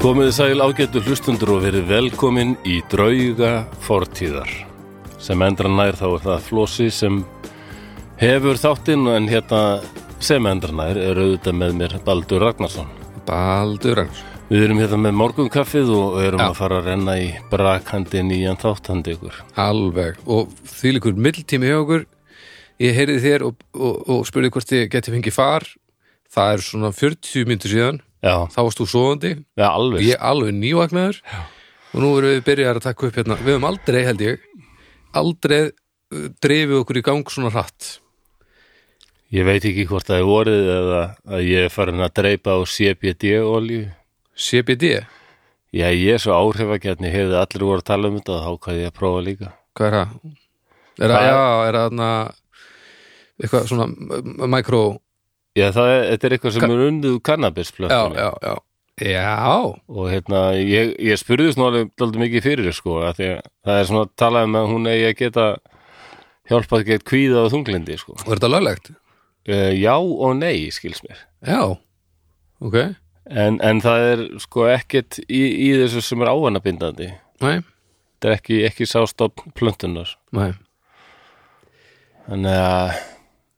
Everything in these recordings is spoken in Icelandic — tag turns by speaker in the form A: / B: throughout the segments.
A: Komiði sæl ágættu hlustundur og verið velkomin í drauga fortíðar. Sem endra nær þá er það Flósi sem hefur þáttinn en hérna sem endra nær er auðvitað með mér Baldur Ragnarsson.
B: Baldur Ragnarsson
A: Við erum hérna með morgunkaffið og erum
B: Já.
A: að fara að renna í brakandi nýjan þáttandi ykkur.
B: Alveg, og því líkur mildtími hjá okkur Ég heyrði þér og, og, og spurði hvort þið geti fengið far Það er svona 40 myndir síðan
A: Já,
B: Þá varst þú svoðandi
A: já alveg.
B: Ég alveg nývagnaður Og nú erum við byrjar að taka upp hérna Við höfum aldrei, held ég Aldrei uh, drefið okkur í gang svona hratt
A: Ég veit ekki hvort það er vorið eða að ég er farin að dreipa á CBD-olju.
B: CBD,
A: Já, ég er svo áhrifagjarni, hefði allir voru að tala um þetta og þá hvað ég að prófa líka.
B: hvað er það? Er það,
A: Það-
B: já, er það þarna Eitthvað svona uh, micro
A: Já, það er, þetta er eitthvað sem er undið
B: Já,
A: kannabisblöttunni
B: já, já Já,
A: og hérna, ég, ég spurði svona alveg daldið mikið fyrir þér, sko að því að það er svona að tala um að hún eigi að geta hjálpað gett kvíða og þunglindi sko.
B: og er þetta löglegt?
A: uh, já og nei, skils mér
B: Já, ok
A: en, en það er sko ekkert í, í þessu sem er ávanabindandi
B: Nei,
A: þetta er ekki, ekki sástopp plöntunar
B: nei
A: þannig að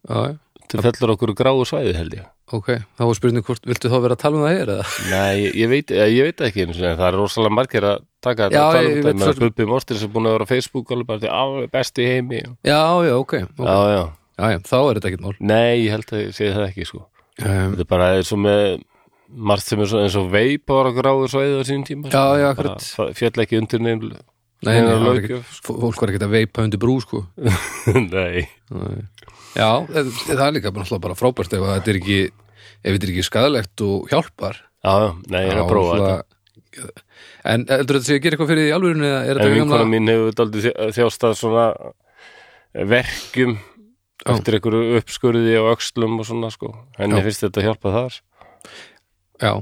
B: Já,
A: þetta fellur okkur á gráu svæði held ég
B: ok, þá var spurning hvort viltu þá vera að tala um það hér eða?
A: Nei, ég, ég veit, eh, ég veit það ekki einu sinni, en það er rosalega margir að taka þetta
B: Já,
A: að tala um
B: ég- ég
A: þetta,
B: veit
A: ég meðan
B: svo-
A: Bubbi Mortens er búin að vera á Facebook alveg bara því alveg besti í heimi
B: Já, já, ok, okay. Já.
A: Já, já,
B: já, þá er þetta ekkert mál
A: nei, ég held að ég segi það ekki sko,
B: um,
A: þetta er bara eins og með margt sem er svo, eins og veip ára gráður svæðið á sínum tíma
B: Já,
A: sko.
B: já,
A: Bara
B: akkurat.
A: fa- féll ekki undir neinu
B: Nei, nei,
A: neina
B: það var ekki,
A: löggjöf. sko.
B: fó- fólk var ekkert að veipa undir brú, sko
A: Nei,
B: Nei. Já, það, það er líka bara, náttúrulega bara frábært ef að þetta er ekki ef þetta er ekki skadalegt og hjálpar
A: já, já, nei, ég er
B: Já,
A: að prófa þetta
B: náttúrulega- En heldur þetta sé að gera eitthvað fyrir því í alvörinu eða er hérna-
A: En
B: þetta
A: vinkona mín hefur daldið þjástað svona verkjum
B: Já.
A: eftir einhverju uppskurði og öxlum og svona sko, henni
B: Já.
A: finnst þetta að hjálpa þar
B: Já,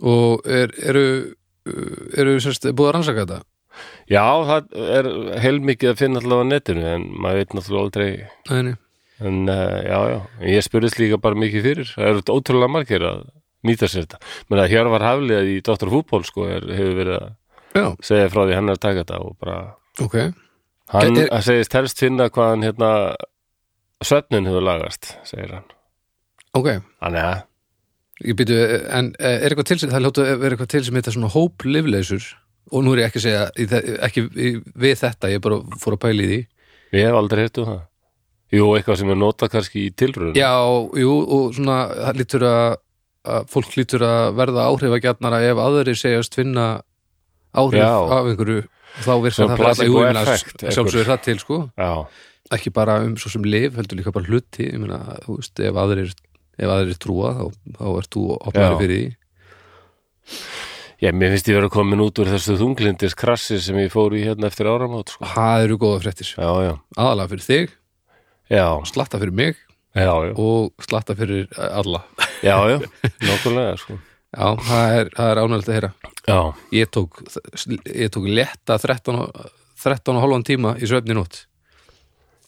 B: og er, eru eru semst búið að rannsaka þetta?
A: Já, það er heilmikið að finna allavega á netinu en maður veit náttúrulega aldrei
B: Nei, nei
A: en uh, já, já, En ég spurðist líka bara mikið fyrir það eru ótrúlega margir að nýta sér þetta menn að hér var hafliðað í Dr. Fútbol sko, er, hefur verið að
B: Já,
A: segja frá því hann er að taka þetta og bara
B: ok
A: hann
B: Er- er-
A: að segist helst finna hvað hann hérna svefnin hefur lagast, segir hann
B: Ok,
A: Þannig að,
B: ég byrju, en eh, er eitthvað til sem, það hljóta að vera eitthvað til sem heita svona hóplifleysur og nú er ég ekki að segja, í þe- ekki í- við þetta, ég bara fór að pæla í því
A: ég hef aldrei hértu það Jú, eitthvað sem er notað kannski í tilröðun
B: Já, jú, og svona það lítur að, að fólk lítur að verða áhrifagjarnara ef aðrir segjast finna áhrif
A: Já.
B: af einhverju þá virkar
A: Svona
B: það fyrir alla, jú, ég meina,
A: placebo-effekt, eitthvað.
B: sjálfsögur það til, sko
A: já,
B: ekki bara um svo sem lif, heldur líka bara hluti ég meina, þú veist, ef aðrir ef aðrir trúa, þá, þá ert þú opnari
A: Já.
B: fyrir því
A: Já, mér finnst ég vera komin út úr þessu þunglindis krassi sem ég fór í hérna eftir áramót sko.
B: það eru góða fréttir,
A: Já, já,
B: aðalega fyrir þig
A: já,
B: slatta fyrir mig
A: já, já,
B: og slatta fyrir eh, alla
A: já, já. nokkulega sko.
B: já, það er, það er ánægilegt að heyra
A: Já,
B: ég tók, ég tók letta 13, og- 13 og halvan tíma í svefni nótt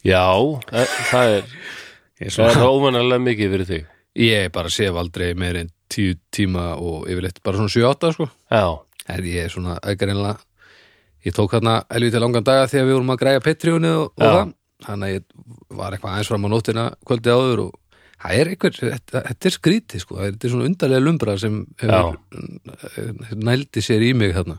A: já, e- það er, það
B: ég,
A: er
B: svona,
A: ómanarlega mikið fyrir þig.
B: ég bara sef aldrei meir en 10 tíma og yfirleitt bara svona 7-8 sko
A: Já,
B: er ég svona aðgærinlega ég tók hérna helviti langan daga þegar við vorum að græja Patreonið og, og
A: Já.
B: það þannig að ég var eitthvað aðeins fram á nóttina kvöldi áður og það er einhver þetta, þetta er skrítið sko, þetta er svona undarlega lumbra sem hefur, eh, nældi sér í mig þarna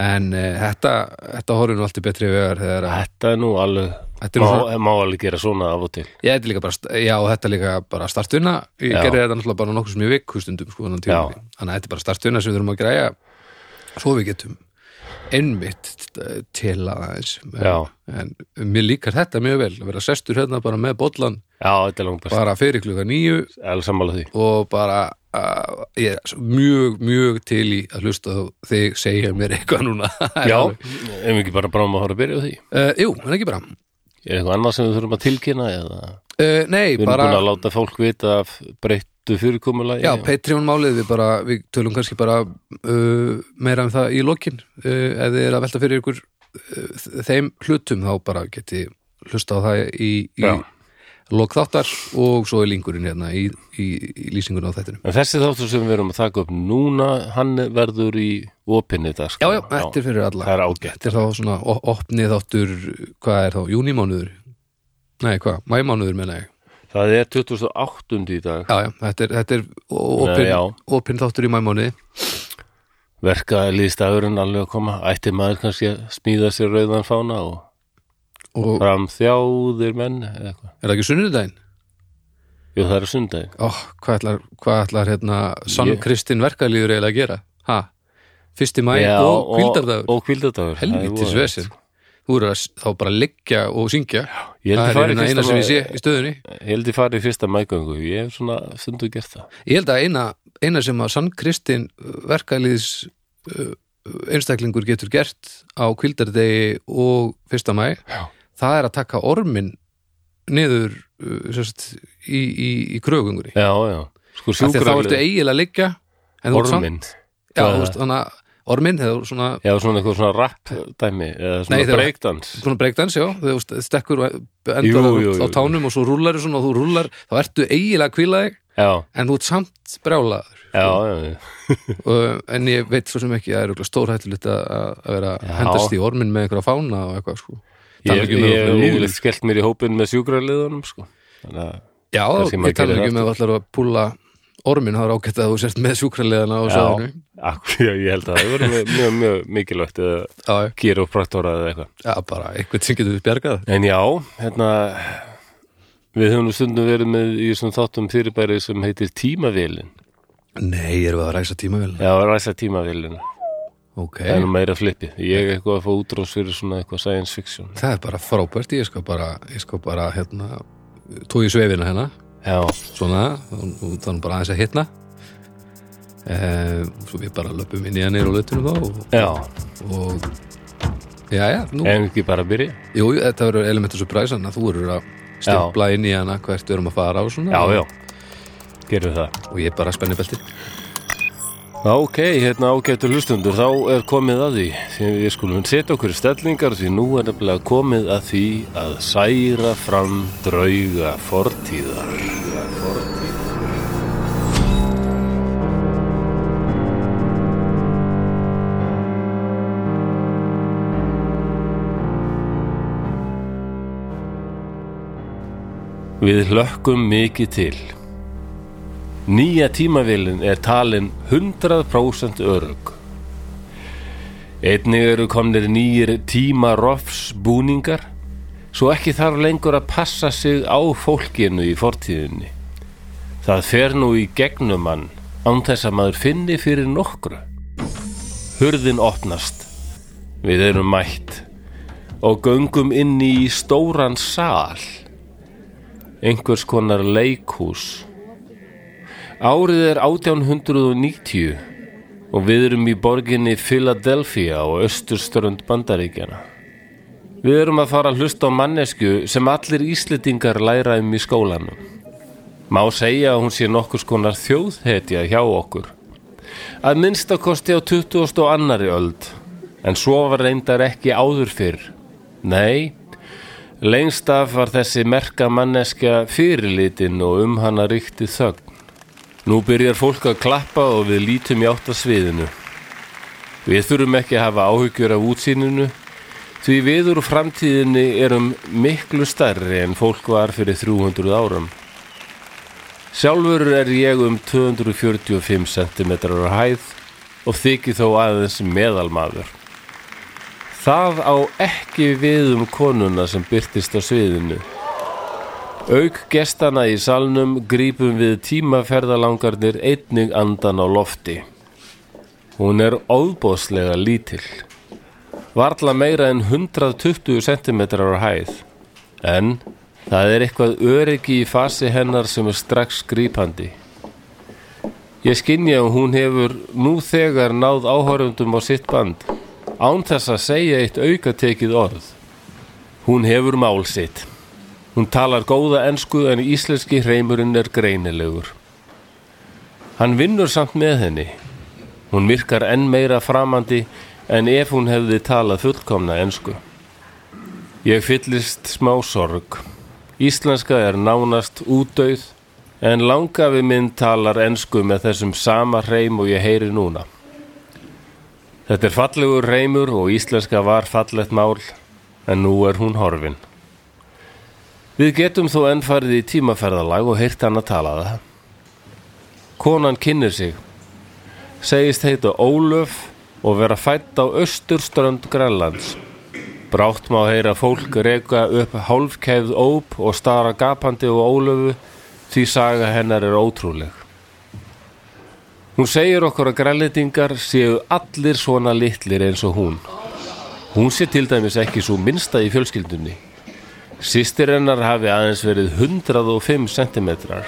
B: en e, þetta, þetta horfir nú allt í betri vegar þegar að
A: þetta er nú alveg,
B: Þetta er
A: má,
B: nú svona-
A: má alveg gera svona af og til.
B: ég þetta er líka bara, st- já þetta er líka bara startuna, ég
A: Já.
B: gerði þetta náttúrulega bara nokkuð sem ég vikku stundum sko, þannig
A: Já.
B: að þetta er bara startuna sem við þurfum að græja svo við getum einmitt eh, til aðeins
A: Já.
B: en, en mér líkar þetta mjög vel að vera sestur hérna bara með bollan
A: Já, þetta er langt best,
B: bara fyrir kluga nýju
A: alveg sammála því.
B: og bara uh, ég er svo mjög, mjög til í að hlusta á þig segja mér eitthvað núna Það er
A: Já,
B: alveg-
A: ef ekki bara bráðum að fara að byrja á því.
B: Eh, Jú, en ekki bara
A: Er eitthvað annað sem við þurfum að tilkynna eða
B: uh, Nei,
A: við erum
B: bara
A: búin að láta fólk vita af breyttu fyrirkomulagi?
B: Já, Patreon málið, við bara, við tölum kannski bara uh, meira um það í lokin uh, ef þið er að velta fyrir eh, ykkur uh, þ- þeim hlutum, þá bara geti hlusta á það í, í
A: Já.
B: lok þáttar og svo er lingurinn hérna í, í, í lýsingunum á þættinum
A: En þessi þáttur sem við erum að taka upp núna, hann verður í opinni dag.
B: Já, já, þetta er fyrir alla
A: Það er ágætt.
B: Þetta er þá svona o- opnið þáttur hvað er þá, júnímánuður Nei, hvað, mæmánuður menna ég
A: Það er 2008 í dag.
B: Já, já, þetta er, þetta er
A: Nei, Eh, já.
B: opin, opin þáttur í mæmánuði
A: Verka líðstagurinn alveg að koma. Ætti maður kannski að smíða sér rauðan fána og
B: og er
A: framþjáðir menn eða eitthvað.
B: það ekki sunnudaginn?
A: Jú, það er sundagi.
B: Ó, hvað ætlar, hvað ætlar hérna Sann Kristinn verkalýður eiginlega að gera? Ha? Fyrsti mæ
A: Já,
B: og kvildardagur?
A: Og kvildardagur. Það er
B: Helvítis
A: voðalegt.
B: vesir Þú eru að s- þá bara liggja og syngja
A: Ég held
B: Það
A: að
B: er
A: fara í
B: eina, eina
A: fyrsta
B: sem ég
A: ma-
B: sé í stöðunni
A: Ég held ég farið í fyrsta mægöngu. Ég hef svona stundu gert það.
B: Ég held að eina, eina sem að Sann Kristinn verkalýðs uh, einstaklingur getur gert á kvildardegi og fyrsta mæ
A: Já.
B: það er að taka ormin niður uh, sérst, í, í, í krögungunni
A: Já, já. Sko
B: Af því að þá ertu
A: sjúkralið,
B: eiginlega að liggja en þú ert samt-
A: orminn.
B: já,
A: Hvað-
B: þú veist, þannig að orminn eða svona,
A: Já, svona eitthvað svona rap dæmi eða
B: Nei,
A: svona
B: þegar-
A: breakdans
B: svona breakdance, já þú veist, stekkur og endar
A: Jú,
B: jú,
A: jú,
B: á
A: jú.
B: tánum og svo rúlar þú svona og þú rúlar, þá ertu eiginlega að kvíla þig
A: Já,
B: en þú ert samt brjálaður
A: já, já,
B: um
A: já.
B: og, en ég veit svo sem ekki að það er stórhættulegt að að vera að hendast í orminn með einhverja fána og eitthvað sko Tala
A: Ég
B: ekki um ef
A: ég
B: þú
A: hef
B: ætlar að-
A: yfirleitt skellt mér í hópin með sjúkraliðunum sko. Þannig að,
B: Já,
A: Kannski maður
B: ég tala
A: gerir
B: ekki um ef þú ætlar að púla orminn, þá er ágætt að þú sért með sjúkraliðana og
A: Já,
B: svo
A: ak- já, ég held að það verður mjög, mjög, mjög mikilvægt eða
B: Já,
A: gyropraktora eða eitthvað
B: já, bara eitthvað sem getur bjargað
A: En já, hérna við höfum nú stundum verið með í þessum þáttum fyrirbæri sem heitir tímavélin
B: Nei, erum við að ræsa tíma vel
A: Já, ræsa tímavélin Það er nú meira flippið Ég er eitthvað að fá útrás fyrir svona eitthvað science fiction
B: Það er bara frábært, ég skal bara, ég skal bara hérna, tók ég sveifina hérna,
A: Já,
B: svona, og þannig bara aðeins að hitna. Eh, svo við bara löpum inn í hann og löttunum þá og,
A: já,
B: og já, já, nú,
A: en ekki bara að byrja
B: jú, þetta verður elementu surprise hann að þú verður að stimpla inn í hana hvert við erum að fara og svona
A: Já, já, gerum það
B: og ég bara spenni beltið.
A: Já, Ok, hérna ágættu hlustundur, þá er komið að því því við skulum setja okkur í stellingar því nú er nefnilega komið að því að særa fram drauga fortíðar. Við hlökkum mikið til. Nýja tímavélin er talin 100% örug. Einnig eru komnir nýjir tímarofsbúningar, svo ekki þarf lengur að passa sig á fólkinu í fortíðinni. Það fer nú í gegnum hann án þess að maður finni fyrir nokkru. Hurðin opnast. Við erum mætt og göngum inn í stóran sal. Einhvers konar leikhús. Árið er 1890 og við erum í borginni Philadelphia á östurströnd bandaríkjana. Við erum að fara að hlusta á mannesku sem allir íslendingar læra um í skólanum. Má segja að hún sé nokkurs konar þjóðhetja hjá okkur. Að minnstakosti á 20. og annari öld, en svo var reyndar ekki áður fyrr. Nei, lengst af var þessi merka manneskja fyrirlitin og um hana ríkti þögn. Nú byrjar fólk að klappa og við lítum í átt að sviðinu. Við þurfum ekki að hafa áhyggjur af útsýninu, því við úr framtíðinni erum miklu stærri en fólk var fyrir 300 árum. Sjálfur er ég um 245 cm á hæð og þykir þó aðeins meðalmaður. Það á ekki við um konuna sem byrtist á sviðinu. Auk gestana í salnum grípum við tímaferðalangarnir einnig andan á lofti. Hún er óbóðslega lítill. Varla meira en 120 cm á hæð. En það er eitthvað öryggi í fasi hennar sem er strax grípandi. Ég skynja að hún hefur nú þegar náð áhörundum á sitt band. Án þess að segja eitt aukatekið orð. Hún hefur mál sitt. Hún talar góða ensku en íslenski hreimurinn er greinilegur. Hann vinnur samt með henni. Hún virkar enn meira framandi en ef hún hefði talað fullkomna ensku. Ég fyllist smá sorg. Íslenska er nánast útdauð en langafi minn talar ensku með þessum sama hreim og ég heyri núna. Þetta er fallegur reymur og íslenska var fallegt mál en nú er hún horfin. Við getum þó ennfarið í tímaferðalag og heyrt hann að tala það. Konan kynir sig, segist heita Ólöf og vera fætt á austurströnd Grænlands. Brátt má heyra fólk reyka upp hálfkeið óp og stara gapandi og Ólöfu því saga hennar er ótrúleg. Hún segir okkur að grænlendingar séu allir svona litlir eins og hún. Hún sé til dæmis ekki svo minnsta í fjölskyldunni. Sýstir hennar hafi aðeins verið 105 sentimetrar.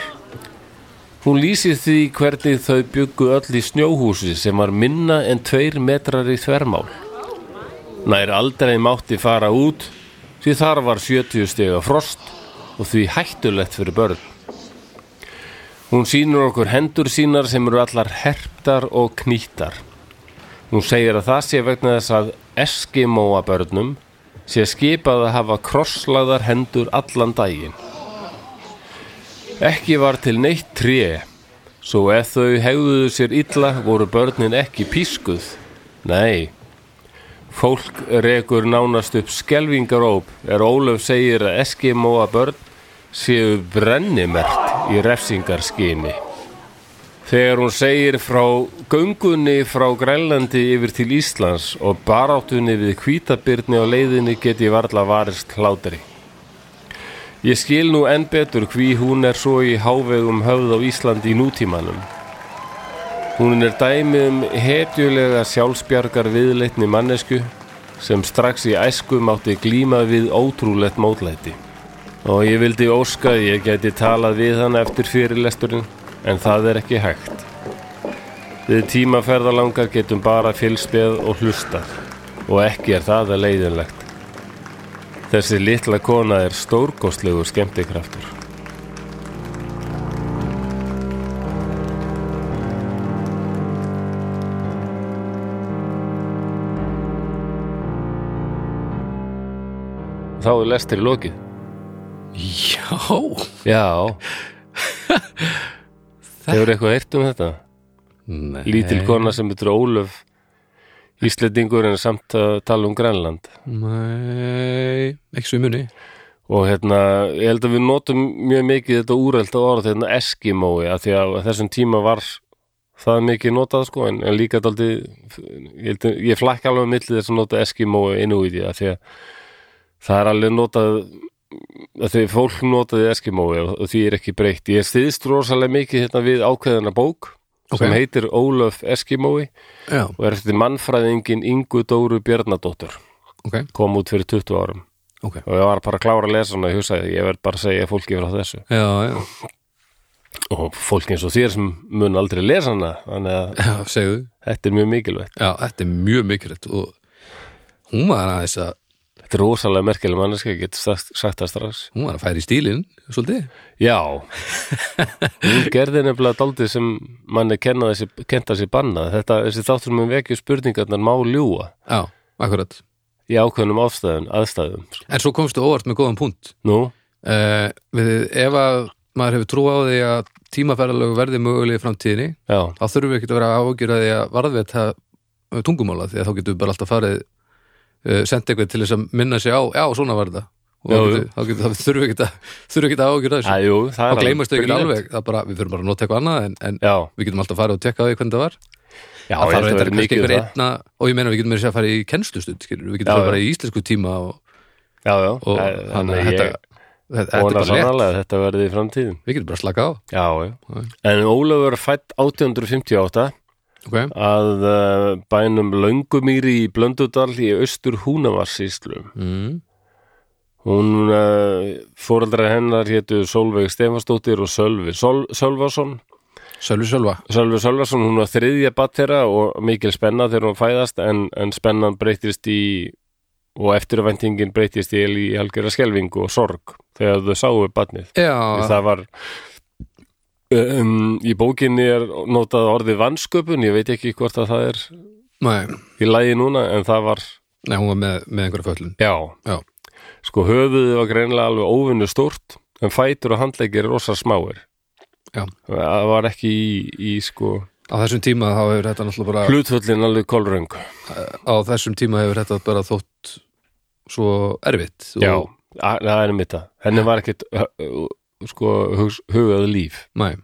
A: Hún lýsið því hvernig þau byggu öll í snjóhúsi sem var minna en 2 metrar í þvermál. Nær aldrei mátti fara út því þar var 70 stega frost og því hættulegt fyrir börn. Hún sínur okkur hendur sínar sem eru allar herptar og knýttar. Hún segir að það sé vegna þess að Eskimoa börnum sé skipað að hafa krosslaðar hendur allan daginn. Ekki var til neitt tré, svo ef þau hegðuðu sér illa voru börnin ekki pískuð. Nei, fólk rekur nánast upp skelvingaróp er Ólaf segir að Eskimoa börn séu brennimert í refsingarskyni. Þegar hún segir frá göngunni frá Grælandi yfir til Íslands og baráttunni við kvítabirni á leiðinni geti varla varist hlátari. Ég skil nú enn betur hví hún er svo í hávegum höfð á Íslandi í nútímanum. Hún er dæmið um hetjulega sjálfsbjargar viðleitni mannesku sem strax í æskum átti glíma við ótrúlegt mótlæti. Og ég vildi óska að ég geti talað við hann eftir fyrirlesturinn en það er ekki hægt. Við tímaferðalangar getum bara fylgspið og hlustar og ekki er það að leiðinlegt. Þessi litla kona er stórgóðslegu skemmtikraftur. Þá er lestir lokið.
B: Já,
A: Já, hefur eitthvað heyrt um þetta?
B: Nei.
A: Lítil kona sem heitir Ólöf Íslandingur en samt að tala um Grænland
B: Nei, ekki svo í muni
A: og hérna, ég held að við notum mjög mikið þetta úrælda orð hérna Eskimói, að því að á þessum tíma var það mikið notað sko en, en líka daldi ég, held að- ég flakka alveg á milli þess að nota Eskimói inn úr því að því að það er alveg notað að því fólk notaði Eskimói og, og því er ekki breytt. Ég stiðst rosalega mikið hérna við ákveðina bók
B: Ok.
A: sem heitir Ólöf Eskimói
B: Já,
A: og er eftir mannfræðingin Ingu Dóru Bjarnadóttur
B: ok,
A: kom út fyrir 20 árum
B: ok
A: og ég var bara að klára að lesa hana og ég hugsaði ég verð bara að segja fólki frá þessu
B: Já, já,
A: og fólki eins og þér sem mun aldrei lesa hana þannig að
B: já segðu
A: þetta er mjög mikilvægt
B: Já, þetta er mjög mikilvægt og hún var aðeins að
A: þetta er rosalega merkileg manneska, ég get sagt sagt það strax
B: hún var að færa í stílinn, svolítið
A: já hún gerði nefnilega daldið sem manni kenna þessi, kenta þessi banna þetta, þessi þáttur mun vekju spurningarnar má ljúa
B: Já, akkurat
A: í ákveðnum ástæðum, aðstæðum sko.
B: En svo komstu óvart með góðan punkt
A: nú,
B: uh, við, Ef að maður hefur trú á því að tímaferðalögu verði mögulegi í framtíðinni
A: já,
B: þá þurfum við ekki að vera ágjur að því að varðvita tungumála því að þá getum við bara alltaf farið uh, senda eitthvað til þess að minna sig á já, svona var þetta og
A: Já,
B: þá getum- þá getum- þá þurfum við ekki að þurfum við ekki að ágjur að þessu
A: aðjú, það er
B: þá gleymast þau ekki
A: brilliant.
B: alveg, það bara, við þurfum bara að nota eitthvað annað en, en
A: já,
B: við getum alltaf að fara og tekka á því hvernig það var
A: já, ég held
B: það þarf
A: að vera mikið um það
B: eitthvað kannski einhver einna og ég meina við getum meira að segja að fara í kennslustund skilur, við getum
A: Já,
B: farið
A: já.
B: bara í íslensku tíma og,
A: já, já,
B: og
A: það-
B: þannig að
A: ég-
B: þetta, þetta, þetta er
A: Vona
B: bara létt
A: sannarlega að þetta verði í framtíðin
B: við getum bara að slaka á
A: Já, já. En Ólafur er fætt 1858
B: okay.
A: að uh, bænum Löngumýri í Blöndudal í austur Húnavarsíslu.
B: mm.
A: Hún uh, fóreldra hennar hétu Solveig Stefansdóttir og Sölvi Sol Sölvason.
B: Sölvi Sölva
A: Sölvi Sölvason, hún var þriðja battera og mikil spenna þegar hún fæðast en, en spennan breytist í og eftirvæntingin breytist í, í algjöra skelfingu og sorg þegar þau sáu batnið.
B: já,
A: það var um, í bókinni er notað orðið vansköpun, ég veit ekki hvort að það er
B: nei,
A: í lagi núna en það var,
B: nei, hún var með, með einhverja föllun
A: já
B: Já.
A: sko höfuðið var greinilega alveg óvinnu stórt en fætur og handleggir er rosa smáir
B: Já.
A: það var ekki í, í sko
B: á þessum tíma þá hefur þetta náttúrulega bara
A: hlutföllin alveg kolröng
B: á þessum tíma hefur þetta bara þótt svo erfitt
A: já, a- það er mitt að henni var ekkit uh, uh, sko hugs- hugað líf
B: mæ,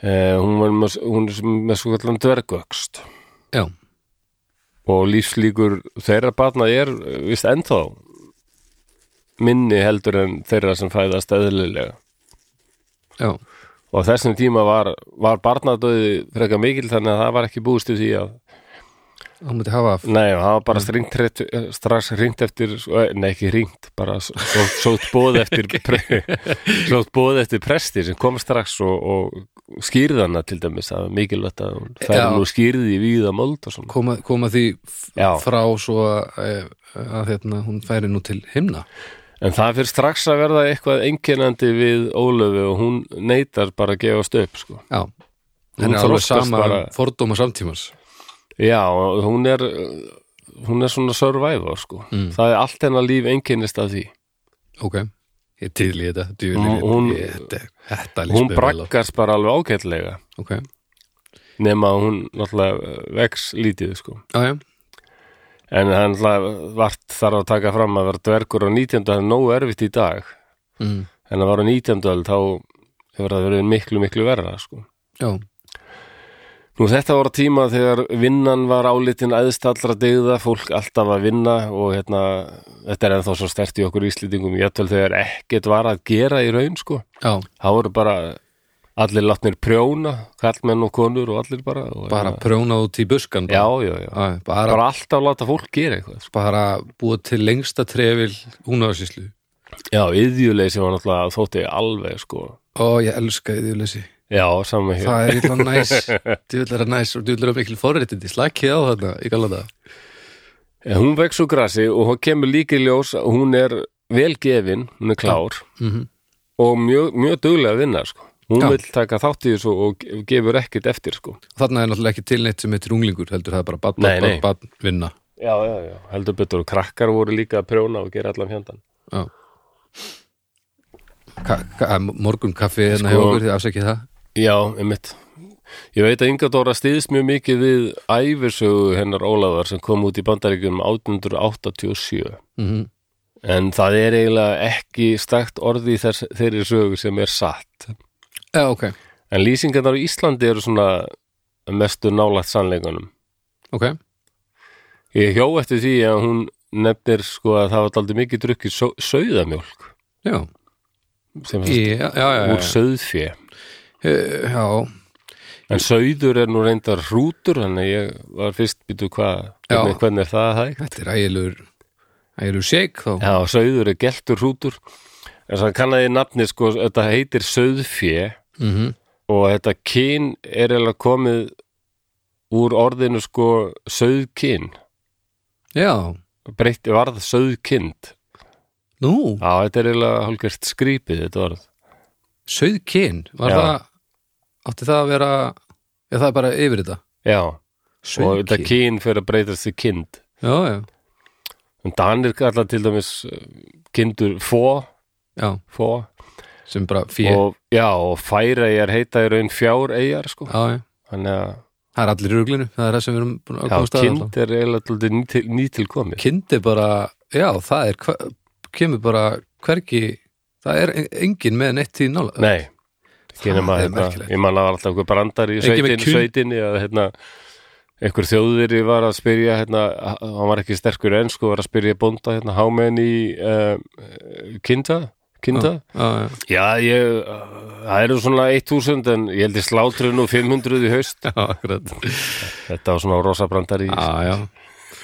A: eh, hún var með, hún er með svo kallan dvergöxt
B: já,
A: og lífslíkur þeirra batna er eh, víst ennþá minni heldur en þeirra sem fæðast eðlilega
B: já,
A: og á þessum tíma var, var barnadauði frekar mikil þannig að það var ekki búist í því að
B: hann myndi hafa
A: Nei, það var bara strengt rétt, strax ringt eftir, sko, eh, nei ekki ringt, bara sótt sót bóð eftir, pre, sótt bóð eftir presti sem kom strax og, og skýrðana til dæmis, það var mikilvægt að hún færi
B: Já.
A: nú skýrði í víða mold og svona.
B: koma, koma því f-
A: Já.
B: frá svo að, að hérna, hún færi nú til himna
A: En það fyrir strax að verða eitthvað einkennandi við Ólöfu og hún neytar bara að gefast upp, sko.
B: já,
A: Hún
B: hann er alveg
A: þroskast
B: sama
A: bara-
B: fordóma samtímans
A: Já, og hún er, uh, hún er svona survivor, sko.
B: Mm.
A: Það er allt hennar líf einkennist af því.
B: ok, ég til í þetta djúli,
A: Hún- hún-
B: þetta, þetta líst
A: Hún
B: mér vel á.
A: braggast bara alveg ágætlega.
B: ok,
A: nema að hún náttúrulega vex lítið sko.
B: já, já,
A: en hann náttúrulega vart þarf að taka fram að vera dvergur á 19. það er nógu erfitt í dag
B: mm,
A: en að var á 19. öld þá hefur það verið miklu miklu verra sko.
B: já
A: Nú þetta voru tíma þegar vinnan var álitin æðst allra degða, fólk alltaf að vinna og hérna, þetta er ennþá svo stert í okkur íslýtingum, jættöld þegar ekkert var að gera í raun sko.
B: já,
A: þá voru bara allir látnir prjóna, kallmenn og konur og allir bara, og,
B: bara prjóna út í buskan
A: já,
B: bara,
A: já, já,
B: já bara,
A: bara alltaf láta fólk gera eitthvað sko.
B: bara búa til lengsta trefil húnaðarsýslu
A: Já, yðjuleysi var náttúrulega þótti alveg sko
B: Ó, ég elska yðurleysi.
A: Já, saman hér
B: Það er illa næs. Djúvill er það næs og djúvill er það mikil forréttindi. Slakið á þarna í gala það.
A: En Hún vex úr grasi og hún kemur líka í ljós að hún er vel gefin, hún er klár
B: Mhm.
A: og mjög, mjög duglega að vinna sko Hún
B: Já.
A: vill taka þátt í þessu og ge- gefur ekkert eftir sko
B: Þarna er náttúrulega ekki til neitt sem heitir unglingur heldur það er bara bann,
A: Nei,
B: bann,
A: nei.
B: bann, bann, vinna.
A: Já, já, já, heldur betur og krakkar voru líka að prjóna og gera allan fjöndan
B: Já. Ka ka morgun kaffi hérna
A: Sko-
B: hjá okkur, þið afsækið það.
A: Já, einmitt Ég veit að Inga Dóra stýðist mjög mikið við æfisögu hennar Ólafar sem kom út í bandaríkjum 1887
B: Mm
A: En það er eiginlega ekki stækt orði í þess, þeirri sögu sem er satt.
B: Já, ok.
A: En lýsingarnar á Íslandi eru svona mestu nálægt sannleikunum.
B: Ok.
A: Ég hjó eftir því að hún nefnir sko að það var aldrei mikið drukkið sau- sauðamjólk
B: Já.
A: sem
B: Í,
A: fannst
B: já, já, já.
A: úr sauðfé.
B: Eh, já.
A: En sauður er nú reyndar hrútur, þannig að ég var fyrst býtu hvað,
B: Já.
A: hvernig, hvernig er það hægt?
B: Þetta er ægilegur, ægilegur shake þá.
A: Já, sauður er geltur hrútur. En svo kannaði nafni sko, þetta heitir sauðfé
B: Mm
A: og þetta kyn er eiginlega komið úr orðinu sko söðkyn
B: Já.
A: breytti varð söðkynd
B: Nú,
A: á, þetta er eiginlega hálfgjört skrýpið þetta orð
B: söðkyn. Var
A: Já.
B: það, átti það að vera, já það er bara yfir þetta.
A: já, og þetta
B: Söðkyn.
A: kyn fyrir að breytast í kind
B: Já, já,
A: en Danir kallar til dæmis eh, kindur fó,
B: já.
A: fó
B: sem bara fjö
A: og, já, og færeigjar heita í raun fjáreyjar sko.
B: já, já.
A: þannig að
B: það er allir í ruglinu, það er það sem við erum búin að
A: já,
B: komast að alltaf.
A: kind er eiginlega dálítið nýtil, nýtilkomið
B: kind er bara, já það er hver, kemur bara hvergi það er en- engin með neitt í nála
A: Nei, ekki
B: Það
A: nema
B: er
A: hérna,
B: merkilegt.
A: ég man að það var alltaf einhver brandar í
B: Ekki með
A: sveitinni,
B: kyn-
A: sveitinni að hérna, einhver þjóðveri var að spyrja hérna, h- hann var ekki sterkur ennsku var að spyrja bónda hérna, how many uh, kinda, kinda?
B: já,
A: Já, ég, uh, það eru svona 1000 en ég held ég slátri nú 500 í haust
B: já, akkurat
A: þetta var svona rosa brandar í
B: já, Ah, já,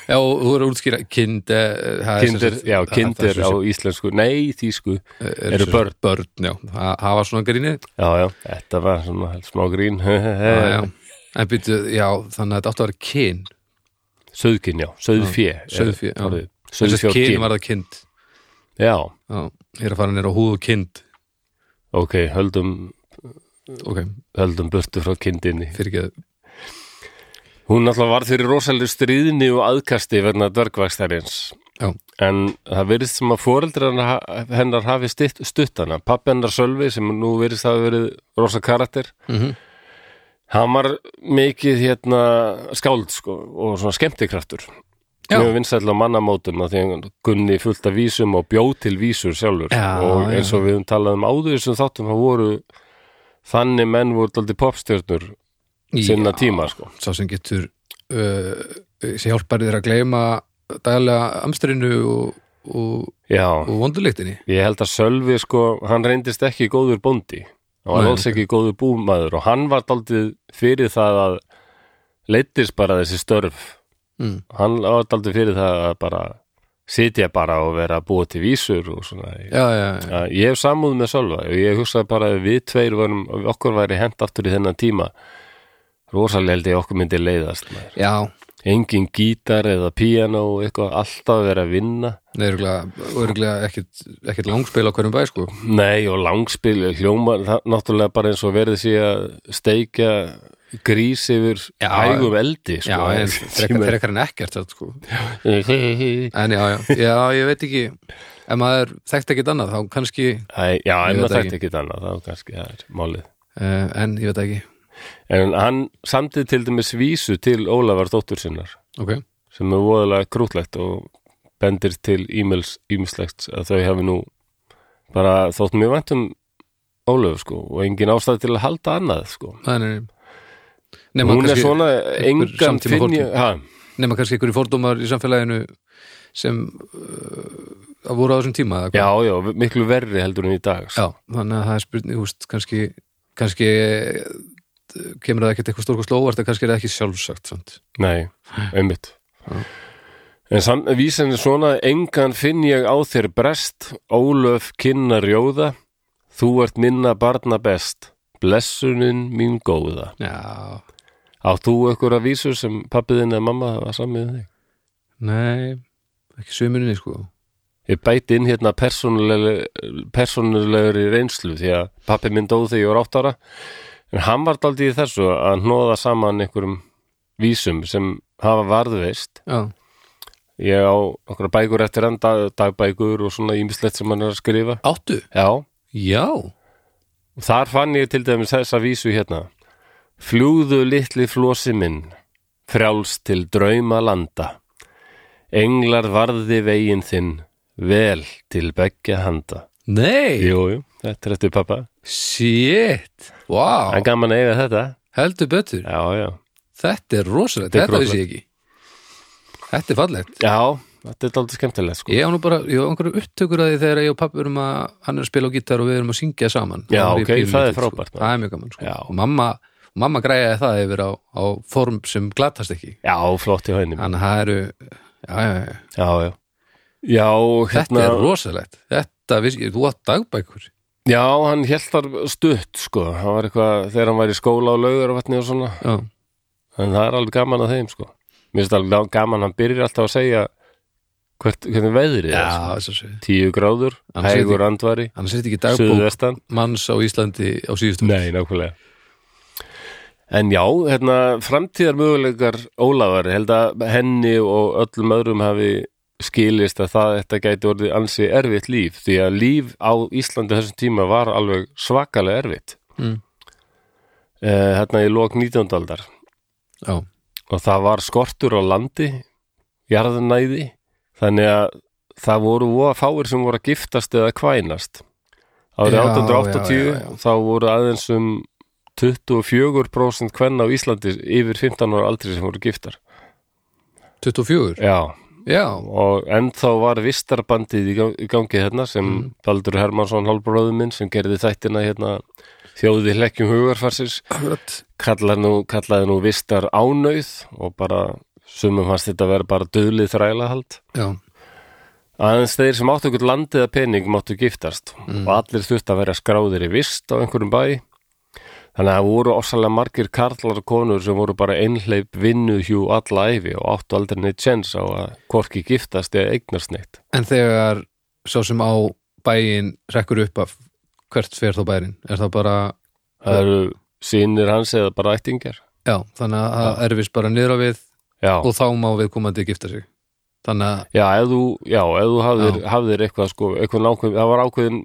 B: já og þú eru að útskýra kind eh, það er sem
A: kindir,
B: sagt-
A: já,
B: það- það
A: kindir
B: er
A: á
B: sem Eh,
A: íslensku, nei, þýsku
B: sagt-
A: eru
B: sem sagt
A: börn.
B: börn, já, það það var svona grínið
A: já, já, þetta var svona smá grín Eh.
B: já, Ah, já, en býttu, já, þannig að þetta átti að vera kyn
A: söðkin, já, söðfjö
B: Ah, Sauðfé, já. þess
A: söðfjö
B: að kyn var það kind
A: já,
B: já, ég er að fara nýra húð og kind
A: ok, höldum
B: ok,
A: höldum burtu frá kindinni
B: fyrir
A: hún náttúrulega var fyrir rosalega stríðni og aðkasti vegna dvergvækstarins
B: Já.
A: en það verðist sem að foreldrar hennar- hennar hafi stutt, stutt hana pappi hennar Sölvi sem nú verðist hafi verið rosa karakter
B: Mhm.
A: hann var mikið hérna skáld sko og svona skemmtikraftur
B: Já.
A: mjög vinsæll á mannamótum að því hann gunni fullt af vísum og bjó til vísur sjálfur
B: Já,
A: og
B: já.
A: eins og við höfum talað um áður sem þáttum það voru þannig menn voru aldrei popstjörnur sinna
B: Já,
A: tíma sko
B: sá sem getur uh, sem hjálpar þér að gleyma daglega amstrinu og, og,
A: Já,
B: og vondurleiktinni
A: ég held að Sölvi sko, hann reyndist ekki góður bóndi hann var
B: Nei,
A: alls ekki góður búmaður og hann var daldið fyrir það að leittist bara þessi störf
B: mm.
A: hann var daldið fyrir það að bara sitja bara og vera að búa til vísur og svona
B: já, já, já,
A: Já, ég hef samúð með Sölva og ég hugsaði bara að við tveir varum, okkur væri hent aftur í þennan tíma rosalega held ég að okkur myndi leiðast maður.
B: já
A: engin gítar eða píano og eitthvað alltaf að vera að vinna
B: Öruglega, öruglega ekkit, ekkit langspil á hverjum bæ sko.
A: Nei og langspil hljóma, það náttúrulega bara eins og verði sé að steikja grís yfir
B: Já.
A: hægum eldi
B: Já,
A: sko.
B: en frekar, frekar en ekkert þetta, sko.
A: frekar
B: En já, já, já, ég veit ekki Ef maður þekkt ekkit annað þá kannski
A: Já, en
B: Ég veit
A: það
B: ekki.
A: þekkt ekki annað það er kannski, það er málið
B: uh, En ég veit ekki
A: En hann samtið til dæmis vísu til Ólafar dóttur sinnar
B: okay.
A: sem er voðalega krútlegt og bendir til e-mails ímislegt að þau hafi nú bara þótt mjög vænt um Ólöf sko og engin ástæð til að halda annað sko
B: Nei, nei, nei. Nema,
A: Hún er
B: kannski,
A: svona engan
B: samtíma
A: finn ég
B: fólki.
A: ha,
B: nema kannski einhverju fordómar í samfélaginu sem uh, voru á þessum tíma eða hvað?
A: Já, já, miklu verri heldur en í dag sko.
B: Já, þannig að það er spurning, þú veist, kannski, kannski eh, kemur það ekkert eitthvað stórkoslega óvart en kannski er það ekki sjálfsagt samt.
A: Nei, einmitt
B: Já.
A: En sam, vísan er svona engan finn ég á þér brest Ólöf kynna rjóða Þú ert minna barna best Blessunin mín góða
B: Já,
A: Átt þú ykkur að vísu sem pappiðin eða mamma var samið þig?
B: nei, ekki sömuninni sko.
A: Ég bæti inn hérna persónulegur í reynslu því að pappi minn dóð þegar ég var átt ára en hann var daldið í þessu að hnoða saman einhverjum vísum sem hafa varðveist
B: Já,
A: Ég á okkur bækur eftir hann, dag, dagbækur og svona ímislegt sem hann er að skrifa.
B: áttu?
A: Já,
B: Já,
A: þar fann ég til dæmis þessa vísu hérna. Fljúðu litli flosi minn, frjáls til drauma landa. Englar varði veginn þinn, vel til beggja handa.
B: nei,
A: Jú, jú, þetta er eftir pappa.
B: shit,
A: Það
B: wow,
A: er gaman að eiga þetta.
B: heldur betur,
A: Já, já.
B: þetta er rosalegt,
A: Þetta er
B: þetta vissi
A: krúttlegt.
B: ég ekki. Þetta er fallegt.
A: Já, þetta er daldið skemmtilegt sko.
B: Ég á nú bara, ég á einhverju upptökur að því þegar ég og pappi erum að, hann er að spila á gítar og við erum að syngja saman.
A: Já,
B: Og hann í
A: ok,
B: bílnum
A: það er
B: lítill,
A: frábært,
B: Sko.
A: maður.
B: Það er mjög gaman, sko.
A: Já.
B: Og mamma, og mamma græjaði það yfir á, á form sem glatast ekki.
A: Já, flott í hænum.
B: Þannig að það eru, já, já, já,
A: Já, já. Já,
B: þetta
A: hérna.
B: er rosalegt. Þetta, viss, ég, þú átt dagbækur.
A: Já, hann held þar stutt sko, hann var eitthvað þegar hann var í skóla og laugur og vatni og svona
B: Já,
A: en það er alveg gaman að þeim sko Mér finnst alveg lá- gaman, hann byrjar alltaf að segja hvert, hvernig veðrið
B: já,
A: er sko.
B: þess að segja.
A: Tíu gráður,
B: Hann segir
A: hægur andvari
B: Annars er þetta ekki dagbók
A: Suðvestan
B: manns á Íslandi á síðustu.
A: Nei, nákvæmlega En já, hérna, framtíðar möguleikar Ólafar, held að henni og öllum öðrum hafi skilist að það þetta gæti orðið ansi erfitt líf, því að líf á Íslandi á þessum tíma var alveg svakalega erfitt
B: Mm.
A: Eh, hérna í lok 19. aldar
B: Já,
A: og það var skortur á landi jarðanæði þannig að það voru voða fáir sem voru að giftast eða kvænast árið
B: Já,
A: 1880
B: já, já, já.
A: þá voru aðeins um 24% kvenna á Íslandi yfir 15 ára aldri sem voru giftar
B: 24.
A: já,
B: Já,
A: og ennþá var vistarbandið í gang- í gangi hérna sem
B: Mm.
A: Baldur Hermansson hálfbróður minn sem gerði þættina hérna þjóðið hlekkjum hugarfarsins
B: akkurat.
A: kallar nú, kallaði nú vistar ánauð og bara sumum hans þetta vera bara döðlið þrælahald
B: Já,
A: aðeins þeir sem áttu ykkur landið að pening máttu giftast og allir þurft að vera skráðir í vist á einhverjum bæ þannig að það voru ofsalega margir karlar og konur sem voru bara einhleip vinnu hjú alla æfi og áttu aldrei neitt sjens á að hvorki giftast eða eignast neitt
B: en þegar sá sem á bæin rekkur upp af hvert fer þá bærin? Er það bara...
A: það eru sínir hans eða bara ættingjar
B: Já, þannig að það erfist bara niður á við
A: Já,
B: og þá má við komandi gifta sig. þannig að
A: Já, ef þú, já, ef þú hafðir, hafðir eitthvað sko, eitthvað nákvæm, það var ákveðin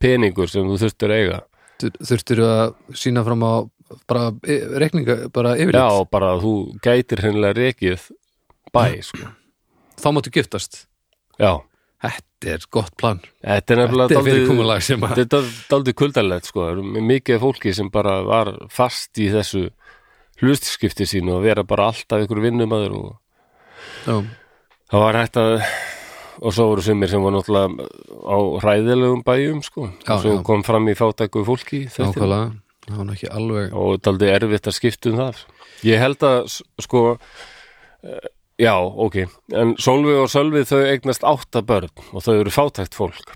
A: peningur sem þú þurftir að eiga
B: þur- þurftir að sína fram á bara e, reikninga, bara yfirleitt
A: Já, bara að þú gætir hennilega rekið bæ, sko
B: þá máttu giftast
A: Já,
B: Þetta er gott plan
A: þetta er nefnilega
B: Þetta er
A: dálítið-
B: fyrirkomulag sem að
A: þetta er daldið kuldalegt sko, Það eru mikið af fólki sem bara var fast í þessu hlustskipti sínu og vera bara alltaf ykkur vinnumæður og
B: já,
A: það var hægt að og svo voru sumir sem voru náttúrulega á hræðilegum bæjum sko
B: Já,
A: og svo
B: já.
A: kom fram í fátæku fólki í þættinum.
B: Nákvæmlega, það var nú ekki alveg
A: og þetta er aldrei erfitt að skipta um það ég held að s- sko eh, já, ok en Solvi og Sölvi þau eignast átta börn og þau eru fátækt fólk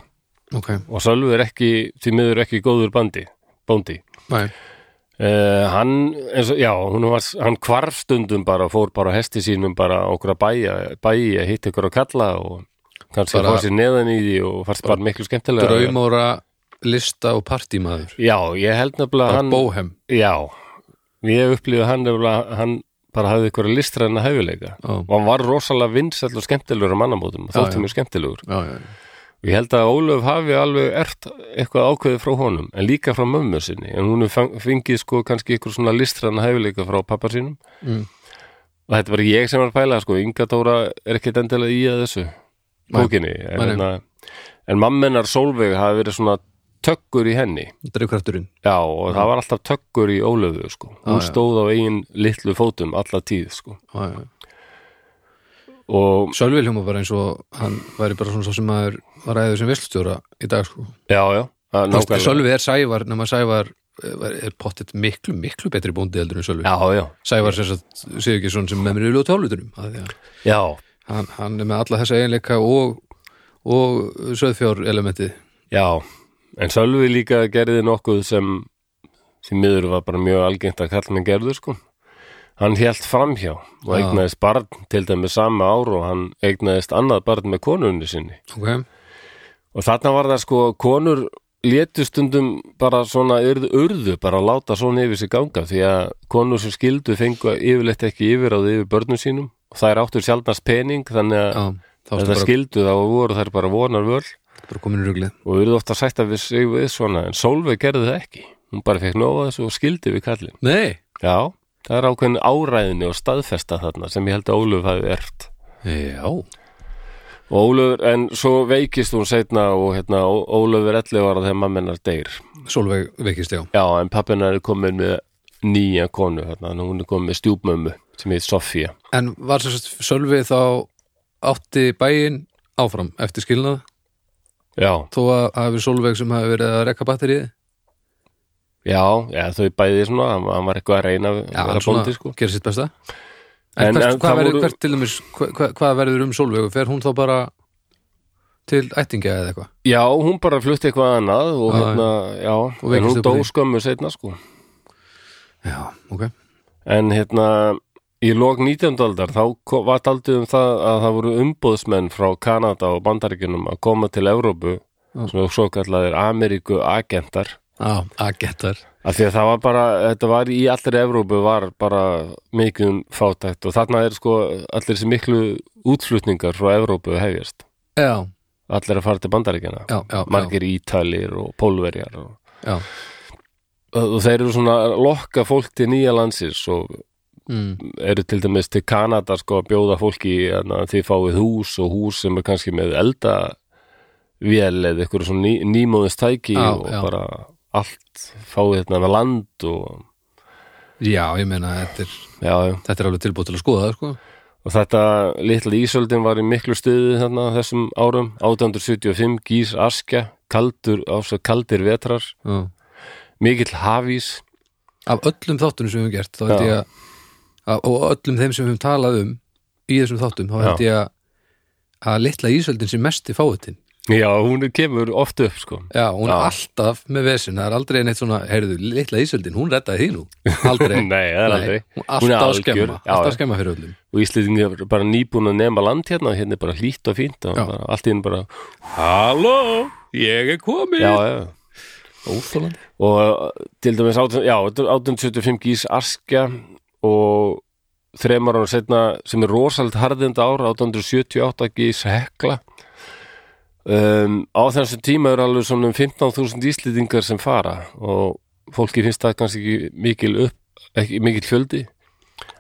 B: Ok,
A: og Sölvi er ekki, því miður ekki góður bandi, bóndi
B: næ,
A: Uh, hann, eins og, já, hún var, hann hvarf stundum bara, fór bara á hesti sínum bara á okkur að bæja, bæja hitt ykkur að kalla og kannski
B: Bara-
A: fór sér neðan í því og fannst bara miklu skemmtilega
B: draumóra lista og partímaður
A: Já, ég held nefnilega
B: Bara
A: hann
B: bóhem
A: Já, ég upplýði hann nefnilega, hann bara hafði ykkur listræna hæfileika
B: Já,
A: og hann var rosalega vinsæll og skemmtilegur á mannamótum og
B: Já,
A: þótti
B: já.
A: mjög skemmtilegur
B: já, já,
A: og ég held að Ólöf hafi alveg ert eitthvað ákveðið frá honum en líka frá mömmu sinni en hún hefur fang- fengið sko kannski ykkur svona listræna hæfileika frá pappa sínum
B: Mm.
A: og þetta var ég sem var að pæla sko, Inga Dóra er ekkit endilega í að þessu bókinni en,
B: nei.
A: hérna, en mammenar Solveig hafi verið svona tökkur í henni
B: dreifkrafturinn
A: Já, og það var alltaf tökkur í ólöfu, sko. Hún
B: já.
A: stóð á eigin litlu fótum alla tíð, sko.
B: já, já.
A: Og,
B: Sölvi hljóma bara eins og hann væri bara svona svo sem maður var ræður sem veslustjóra í dag sko.
A: já, já, það er nákvæmlega.
B: Sölvi er Sævar, nema Sævar eh, er pottet miklu, miklu betri bóndi heldur en Sölvi
A: Já, já,
B: Sævar sem sagt, séu ekki svona sem með mér í ljóta álutunum hann,
A: já,
B: hann er með alla þessa eiginleika og, og söðfjár elementi
A: já. En Sölvi líka gerði nokkuð sem því miður var bara mjög algengt að kallna gerður, sko. Hann hélt framhjá og
B: Já.
A: eignaðist barn til dæmis sama ár og hann eignaðist annað barn með konunni sinni.
B: okay.
A: Og þarna var það sko, konur létu stundum bara svona urðu, urðu bara að láta svona yfir sig ganga því að konur sem skildu fengu yfirleitt ekki yfir á því yfir börnum sínum og það er áttur sjaldnast pening þannig að
B: já,
A: ef
B: þá ertu
A: það
B: bara,
A: skildu þá voru þær bara vonar völ
B: bara komin í ruglið
A: og urðu ofta sætta við sig við svona en Solveig gerði það ekki, hún bara fekk nóga þessu og skildi við kallin.
B: Nei,
A: Já, það er ákveðin áræðinni og staðfesta þarna sem ég held að Ólöf hafi ert.
B: já,
A: Og Ólöfur, en svo veikist hún seinna og hérna, Ó- Ólöfur 11 ára þegar mammenar deyr.
B: Sólveig veikist já
A: Já, en pappina er komin með nýja konu, hérna, en hún er komin með stjúpmömmu sem heit Sofía.
B: En var sem sagt Sölvi þá átti bæinn áfram eftir skilnað
A: Já,
B: þó að það hafi verið Solveig sem hafi verið að rekka batterið
A: já, já þau bæði svona, hann, hann var eitthvað að reyna að
B: Já,
A: vera bóndi, sko.
B: gera sitt besta En,
A: En-
B: hvert,
A: en
B: hvað,
A: það
B: verður,
A: voru-
B: hvert til dæmis, hvað, hvað- hvað verður um Solveig fer hún þá bara til ættingja eða eitthvað
A: Já, hún bara flutti eitthvað annað og
B: Já,
A: hérna, já,
B: Og
A: en hún
B: veikist upp
A: dó
B: á því.
A: skömmu seinna, sko.
B: Já, ok
A: En hérna, í lok 19. aldar, þá ko- var taldið um það að það voru umbóðsmenn frá Kanada og Bandaríkjunum að koma til Evrópu,
B: Já.
A: svona svo kallaðir Ameríku agentar.
B: Já, agentar
A: Af því að það var bara, þetta var í allir Evrópu var bara mikið um fátækt og þarna er sko allir þessi miklu útflutningar frá Evrópu hefjast.
B: Já,
A: Allir að fara til bandaríkjana.
B: já, já,
A: Margir ítalir og pólverjar og,
B: já, já.
A: og þeir eru svona að lokka fólk til nýja landsins og
B: Mm,
A: eru til dæmis til Kanada sko að bjóða fólki að þið fáið hús og hús sem er kannski með elda vél eða eitthvað svona ný, nýmóðist tæki
B: Já,
A: og
B: já.
A: bara allt fáið þetta með land og
B: já, ég meina þetta er,
A: já, já.
B: þetta er alveg tilbúið til að skoða það, sko.
A: og þetta litla ísöldin var í miklu stuði þarna á þessum árum 1875 gís askja kaldur, ásvo kaldir vetrar
B: Já.
A: mikill hafís
B: Af öllum þáttunum sem við höfum gert þá held
A: Já.
B: ég að, að- og öllum þeim sem við höfum talað um í þessum þáttum, þá held
A: Já.
B: ég að að litla ísöldin sem mest í fáutin
A: já, hún kemur oft upp sko
B: Já, hún
A: Já.
B: er alltaf með vesin það er aldrei neitt svona, heyrðu, litla ísöldin hún reddaði því nú, aldrei
A: nei, það er aldrei
B: hún,
A: Hún er
B: alltaf að
A: algjör.
B: skemma,
A: Já,
B: alltaf
A: já.
B: að skemma fyrir öllum
A: og Íslendingi er bara nýbúin að nema land hérna og hérna er bara hlýtt og fínt og
B: Já.
A: bara, allt í henni bara
B: Halló, ég er komin
A: já, já.
B: Óþólandi
A: eh, og uh, til dæmis 18, já, 1875 gís askja og þremar ára setna sem er rosald harðind ára 1878 gís hekla um, á þessum tíma eru alveg svona um 15.000 íslýtingar sem fara og fólki finnst það kannski ekki mikil upp ekki mikil fjöldi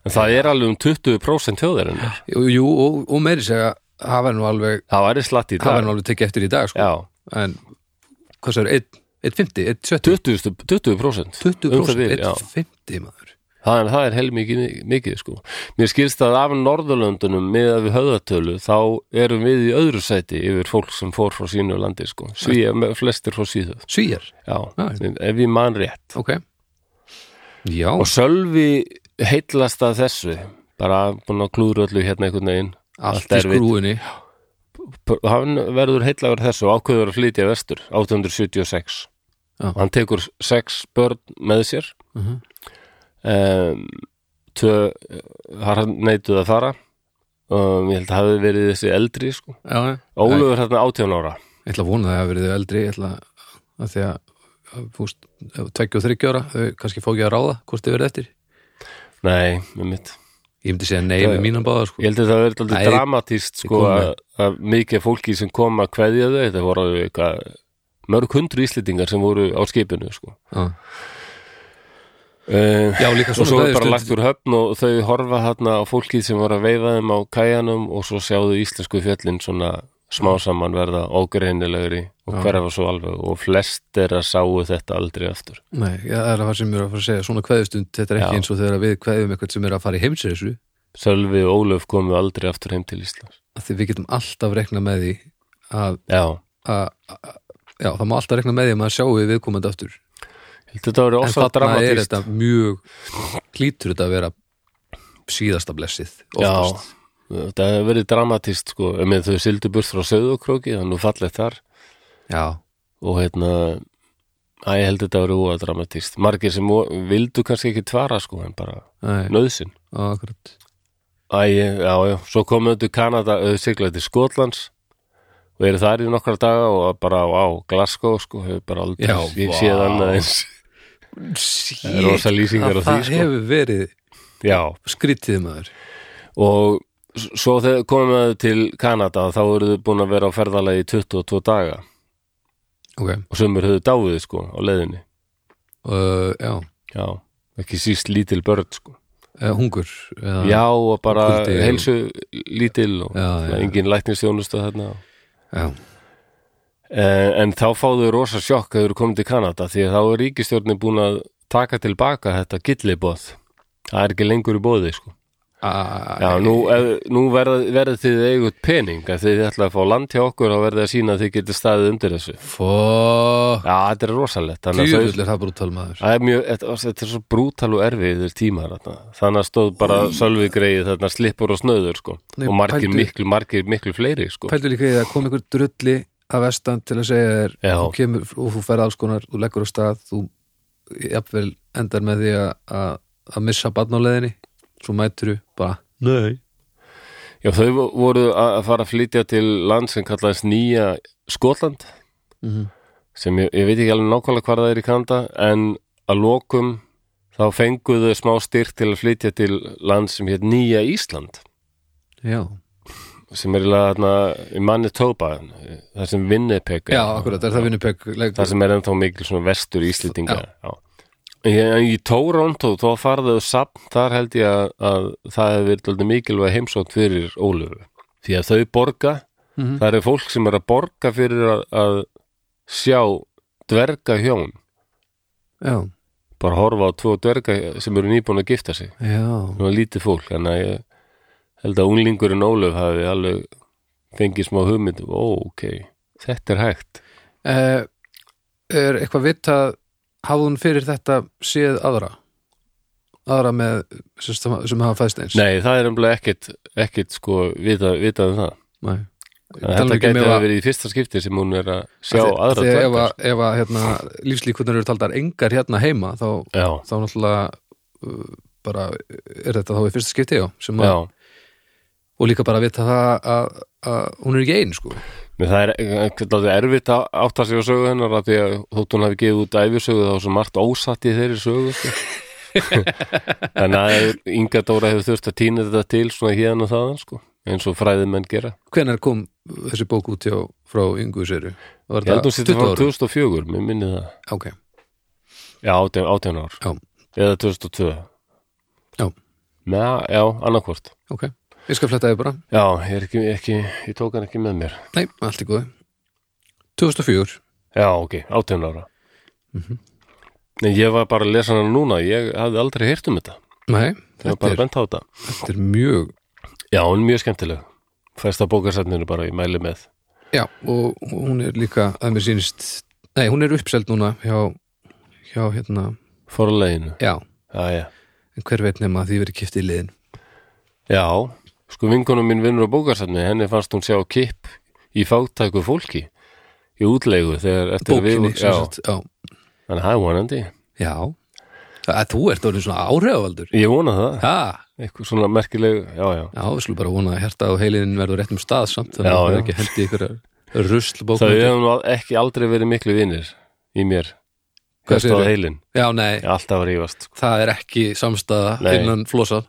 A: en það er alveg um 20% þjóðarinnar
B: Jú, jú, og, og meiri segja það verður nú alveg,
A: það væri slatt í
B: það
A: dag
B: verður nú alveg tekið eftir í dag sko.
A: já,
B: en hvað sér, 1.50, 1.70
A: 20%, 20%,
B: 20%,
A: um það við, já.
B: 1.50 maður
A: Það, það er heilmikið mikið sko. Mér skilst að af Norðurlöndunum með að við höfðatölu þá erum við í öðru sæti yfir fólk sem fór frá sínu landi sko. Svíja, me- flestir frá síðu.
B: Svíjar,
A: Já,
B: Já.
A: ef ég man rétt.
B: ok Já,
A: Og Sölvi heitlast að þessu, bara búin að klúður öllu hérna einhvern veginn.
B: allt í
A: allt erfitt.
B: skrúinni
A: P- Hann verður heitlagur þessu og ákveður að flytja vestur 1876.
B: Já.
A: Hann tekur sex börn með sér.
B: uh -huh.
A: um, tvö har hann neituð að fara um, ég held að hafi verið þessi eldri sko.
B: Já, já.
A: Ólöfur þarna 18 ára
B: ég ætla að vona að það hafi verið þau eldri ég ætla að, að því að fúst, tveggja og þryggja ára, þau kannski fá ekki að ráða hvort þau verið eftir
A: nei, með mitt
B: ég myndi segja nei með mínan báða sko.
A: ég held að það verið
B: Nei,
A: alltaf dramatíst sko,
B: kom
A: að,
B: með-
A: að mikið fólki sem kom að kveðja þau þetta voru eitthvað mörg hundru íslendingar sem voru á skipinu sko.
B: Já.
A: um,
B: já, líka
A: og
B: svona
A: svo er
B: dagur
A: bara
B: stund-
A: lagt úr höfn og þau horfa þarna á fólkið sem var að veifa þeim á kæjanum og svo sjáðu íslensku fjöllin svona smá saman verða ógreinilegri og
B: Mm. Já.
A: hverfa svo alveg og flest er að sáu þetta aldrei aftur
B: Nei, já, það er að það sem ég er að fara að segja svona kveðustund, þetta er ekki
A: Já.
B: eins og þegar við kveðum eitthvað sem er að fara í heimsreisu
A: Sölvi og Ólöf komu aldrei aftur heim til Íslands
B: að því við getum alltaf rekna með því að,
A: Já,
B: að, að já, það má alltaf rekna með því að maður sjáu viðkomandi aftur
A: heldur þetta að vera
B: en
A: ofsa
B: þarna er
A: dramatíst
B: þetta mjög hlýtur þetta að vera síðasta blessið
A: Já,
B: oftast.
A: þetta hefur verið dramatíst sko, með þau sildu burt frá Söðukróki þannig nú fallið þar
B: já,
A: og hérna að ég held þetta að vera óa dramatíst margir sem vo- vildu kannski ekki tvara sko, en bara
B: nei,
A: nöðsin
B: akkurat
A: Æ, já, já, svo komu þau til Kanada, þau siglaði til Skotlands og eru þar í nokkra daga og bara á Glasgow, sko, hefur bara aldrei
B: Já,
A: ég
B: vá.
A: séð annað eins.
B: Sýk,
A: er rosa lýsingar á því,
B: það
A: sko.
B: hefur verið
A: Já,
B: skrítið maður
A: og s- svo þegar komu þau til Kanada þá eru þau búin að vera á ferðalagi í 22 daga
B: ok,
A: og sömur höfðu dáið, sko, á leiðinni.
B: uh, já,
A: Já, ekki síst lítil börn, sko.
B: uh, hungur eða,
A: Já, og bara
B: Kuldi og-
A: heilsu lítil og
B: Já,
A: svona
B: já.
A: engin læknistjónustu þarna og
B: já,
A: Eh, En þá fáðu þau rosa sjokk að þau eru komin til Kanada því að þá er ríkistjórnin búin að taka tilbaka þetta gilliboð. Það er ekki lengur í bóði, sko.
B: Æ,
A: Já, nú, ef, nú verða, verða þið eigut pening að þið ætla að fá land hjá okkur og verða að sína að þið getur staðið undir þessu.
B: fó
A: Já, þetta er rosalegt. Þannig að þau,
B: djúvill er það brútal maður
A: það er mjög, þetta, þetta er svo brútal og erfiðir tímar þarna. Þannig að stóð bara sölvi greið þarna slippur og snöður, sko.
B: Mm. Nei,
A: og margir,
B: pældu-
A: miklu, margir, miklu fleiri, sko.
B: pældu líka í það, kom einhver drulli að vestan til að segja þér
A: Já.
B: þú kemur, og þú ferð alls konar, þú leggur á stað þú jafnvel endar með því að- að að missa barn á leiðinni svo mætur þú bara
A: Nei. Já, þau vo- voru að að fara að flytja til land sem kallaðist Nýja Skotland
B: Mhm.
A: sem ég, ég veit ekki alveg nákvæmlega hvar það er í Kanada en að lokum þá fenguðu þau smá styrk til að flytja til land sem hétt Nýja Ísland
B: já,
A: sem er eiginlega þarna í Manitoba þar sem Winnipeg er.
B: já, akkurat, er það vinnupeg
A: þar sem er ennþá mikil svona vestur íslendinga já. Í, í Toronto þá farðu samt þar held ég að, að það hefur verið dálítið mikilvæg heimsótt fyrir Ólöfu því að þau borga
B: Mhm.
A: það er fólk sem er að borga fyrir að, að sjá dverga hjón
B: já,
A: bara horfa á tvo dverga sem eru nýbúin að gifta sig
B: já,
A: svona lítið fólk en að ég held að unglingurinn Ólöf hafi alveg fengið smá hugmynd um, ó ok, þetta er hægt
B: Eh, er eitthvað vitað hafði hún fyrir þetta séð aðra aðra með sem, sem hafa fæðst eins
A: nei, það er umlega ekkit, ekkit sko vita, vita um það
B: Nei.
A: En Þetta
B: um
A: gæti að verið í fyrsta skipti sem hún er að sjá aðra
B: þegar ef
A: dvergar
B: að, ef að hérna, lífslíkunar eru taldar engar hérna heima þá,
A: Já,
B: þá náttúrulega uh, bara er þetta þá í fyrsta skipti já, sem
A: já
B: að, og líka bara að vita það að, að hún er ekki ein sko.
A: Men það er eitthvað erfitt að átta sig á sögu hennar af því að þótt hún hafi gefið út æfisögu þá er svo margt ósatt í þeirri sögu sko. en að Inga Dóra hefur þurft að týna þetta til svona hérna og þaðan sko eins og fræðimenn gera
B: Hvenær kom þessi bók út hjá frá yngu séru? Var
A: ég held hún sittur frá
B: árum?
A: 2004, mér minni það
B: Ok,
A: já, 18, 18 ár,
B: já,
A: eða 2002
B: Já.
A: Næ, já, annarkvort
B: ok Ég skal fletta þið bara
A: já, ég, er ekki, ekki, ég tók hann ekki með mér
B: Nei, allt í góðu 2004
A: já, ok, 18 ára
B: Mhm.
A: en ég var bara að lesa hann núna ég hafði aldrei heyrt um þetta það
B: Nei,
A: var
B: þetta
A: bara
B: er,
A: bent á þetta
B: þetta er mjög
A: já, hún er mjög skemmtileg fæsta bókarsætninu bara í mæli með
B: Já, og hún er líka að mér sýnist Nei, hún er uppseld núna hjá, hjá hérna
A: forleginu,
B: Já,
A: já, já
B: en hver veit nema að því verið kipti í liðin
A: Já, sko vingunum mín vinnur á bókarsafni, henni fannst hún sjá kipp í fátæku fólki í útlegu þegar eftir að
B: Bókinni,
A: við
B: sem
A: já,
B: sagt Já,
A: en það er vonandi,
B: já. Að þú ert orðin svona áhrifavaldur
A: ég vona það
B: Já,
A: eitthvað svona merkileg, já, já
B: já, við slum bara vona að hérta og heilin verður réttum stað samt þannig
A: Já,
B: að það
A: já.
B: er ekki hendi ykkur rusl
A: það við
B: bókmyndir
A: hefum al- ekki aldrei verið miklu vinnir í mér,
B: Hvað
A: hérst á
B: segirðu?
A: heilin
B: Já, nei,
A: Ég alltaf að rífast, sko.
B: það er ekki samstaða
A: Nei.
B: innan flosa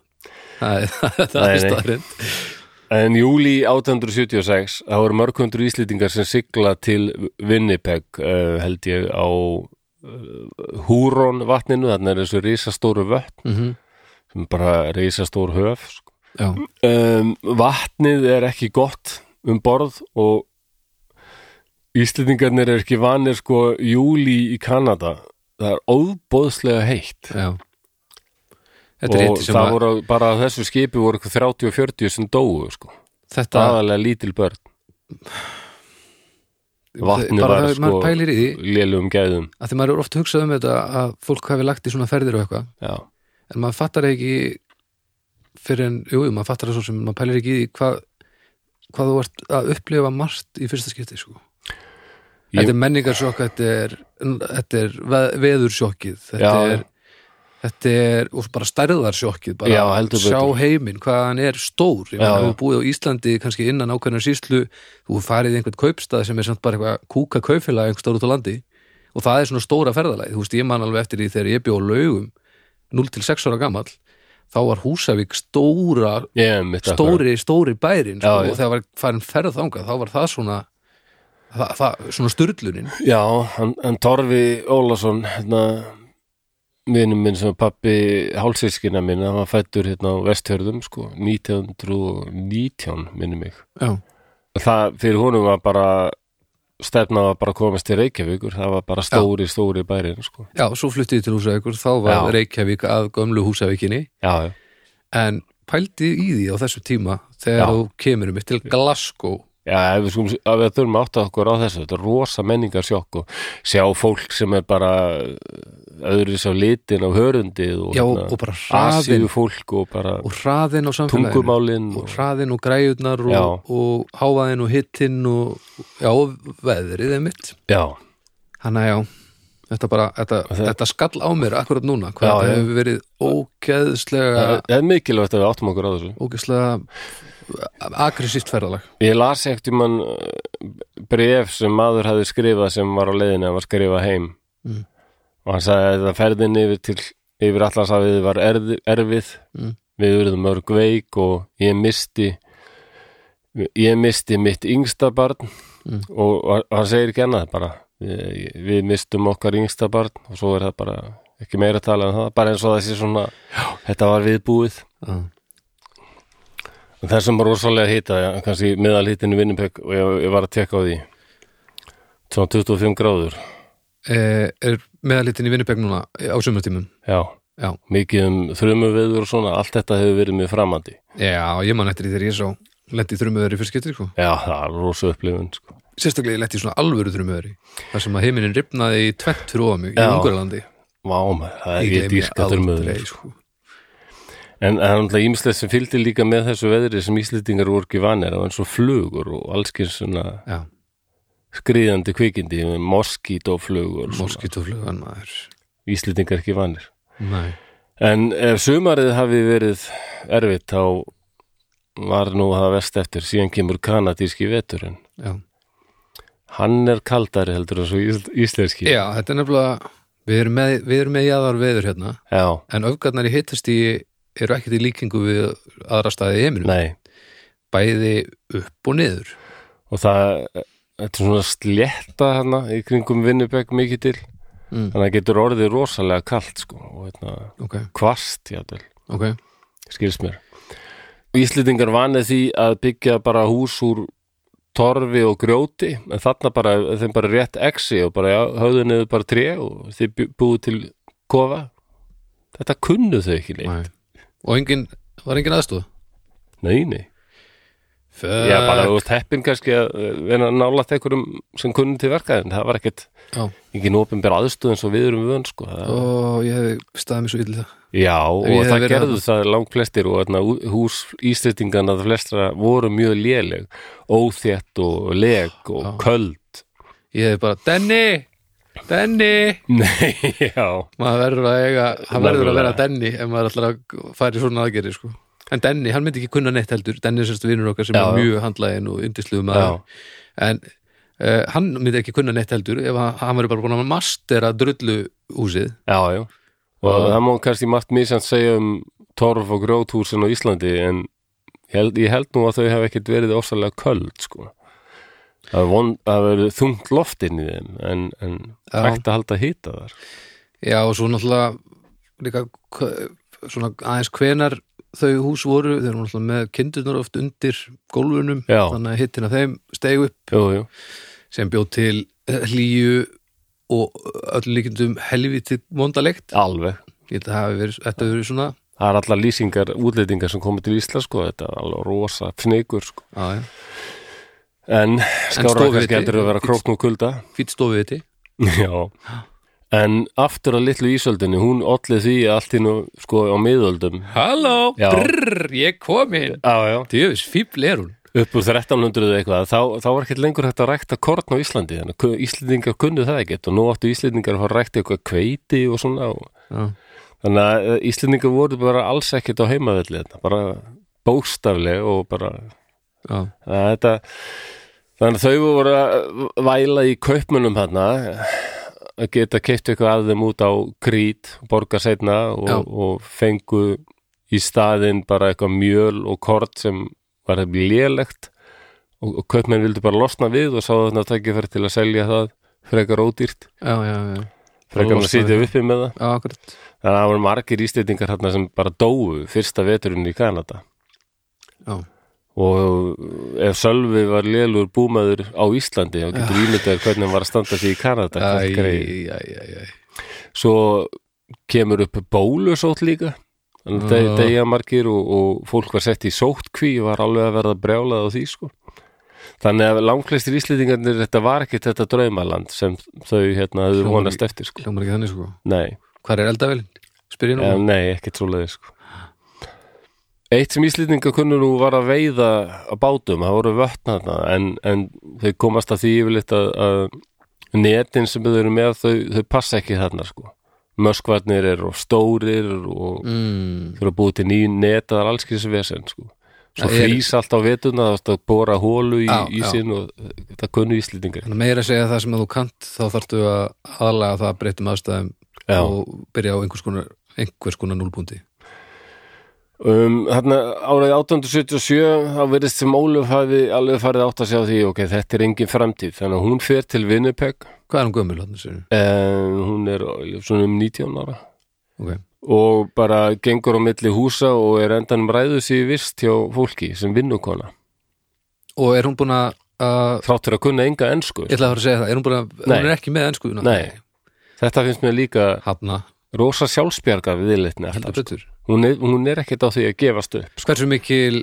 B: Það er, það
A: Nei,
B: er
A: nei.
B: staðrind
A: en júli 1876 þá voru mörgundur íslýtingar sem sigla til Winnipeg uh, held ég á uh, Húrón vatninu, þannig er þessu risastóru vötn
B: mm
A: sem bara risastór höf sko.
B: Já,
A: um, vatnið er ekki gott um borð og Íslendingarnir er ekki vanir sko júli í Kanada það er óbóðslega heitt
B: já Þetta er
A: og
B: hitti sem
A: það
B: að
A: voru bara á þessu skipi voru eitthvað 30 og 40 sem dóu sko
B: þetta
A: aðalega lítil börn vatnið
B: bara
A: var
B: það, maður
A: sko-
B: pælir í því
A: lélugum gæðum
B: að því maður er ofta hugsað um þetta að fólk hafi lagt í svona ferðir og eitthvað
A: já,
B: en maður fattar ekki fyrir en, jú, jú, maður fattar það svo sem maður pælir ekki í því hvað hvað þú ert að upplifa margt í fyrsta skipti sko.
A: Ég-
B: þetta er menningarsjokk þetta er, þetta er ve- veðursjokkið þetta
A: Já.
B: er þetta er, og bara stærðarsjokkið bara
A: Já, heldur
B: sjá
A: betur.
B: heiminn, hvað hann er stór ég
A: Já,
B: meina,
A: já.
B: þú búið á Íslandi, kannski innan ákveðnar síslu þú hefur farið í einhvern kaupstað sem er samt bara eitthvað kúka kaupfélag einhvern stór út á landi og það er svona stóra ferðalagi, þú veist, ég man alveg eftir því þegar ég bjó á laugum 0 til 6 ára gamall þá var Húsavík stóra
A: ég er mitt akkurat.
B: stóri, stóri bærin sko,
A: Já, já.
B: og þegar var farin ferð þangað þá var það svona það, það, svona sturlunin
A: já, hann, hann Torfi Ólason hérna vinnum minn sem er pappi hálsískina minn, hann var fættur hérna á vestjörðum sko, 1919 minnum mig
B: já,
A: það fyrir honum var bara stefna var bara að komast til Reykjavíkur það var bara stóri, stóri bærin sko.
B: já svo flutti ég til Húsavíkur þá var
A: Já.
B: Reykjavík að gömlu Húsavíkinni
A: já, já,
B: en pældi í því á þessum tíma þegar
A: Já.
B: þú kemur um til Glasgow
A: já ef við, skulum, ef við þurfum að átta okkur á þessu þetta er rosa menningarsjokk og sjá fólk sem er bara eh, öðru sá litin á hörundið og,
B: já, og bara hraðin
A: asíu fólk og bara
B: hérna og hraðin á samfélaginu
A: tungumálin
B: og
A: og,
B: hraðin og græjurnar
A: Já.
B: og, og hávaðin og hittinn og já, og veðrið er mitt
A: já,
B: Hanna já, þetta bara þetta,
A: Það-
B: þetta skall á mér akkurat núna hvað
A: Já,
B: þetta
A: já.
B: hefur verið ógeðslega
A: það það er mikilvægt að við áttum okkur á þessu
B: ógeðslega agressíft ferðalag
A: Ég las ekkert um hann bref sem maður hafði skrifað sem var á leiðinni að var skrifað heim
B: Mm.
A: og hann sagði að það ferðin yfir til yfir allarsafið var erð, erfið
B: Mm.
A: við verðum mörg veik og ég misti ég misti mitt yngsta barn
B: Mm.
A: og, og hann segir ekki annað bara við, við mistum okkar yngsta barn og svo er það bara ekki meira að tala en það, bara eins og það sé svona þetta var viðbúið
B: Já.
A: En Það sem var rosalega hýta, kannski meðal hýtinu Winnipeg og ég, ég var að tekka á því svona 25 gráður
B: eh, er meðalitin í Vinnipeg núna eh, á sumartímum
A: já,
B: Já.
A: mikið um þrömu veður og svona, allt þetta hefur verið mjög framandi
B: Já, ég man eftir því þegar ég sá lendi þrumuður í fyrst getur sko.
A: já, það er rosa upplifun sko.
B: sérstaklega ég lendi í svona alvöru þrumuður þar sem að heiminin ripnaði í tvett fyrir ofami í
A: Já.
B: Ungurlandi
A: Vá, maður, það er
B: gleymi
A: ég dýrka þrömuður
B: aldrei, sko.
A: en það er náttúrulega ímslega sem fylgdi líka með þessu veðri sem íslendingar voru ekki vanir og eins og flugur og allskir svona
B: Já,
A: skriðandi kvikindi moskítoflugur
B: moskítoflugan maður
A: íslendingar ekki vanir
B: Nei
A: En ef sumarið hafi verið erfitt þá var nú það vest eftir síðan kemur kanadíski veturinn.
B: Já.
A: Hann er kaldari heldur en svo ísl- íslenski.
B: Já, þetta er nefnilega Við erum með, við erum með jaðar veður hérna
A: já,
B: en öfgarnar í hittast í eru ekkert í líkingu við aðra staði í heiminum
A: nei
B: bæði upp og niður
A: og það þetta er svona slétta hérna í kringum Vinnubeg mikið til
B: Mm.
A: þannig að það getur orðið rosalega kalt sko og hérna
B: ok,
A: kvast játel
B: ok,
A: skilst mér Íslendingar vanið því að byggja bara hús úr torfi og grjóti en þarna bara, þeim bara rétt exi og bara já, höfðu niður bara tré og þeir bú- búið til kofa þetta kunnu þau ekki neitt
B: Nei. og engin var engin aðstóð
A: nei, nei, já bara þú veist heppin kannski að eh, vera nálaðt einhverjum sem kunnu til verka en það var ekkert
B: Já.
A: engin opinber aðstöð eins og við erum vön sko það,
B: og ég hef staðið mér svo illa
A: Já, og
B: ég hefði
A: það
B: verið
A: gerðu það langt flestir og þarna, ú- hús íslendingana það flestra voru mjög léleg óþétt og leg og
B: Já.
A: köld
B: ég hef bara, Denny, Denny
A: Nei, já
B: maður verður að eiga, hann
A: Maður
B: verður að
A: verður
B: vera
A: að-
B: Denny ef maður ætlar að fara í svona aðgerði sko. en Denny, hann myndi ekki kunna neitt heldur Denny er sérst vinnur okkar sem
A: Já,
B: er
A: já.
B: mjög handlægin og yndisluðum maður en uh, hann myndi ekki kunna neitt heldur ef hann, hann verður bara búin að mastera drullu húsið
A: Já, já og það má kannski margt misjant segja um torf og grjóthúsin á Íslandi en ég held, ég held nú að þau hef ekkit verið ósalega köld, sko Það er von- það verið þungt loft inn í þeim en, en
B: Já.
A: hægt að halda hýta þar
B: já og svo náttúrulega líka k- svona aðeins hvenar þau hús voru, þeir eru náttúrulega með kindurnar oft undir gólfunum
A: Já.
B: þannig að hittin af þeim stegu upp
A: Jú, jú,
B: sem bjóð til eh, hlýju og öll líkindum helviti vondalegt
A: alveg
B: ég held að það hafi verið, þetta hafi verið svona
A: Það er allar lýsingar, útlendingar sem komið til Ísla sko, þetta er alveg rosa fnigur sko.
B: já,
A: en skára
B: stofuviti-
A: kannski heldur að vera krókn og kulda
B: fýtt stofið þetta
A: Já En aftur að litlu Ísöldinni, hún ollið því allt innu sko á miðöldum
B: Halló,
A: Já.
B: brrr, ég kom inn
A: Já, já
B: Djöfis, fíbl er hún
A: Upp úr 1300 eða eitthvað, þá, þá var ekkert lengur hægt að rækta korn á Íslandi, þannig að kun- Íslendingar kunnu það ekkert og nú áttu Íslendingar að fara að rækta eitthvað kveiti og svona og
B: já.
A: þannig að eh, Íslendingar voru bara alls ekkert á heimavelli þetta, bara bóstafleg og bara
B: Já.
A: Það, þetta, þannig að þau voru að væla í kaupmunum þarna að geta keipt eitthvað að þeim út á krít, borga seinna
B: Já.
A: og, og fengu í staðinn bara eitthvað mjöl og kort sem var hefði lélegt og, og kaupmenn vildu bara losna við og sá þarna tækifæri til að selja það frekar ódýrt,
B: já, já, já,
A: frekar en
B: losna
A: að sitja uppi með það
B: já, akkurat
A: þannig að það voru margir íslendingar þarna sem bara dóu fyrsta veturinn í Kanada
B: Já,
A: og ef Sölvi var lélur búmaður á Íslandi þá getur ímyndaður hvernig hann var að standa því í Kanada
B: æ,
A: hvort greið.
B: æ, æ, æ
A: svo kemur upp bólusótt líka þannig að
B: Já.
A: degja margir og, og fólk var sett í sóttkví og var alveg að verða brjálað á því sko þannig að langflestir íslendingarnir þetta var ekkit þetta draumaland sem þau hérna höfðu
B: Hljómar
A: vonast eftir sko
B: Hljómar ekki þannig sko
A: nei,
B: Hvar er eldavelin? Spyr ég nú
A: ja, nei, ekkit svoleiði sko Eitt sem Íslendingar kunnu nú var að veiða á bátum, það voru vötna þarna en, en þau komast að því yfirleitt að, að netin sem þau eru með þau, þau passa ekki þarna sko Möskvarnir eru of stórir og
B: mm,
A: þau eru búið til ný net það er alls kyns vesen sko Svo
B: Það er-
A: frýs allt á vetuna, það varst að bóra hólu í
B: Já, já.
A: ísinn og það kunnu Íslendingar
B: Þannig að meira að segja það sem að þú kant þá þarftu að aðlaga það að breytum aðstæðum
A: Já.
B: og byrja á einhvers konar einhvers konar núlbúndi
A: Um, þarna árið 1877 þá verðist sem Ólöf hafi alveg farið átt að sjá því, ok, þetta er engin framtíð þannig að hún fer til Winnipeg
B: Hvað er hún gömul hann þessu?
A: en hún er svona um 19 ára
B: Ok,
A: og bara gengur á milli húsa og er endanum ræðu sig vist hjá fólki sem vinnukona
B: og er hún búin að að-
A: þráttur að kunna enga ensku
B: Ég ætla að fara að segja það, er hún búin að
A: Nei.
B: Hún er ekki með ennskuðuna
A: Nei. þetta finnst mér líka
B: Hafna,
A: rosa sjálfsbjarga við yðlitni
B: heldur betur
A: hún er, hún er ekkert á því að gefast upp
B: Sko, hversu mikil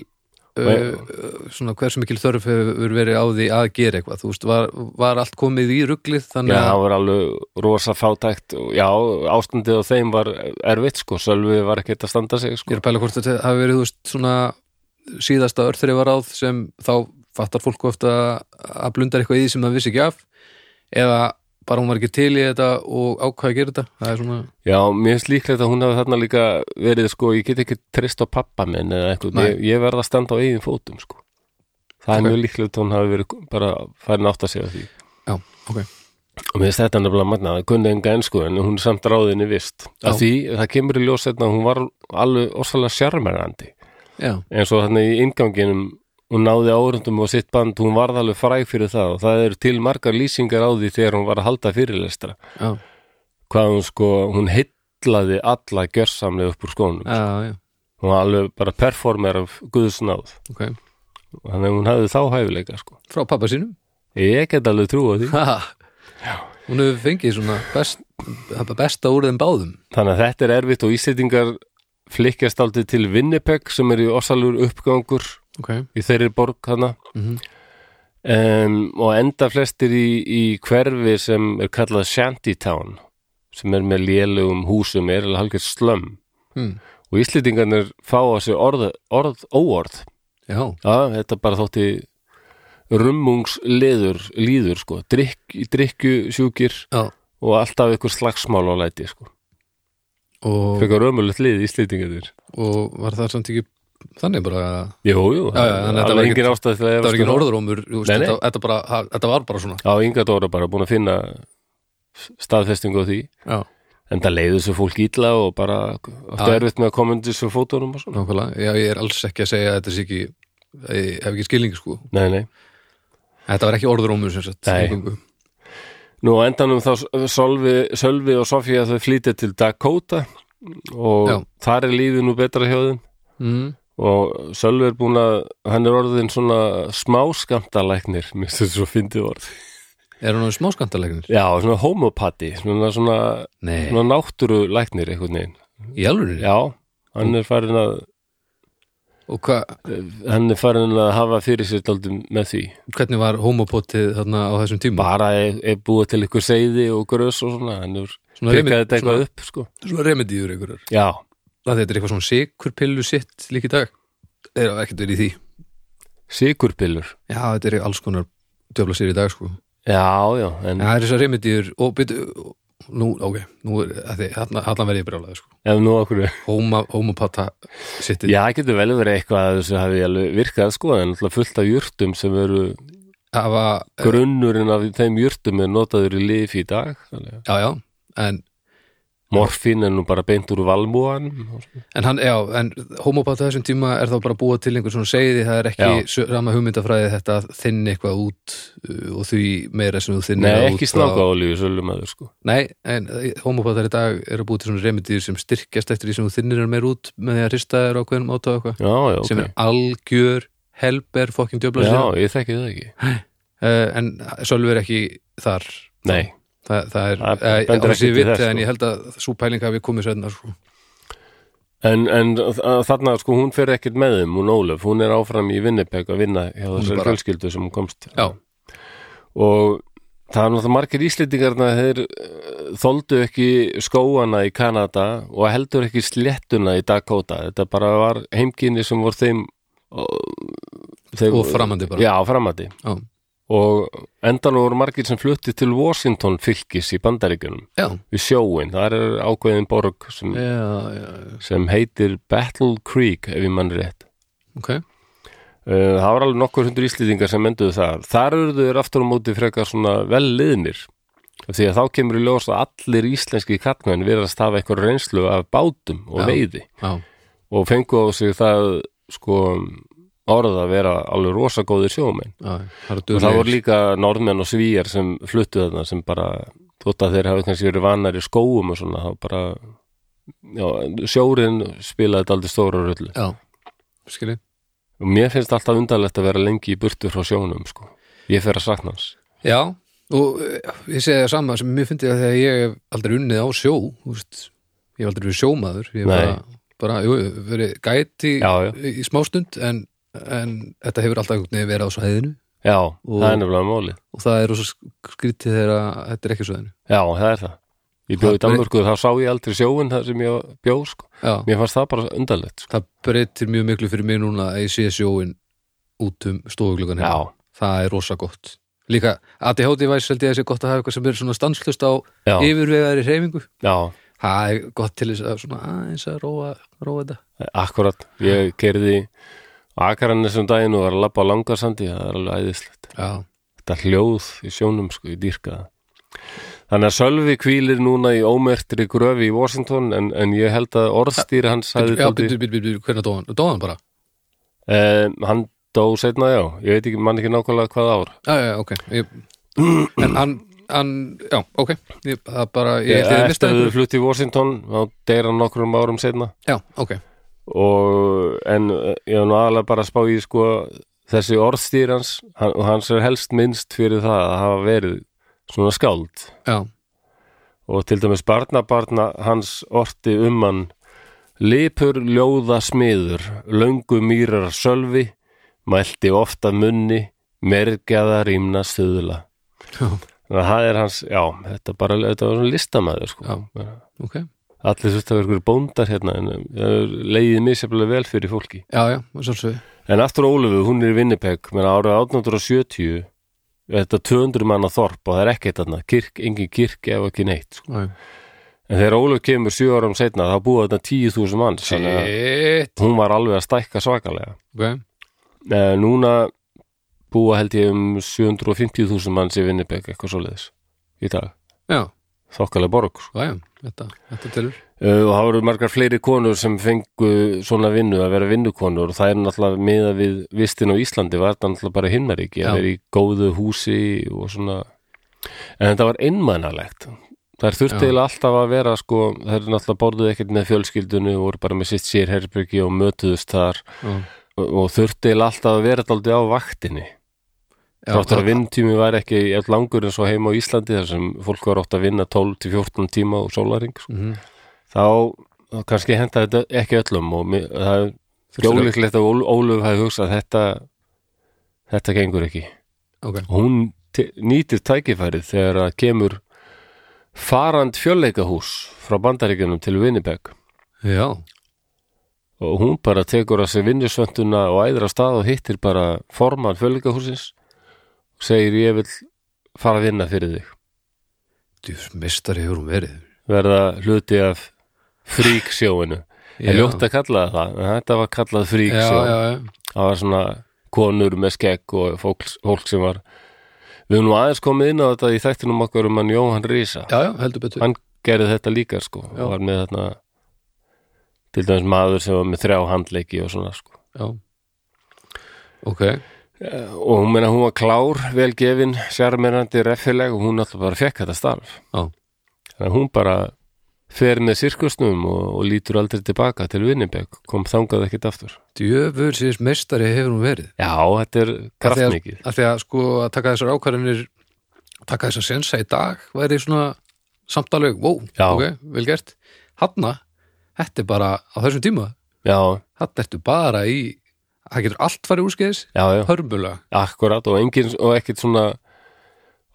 A: Nei.
B: uh, svona, hversu mikil þörf hefur verið á því að gera eitthvað þú veist, var, var allt komið í ruglið
A: Já,
B: þannig
A: það
B: að
A: var alveg rosa fátækt og já, ástandið á þeim var erfitt sko, Sölvi var ekkert að standa sig
B: ég
A: sko.
B: er að pæla hvort þetta hafi verið þú veist, svona síðasta örþreifaráð sem þá fattar fólk ofta að blundar eitthvað í því sem það vissi ekki af eða bara hún var ekki til í þetta og ákvað að gera þetta það er svona,
A: Já, mér finnst líklegt að hún hafi þarna líka verið sko, ég get ekki trist á pappa minn eða eitthvað,
B: Nei.
A: ég, ég verð að standa á eigin fótum sko. Það
B: Ok.
A: er mjög líklegt að hún hafi verið bara farin átt að segja því
B: já, ok
A: og mér finnst þetta nefnilega magnað, það kunni enga ensku en hún er samt ráðinni vist
B: Já.
A: að því það kemur í ljós þetta að hún var alveg orsalega sjarmerandi
B: já,
A: eins og þannig í inganginum hún náði árundum og sitt band hún varð alveg fræg fyrir það og það eru til margar lýsingar á því þegar hún var að halda fyrirlestra
B: já,
A: hvað hún sko, hún heitlaði alla gjörsamlega upp úr skónum
B: já, já
A: hún var alveg bara performer af guðsnáð
B: ok,
A: þannig að hún hafði þá hæfileika sko
B: frá pappa sínum
A: ég get alveg trú á því
B: ha, hún hefur fengið svona best, það besta úr þeim báðum
A: þannig að þetta er erfitt og íslendingar flikkjast aldrei til Winnipeg sem er í orsalur uppgangur
B: ok,
A: í þeirri borg þarna
B: mm
A: um, og enda flestir í, í hverfi sem er kallað Shantytown sem er með lélugum húsum er alveg halkið slum
B: Mm.
A: og íslendingarnir fá á sig orð, orð óorð
B: já,
A: Já, þetta bara þótti rummungsleður líður sko, drikk, drikkju sjúkir
B: já
A: og alltaf ykkur slagsmál á læti sko.
B: og,
A: Fekar ömulegt lið í slýtingaður
B: og var það samt ekki þannig bara að
A: Jú, jú,
B: Já, já, þannig að þetta
A: það
B: var
A: var engin ástæð
B: þetta var ekki orðurómur
A: Nei, nei.
B: þetta, þetta, bara, ha- þetta var bara svona
A: um Já, Inga Dóra bara búin að finna staðfestingu á því
B: já,
A: en það leiði þessu fólk illa og bara áttu
B: Já.
A: erfitt með að koma undir þessu fótunum og svona
B: nákvæmlega, já, ég er alls ekki að segja að þetta sé ekki ég hef ekki skilning sko
A: Nei, nei
B: þetta var ekki orðurómur sem sagt
A: Nei.
B: eingöngu.
A: Nú á endanum þá Solvi, Sölvi og Sofía þau flýtja til Dakota og
B: Já.
A: þar er lífið nú betra hjá þeim
B: mm.
A: og Sölvi er búin að hann er orðin svona smáskamtalæknir mér finnst þetta svo fyndið orð
B: er hún smáskantalegnir?
A: já, svona homopati svona, svona,
B: Nei,
A: svona náttúrulæknir einhvern veginn
B: í alveg
A: já, hann er farin að
B: og hva,
A: hann er farin að hafa fyrir sér daldum með því
B: hvernig var homopotið þarna á þessum tíma?
A: bara er, er búið til ykkur seiði og grös og svona hann er
B: Svona
A: pekkaði
B: remedy-
A: þetta eitthvað
B: svona-
A: upp sko.
B: svona remedíður einhverjar
A: já,
B: það þetta er eitthvað svona sikurpillu sitt líka í dag er það ekkert verið í því
A: sigurpillur
B: já, þetta er alls konar djöfla sér í dag sko
A: já, já, en
B: Já, það er þessar remedíur og byrju, nú, ok, nú er þetta, þarna, þarna verði ég brjálaði, sko.
A: ef nú okkur
B: Hóma, hómapata sittið.
A: já, getur vel verið eitthvað að þessu hafi alveg virkað sko, en alltaf fullt af jurtum sem eru
B: Það var,
A: grunnurinn af þeim jurtum er notaður í lif í dag þannig að
B: já, já, en,
A: morfín er nú bara beint úr valmúanum
B: en hann, já, en hómapata þessum tíma er þá bara búa til einhver svona segiði, það er
A: Já.
B: ekki já. rama hugmyndafræði þetta að þinn eitthvað út uh, og því meira sem þú þinn
A: nei, ekki snáka olíu sölum aður sko
B: Nei, en hómapatar í dag eru búið til svona remedíur sem styrkjast eftir því sem þú þinnir er meira út með því að hrista þér ákveðin átta og eitthvað,
A: já, já, ok,
B: sem er algjör helber fokkin djöfla
A: já, ég þekki það ekki
B: uh, en Sölvi er ekki þar
A: nei,
B: Þa, það er,
A: Það
B: eh,
A: bendir
B: á þessi
A: ekki til
B: vitt
A: þess, sko.
B: en ég held að svo pæling hafi komið sérna sko.
A: en, en þ- þarna sko hún fer ekkert með þeim, hún Ólöf hún er áfram í Vinnipeg að vinna hjá þessari
B: bara-
A: fjölskyldu sem hún komst
B: já,
A: og það er náttúrulega margir íslendingarna þeir eh, þoldu ekki skóana í Kanada og heldur ekki sléttuna í Dakota þetta bara var heimkynni sem voru þeim þeir,
B: og framandi bara
A: já, framandi
B: Já.
A: og endan voru margir sem flutti til Washington fylkis í Bandaríkjunum
B: já,
A: við sjóin, þar er ákveðin borg sem,
B: já, já, já.
A: sem heitir Battle Creek ef ég mann rétt
B: ok
A: Uh, það var alveg nokkur hundur íslýtingar sem enduðu þar þar eru þau aftur á móti frekar svona vel liðnir Af því að þá kemur í ljós að allir íslenski kallmenn virðast hafa eitthvað reynslu af bátum og
B: Já.
A: veiði
B: já,
A: og fengu á sig það sko orð að vera alveg rosa góðir sjómenn
B: já, það
A: og
B: eru
A: það voru
B: duglegir.
A: líka norðmenn og svíjar sem fluttu þarna sem bara þótt að þeir hafi kannski verið vanar í skóum og svona þá bara já, sjórin spilaði þetta aldrei stóra rullu
B: já, skilji
A: og mér finnst alltaf undarlegt að vera lengi í burtu frá sjónum sko. ég fer að sakna hans
B: já, og eh, ég segi það sama sem mér fyndi að þegar ég hef aldrei unnið á sjó þú veist, ég hef aldrei verið sjómaður ég hef
A: Nei.
B: bara, bara, jú, jú, verið gæti
A: já, já,
B: í, í smástund en, en þetta hefur alltaf einhvern veginn verið á svæðinu
A: já
B: Og-
A: það er nefnilega máli
B: og það er rosa sk- skrítið þegar að þetta er ekki á svæðinu
A: já, það er það ég bjóð í
B: Það-
A: Danmörku þá sá ég aldrei sjóin þar sem ég bjóð sko.
B: já.
A: mér fannst það bara undarlegt sko.
B: það breytir mjög miklu fyrir mig núna að ég sé sjóin út um stofuglögan
A: já,
B: það er rosa gott líka ADHD væs held ég að sé gott að hafa eitthvað sem er svona stanslust á
A: já,
B: yfirvegaðri hreyfingu
A: já,
B: það er gott til þess að svona aðeins að róa, róa þetta
A: akkurat ég kerði akarann þessum um daginn og var að labba á langarsandi það er alveg æðislegt
B: já,
A: þetta hljóð í sjónum, sko, ég dýrka það Þannig að Sölvi kvílir núna í ómertri gröfi í Washington en, en ég held að orðstýri hans
B: Já,
A: hafði
B: byrju, byrju, byrju, byrju, hvernig dóðan? Dóðan bara?
A: Eh, hann dó setna, já. Ég veit ekki, mann ekki nákvæmlega hvað ár.
B: Já, já, já, ok ég, En hann, hann, já, ok ég, Það bara, ég held ég
A: Eftir
B: mista
A: að
B: einhverju
A: þau flutti í Washington, þá deyr hann nokkrum árum setna.
B: Já, ok,
A: Og, en eh, ég var nú aðalega bara að spá í, sko, þessi orðstýr hans, hann, og hans er helst minnst fyrir það að hafa verið svona skáld.
B: já,
A: Og til dæmis barnabarna hans orti um hann lipur ljóða smiður, löngu mýrar sölvi, mælti ofta munni, mergjaða rýmna stuðla.
B: já,
A: Þannig að það er hans, já, þetta bara þetta var svona listamæður sko.
B: ok
A: allir þurft að vera ykkur bóndar hérna en um, það er leiðið misjaflega vel fyrir fólki
B: Já, já, svolsveg
A: en aftur Ólufu, hún er í Winnipeg menn árið 1870 þetta 200 manna þorp og það er ekkert þarna kirk, engin kirk ef ekki neitt sko. en þegar Óluf kemur 7 árum setna þá búa þetta 10.000 manns þannig að
B: Shit,
A: hún var alveg að stækka svakalega
B: ok
A: e, núna búa held ég um 750.000 manns í Winnipeg eitthvað svoleiðis í dag
B: Já,
A: þokkalega borg sko.
B: já, já, þetta, þetta telur
A: Uh, og það voru margar fleiri konur sem fengu svona vinnu að vera vinnukonur og það er náttúrulega miða við vistin á Íslandi var þetta náttúrulega bara hinnaríki
B: Já.
A: að vera í góðu húsi og svona en þetta var einmannalegt það er
B: Já.
A: þurfti eiginlega alltaf að vera sko, það er náttúrulega borðuð ekkert með fjölskyldunni og voru bara með sitt sér herbyrgi og mötuðust þar
B: Já,
A: og, og þurfti eiginlega alltaf að vera daldið á vaktinni
B: já,
A: Þráttur
B: það-
A: að vinntími var ekki jafn langur en svo heima á Íslandi þar sem fólk var átt að vinna 12-14 tíma og sólaring sko
B: Mhm.
A: þá, þá kannski henda þetta ekki öllum og mér, það er
B: Þurftir að-
A: jólíklegt að Ól- Ólöf hafi hugsað þetta þetta gengur ekki
B: Ok,
A: og hún te- nýtir tækifærið þegar að kemur farand fjölleikahús frá bandaríkjunum til Winnipeg
B: já,
A: og hún bara tekur að sér vinnusvönduna og æðra stað og hittir bara forman fjölleikahúsins og segir ég vil fara að vinna fyrir þig
B: djús, mistari hefur hún verið
A: verða hluti af fríksjóinu
B: Já.
A: Ég ljótt að kalla það það, en þetta var kallað
B: Já,
A: fríks og
B: já, já,
A: það var svona konur með skegg og fólk, fólk sem var við höfum nú aðeins komið inn á þetta í þættinum okkar um hann Jóhann Rísa
B: já, já, heldur betur
A: hann gerði þetta líka sko
B: Já.
A: og var með þarna til dæmis maður sem var með þrjá handleiki og svona sko
B: Já Ok,
A: og hún meina hún var klár, velgefin sjarmerandi, reffileg og hún alltaf bara fekk þetta starf
B: já,
A: þannig að hún bara fer með sirkusnum og, og lítur aldrei tilbaka til Winnipeg kom þangað ekkit aftur
B: djöfur síðis mistari hefur hún verið
A: Já, þetta er
B: Af því að-
A: kraftmikið
B: af því að sko að taka þessar ákvarðanir taka þessar sensa í dag væri svona samtalög, wow,
A: Já.
B: ok, vel gert Hanna, þetta er bara á þessum tíma,
A: Já,
B: hann ertu bara í það getur allt farið úrskeiðis
A: já, já
B: hörmulega,
A: Akkurat og engin og ekkert svona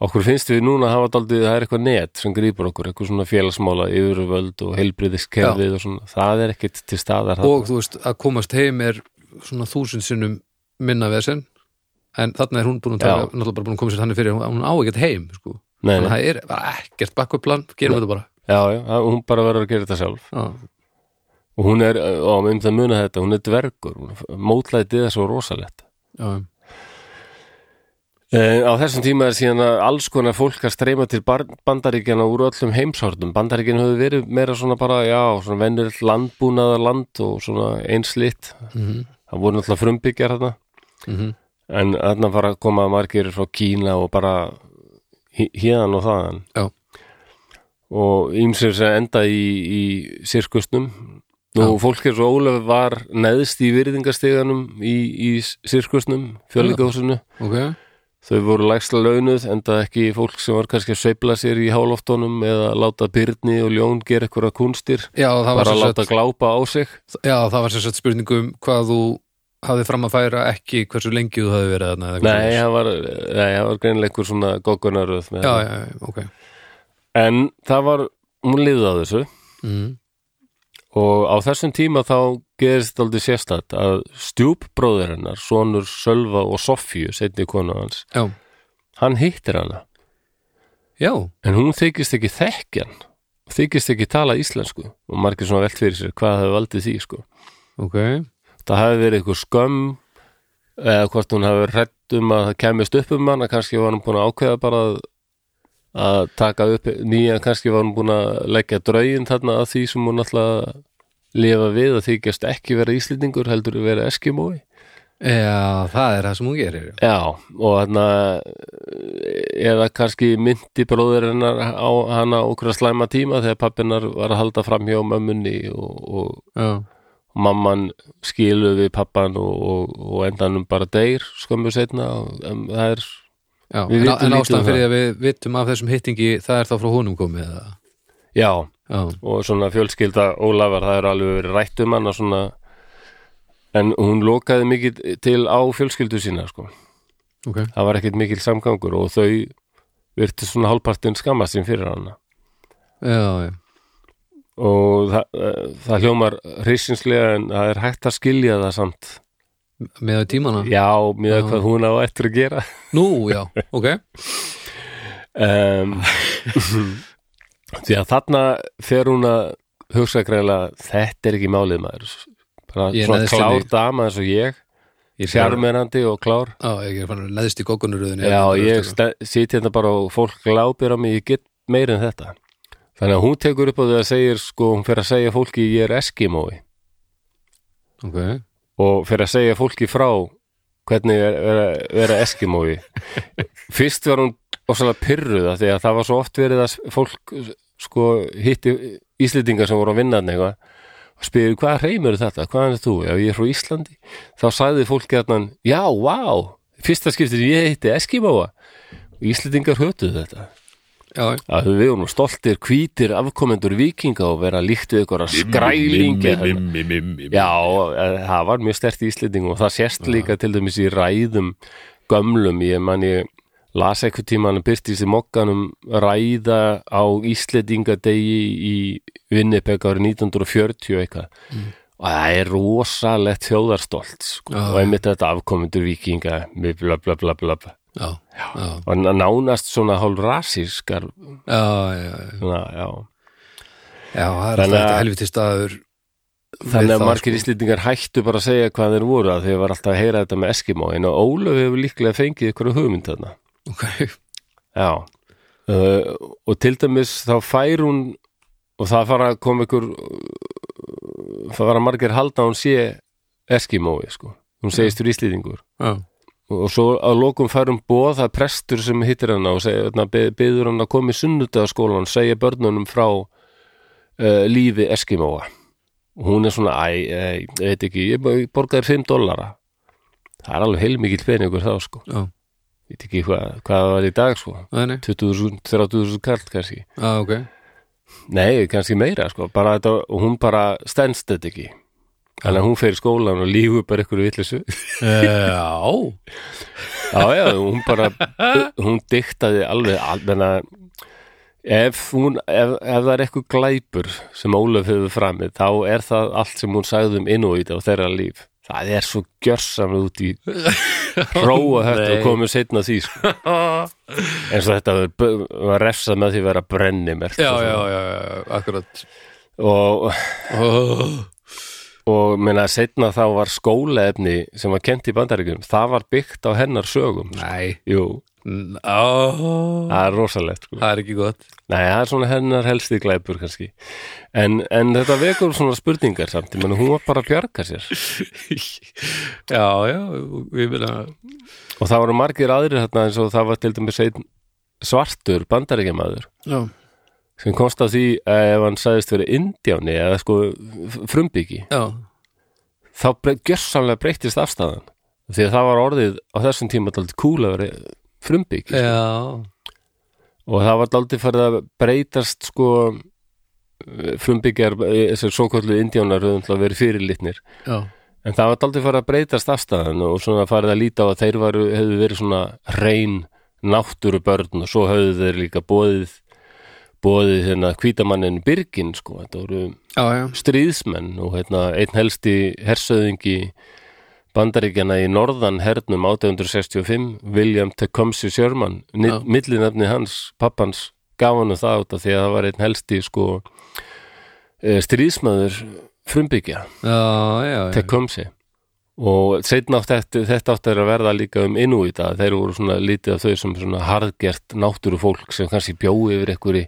A: okkur finnst við núna að hafa daldið það er eitthvað net sem grýpur okkur, eitthvað svona félagsmála yfirvöld og heilbriðiskerfið og svona, það er ekkert til staðar
B: og þú veist að komast heim er svona þúsund sinnum minna vesen en þarna er hún búin að taka,
A: Já.
B: náttúrulega bara búin að koma sér þannig fyrir, hún, hún á ekkert heim sko.
A: nei,
B: þannig að
A: nei,
B: það er bara ekkert bakkvöplan, gerum þetta bara
A: já, já, það- hún bara verður að gera þetta sjálf
B: Já.
A: og hún er, og um það muna þetta hún er dvergur, hún- mótlætið er svo rosalett
B: Já,
A: Eh, Á þessum tíma er síðan að alls konar fólk að streyma til bar- bandaríkjana úr öllum heimshortum. Bandaríkjana höfðu verið meira svona bara, já, svona vennir landbúnaðar land og svona einslitt.
B: Mhm.
A: Það voru náttúrulega frumbyggjar þarna.
B: Mhm.
A: En þarna fara að koma margir frá Kína og bara híðan og þaðan.
B: Já.
A: Og ýmsir sem enda í, í sirkusnum. Nú, fólk er svo ólega var neðst í virðingastiganum í, í sirkusnum, fjölíkahúsinu
B: ok
A: þau voru lægsta launuð enda ekki fólk sem var kannski að sveifla sér í háloftunum eða láta byrni og ljón gera eitthvað kunstir
B: Já, það var
A: bara
B: sem sagt-
A: láta glápa á sig
B: Já, það var sem sagt spurningu um hvað þú hafði fram að færa ekki hversu lengi þú hafði verið þarna eða eitthvað
A: nei,
B: svoleiðis.
A: það var, nei, það var greinilega einhver svona goggunaröð með
B: já,
A: það.
B: já, já, ok
A: en það var, hún lifði á þessu
B: mm.
A: og á þessum tíma þá gerist aldrei sérstætt að stjúpbróðurinnar sonur Sölva og Sofíu setni konu hans,
B: Já,
A: hann hittir hana
B: já,
A: en hún þykist ekki þekkjan þykist ekki tala íslensku og margir svona velt fyrir sér hvað hefur valdið því sko
B: ok
A: það hafi verið eitthvað skömm eða hvort hún hafi verið hrætt um að það kemist upp um hana kannski var hann búin að ákveða bara að að taka upp nýja, kannski var hún búin að leggja draugin þarna að því sem hún alltaf lifa við að þykjast ekki vera íslendingur heldur vera eskimói
B: Já, það er það sem hún gerir já.
A: Já, og hérna eða kannski myndi bróður hennar á hana okkur að slæma tíma þegar pappinar var að halda fram hjá mömmunni og,
B: Já.
A: og mamman skilu við pappan og, og, og endanum bara deyr skömmu setna og um, það er
B: Já.
A: Við
B: En, á-
A: vitum lítið
B: en
A: um
B: ástæðan
A: það.
B: fyrir því að við vitum af þessum hittingi það er þá frá honum komið eða?
A: já,
B: Já,
A: og svona fjölskylda Ólafar, það er alveg verið rætt um hana svona en hún lokaði mikið til á fjölskyldu sína sko,
B: ok
A: það var ekkit mikil samgangur og þau virtu svona hálfpartin skammast sín fyrir hana
B: Já, já,
A: og það, eh, það hljómar hryssinslega en það er hægt að skilja það samt
B: með tímana
A: já, mjög
B: Já.
A: hvað hún á eftir að gera
B: Nú, já, ok
A: um, því að þarna fer hún að hugsa greiðlega þetta er ekki málið maður bara
B: Ég er
A: svona
B: neðst í
A: klár
B: því.
A: dama eins og ég
B: Ég
A: sjarmerandi og klár
B: Já, ég er fann að leðst í goggunuröðinni
A: já, ég sta- sit hérna bara og fólk glápir á mig, ég get meir en þetta þannig að hún tekur upp á því að segir sko, hún fer að segja fólki ég er eskimói
B: Ok,
A: og fyrir að segja fólki frá hvernig er er að vera eskimói fyrst var hún ósala pyrruð af því að það var svo oft verið að s- fólk sko hitti Íslendingar sem voru að vinna þarna eitthvað og spyrir hvað reymur þetta, hvaðan er þú ef ég er frá Íslandi, þá sagði fólki þarna, já, vá, fyrsta skiptir ég hitti eskimóa og Íslendingar hötuð þetta
B: já,
A: að við vorum nú stoltir, hvítir afkomendur vikinga og vera líkt við ykkur að skrælingi
C: Já,
A: Já, eh, það var mjög stert í Íslendingum og það sérst líka til dæmis í ræðum gömlum, ég man ég las eitthvað tíman að byrtist í mokkanum ræða á Íslendingadegi í Vinnipeg árið 1940 eitthvað og það er rosalegt þjóðarstolt sko.
B: Mm. Já,
A: og einmitt þetta afkomendur vikinga bla bla bla bla bla bla.
B: já, já,
A: og ná- nánast svona hálf rasískar
B: já, já, já.
A: svona, já.
B: Já, það er
A: Þannig
B: alltaf
A: að-
B: þetta helviti staður
A: Þannig að
B: það,
A: margir Íslendingar hættu bara að segja hvað þeir voru að þeir var alltaf að heyra þetta með Eskimóin og Ólöf hefur líklega fengið ykkur hugmynd þarna.
B: Ok,
A: Já. Uh, og til dæmis þá fær hún og það fara að koma ykkur það fara margir halda að hún sé Eskimói sko. Hún segist úr Íslendingur.
B: já,
A: Og svo að lokum fær hún bóð að prestur sem hittir hana og segir, na, beður hann að koma í sunnudaskólan segja börnunum frá uh, lífi Eskimóa og hún er svona, æ, æ, ég veit ekki ég bara- ég borgaði 5 dollara það er alveg heilmikill peningur þá sko
B: já,
A: ég veit ekki hvað, hvað það var í dag sko
B: það er nei
A: 20.000, 30.000 kall kannski
B: Já, ok,
A: nei, kannski meira sko bara þetta, og hún bara stendst þetta ekki þannig að hún fer í skólan og lífu bara ykkur vitlisu
B: já
A: Já, já, hún bara hún diktaði alveg almenna ef, hún, ef, ef það er eitthvað glæpur sem Ólaf hefur framið þá er það allt sem hún sagði um innúið á þeirra líf það er svo gjörsamlega út í próa þetta og komið setna því sko. eins og þetta var b- var refsað með því að vera brenni
B: Já, já, já, já, akkurat
A: og
B: oh.
A: og meina setna þá var skólaefni sem var kent í bandaríkjum það var byggt á hennar sögum
B: Nei,
A: jú,
B: oh.
A: það er rosalegt sko.
B: það er ekki gott
A: Nei, það er svona hennar helsti glæpur kannski en, en þetta vekur svona spurningar samt, ég menn hún var bara að bjarga sér
B: Já, já, við vilja
A: og það voru margir aðrir þarna eins og það var til dæmis einn svartur bandaríkjamaður
B: Já,
A: sem komst að því að ef hann sagðist verið indjáni eða sko f- frumbyggi
B: já,
A: þá brey- gjörsamlega breyttist afstæðan því að það var orðið á þessum tíma daldið kúl að vera frumbyggi
B: já
A: og það var daldið farið að breytast sko eh, frumbyggjar, þessar svo kallu indjánar höfum til að vera fyrirlitnir
B: Já,
A: En það var daldið farið að breytast afstæðan og svona farið að líta á að þeir varu, hefðu verið svona reyn náttúru börn og svo höfðu þeir líka bóðið bóðið hérna hvítamannin Birgin sko, þetta voru
B: já, já,
A: stríðsmenn og hérna einn helsti hersöðingi bandaríkjana í norðan hernum 1865, William Tecumseh Sherman,
B: Já.
A: millinafni hans, pappans, gaf hann það út af því að það var einn helsti sko eh, stríðsmaður frumbyggja
B: já, já, já.
A: Tecumseh og setna átt þetta, þetta átti að verða líka um innúið að þeir voru svona lítið af þau sem svona harðgert náttúru fólk sem kannski bjói yfir einhverju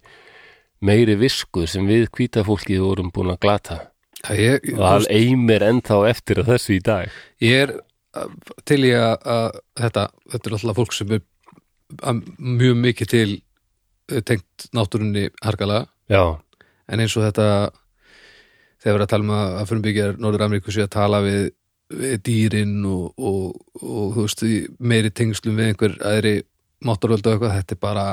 A: meiri visku sem við hvíta fólkið vorum búin að glata
B: Já, ég,
A: og það eimir ennþá eftir að þessu í dag
B: ég er uh, til í að, að þetta, þetta er alltaf fólk sem er að, mjög mikið til uh, tengt náttúrunni harkalega
A: Já,
B: en eins og þetta þegar við erum að tala um að, að frumbyggjar Norður-Ameríku sé að tala við, við dýrin og, og, og þú veist, í meiri tengslum við einhver aðri máttarvöldu og eitthvað, þetta er bara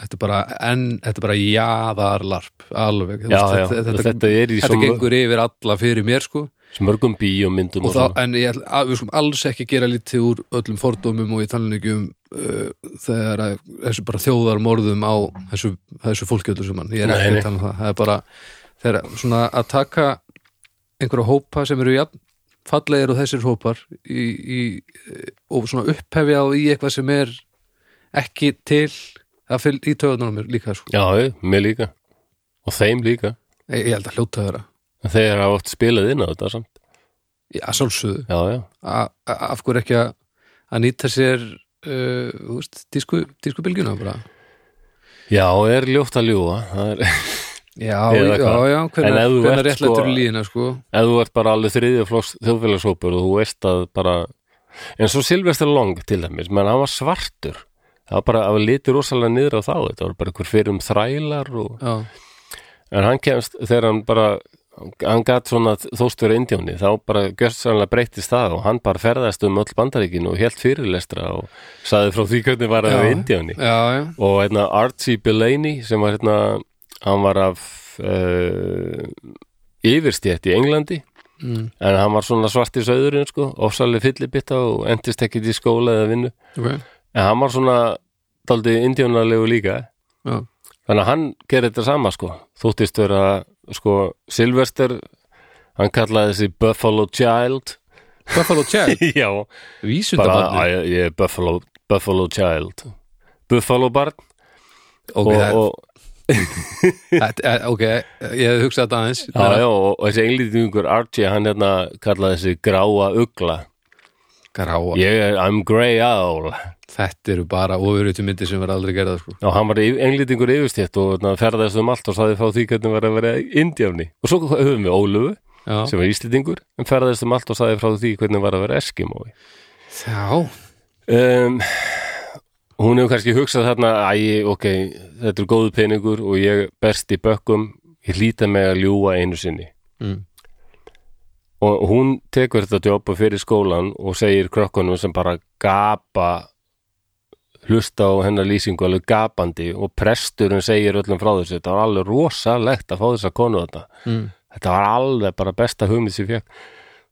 B: þetta er bara, en, þetta er bara jaðarlarp, alveg þú
A: já,
B: veist,
A: já,
B: þetta,
A: og
B: þetta, þetta,
A: þetta er í svo mör-
B: gengur yfir alla fyrir mér sko
A: svo mörgum bíómyndum
B: og
A: og,
B: þá,
A: svona.
B: en ég, ætla- að, við skulum alls ekki gera lítið úr öllum fordómum og ég tala nú ekki um uh, þegar að, þessu bara þjóðarmorðum á þessu, þessu fólkjöldu sem hann ég er
A: Nei,
B: ekki
A: nei.
B: að tala um það, það er bara þegar svona að taka einhverja hópa sem eru jafn fallegir og þessir hópar í, í, eh, og svona upphefja á í eitthvað sem er ekki til það fylg í töðunum mér líka sko.
A: Já, ég, mér líka og þeim líka
B: ég, ég held að hljóta þeirra
A: En þeir hafa oft spilað inn á þetta samt
B: að sjálfsögðu
A: Já, já,
B: a- a- af hverju ekki að að nýta sér uh, þú veist, tísku, tísku bylgjuna bara
A: já er ljótt að ljúga Það er
B: já,
A: Eða
B: já,
A: hvað?
B: já,
A: En ef
B: hvernig
A: þú
B: hvernig
A: ert
B: réttlættur
A: sko-
B: sko... lína sko
A: ef þú ert bara alveg þriðja flóks þjóðfélagshópur og þú veist að bara en svo Silvestar Long til dæmis menn hann var svartur það var bara, það var litið rosalega niður á þá þetta var bara einhver fyrir um þrælar og...
B: já,
A: en hann kemst þegar hann bara hann gat svona þóstur indjóni þá bara gjörsanlega breytist það og hann bara ferðast um öll bandaríkinu og helt fyrirlestra og saði frá því hvernig var það
B: Já.
A: við indjóni
B: já, já,
A: og hérna Archie Bellany sem var hérna hann var af uh, yfirstjætt í Englandi
B: Mm.
A: en hann var svona svart í söðurinn sko, ofsaleg fyllibitta og endist ekkit í skóla eða vinnu
B: ok
A: en hann var svona daldið indjónalegu líka
B: já,
A: þannig að hann gerir þetta sama sko þóttist vera sko Sylvester hann kallaði þessi Buffalo Child
B: Buffalo Jack,
A: já, bara
B: vísundabarni
A: að ég, ég er Buffalo, Buffalo Child Buffalo barn
B: ok,
A: og,
B: það er-
A: og,
B: þetta er- ok, ég hef hugsað þetta aðeins
A: Já, já, og, og þessi englýtingur Archie, hann hérna kallaði þessi gráa ugla.
B: gráa,
A: Ég er, I'm grey owl.
B: þetta eru bara ofurutu myndir sem verða aldrei gerða sko
A: Og hann var yf- englýtingur yfirstétt og hérna, ferðast um allt og saði frá því hvernig var að vera indjáni. Og svo höfum við Ólöfu,
B: já,
A: sem var íslendingur, en ferðast um allt og saði frá því hvernig var að vera eskimói.
B: já,
A: Um, hún hefur kannski hugsað þarna, æ, ok, þetta er góðu peningur og ég berst í bökkum, ég hlýta mig að ljúga einu sinni.
B: mm.
A: og hún tekur þetta jobb og fyrir skólan og segir krökkunum sem bara gapa hlusta á hennar lýsingu alveg gapandi og presturinn segir öllum frá þessu þetta var alveg rosalegt að fá þessa konu þetta
B: Mm.
A: þetta var alveg bara besta hugmynd sem ég fekk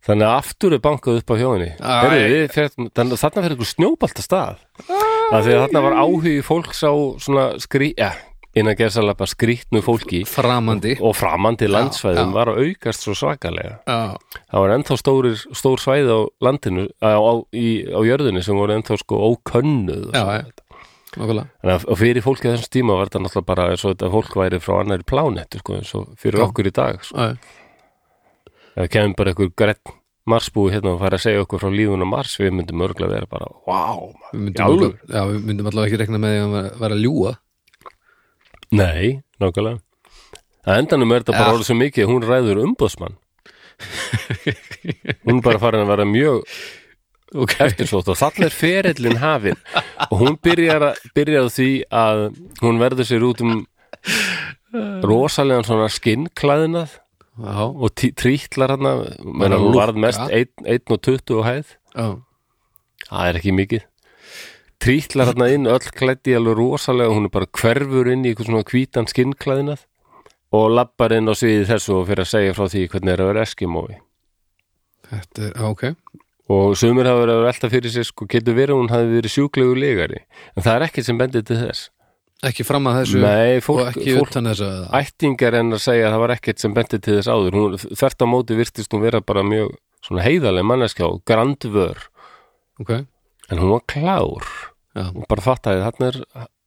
A: þannig að aftur er bankað upp á hjóðinni
B: Æ.
A: þarna fyrir einhver snjóbalt að stað af því að þarna var áhugi fólks á svona skrý, ja, innan gerðsalapa skrýtnu fólki
B: framandi
A: og framandi landsvæðum
B: já.
A: var að aukast svo svakalega
B: já,
A: það var ennþá stórir, stór svæði á landinu, á, á, í, á jörðinu sem voru ennþá sko ókönnuð
B: já, já, nokkulega
A: Þannig að- og fyrir fólki á þessum tíma var þetta náttúrulega bara eins og þetta fólk væri frá annari plánettu sko, eins og fyrir
B: Já.
A: okkur í dag sko.
B: Já, já.
A: ef kemum bara einhver grett marsbúi hérna og fara að segja okkur frá lífun á mars við myndum örglega vera bara, wow
B: Við
A: Í
B: myndum,
A: alvöru?
B: allavega, já, við myndum allavega ekki rekna með því að vera- vera að ljúa
A: nei, nákvæmlega að endanum er þetta bara
B: Ja.
A: orðið svo mikið að hún ræður umbóðsmann hún er bara farin að vera mjög
B: okay.
A: eftirsótt og þannig er ferillin hafin og hún byrjar, að- byrjar á því að hún verður sér út um rosalegan svona skinnklæðinað
B: Já,
A: og tí- trítlar hana menna
B: Bara
A: hún varð
B: lúkka.
A: mest 1 og 20 og hæð
B: já,
A: það er ekki mikið trítlar hana inn öll klæddi alveg rosalega hún er bara hverfur inn í eitthvað svona hvítan skinnklæðinað og lappar inn á sviðið þessu og fyrir að segja frá því hvernig er að vera eskimói
B: þetta er, já, ok
A: og sumir hafa verið að velta fyrir sér sko, getur verið að hún hafi verið sjúklegu legari en það er ekkert sem bendir til þess
B: Ekki fram að þessu
A: Nei,
B: og
A: fólk,
B: ekki
A: fólk
B: utan þessu að
A: ættingar en að segja að það var ekkert sem bendir til þess áður hún, þvert á móti virtist hún vera bara mjög svona heiðaleg manneskja og grandvör
B: Ok,
A: en hún var klár
B: Já.
A: og bara fattaði að þarna er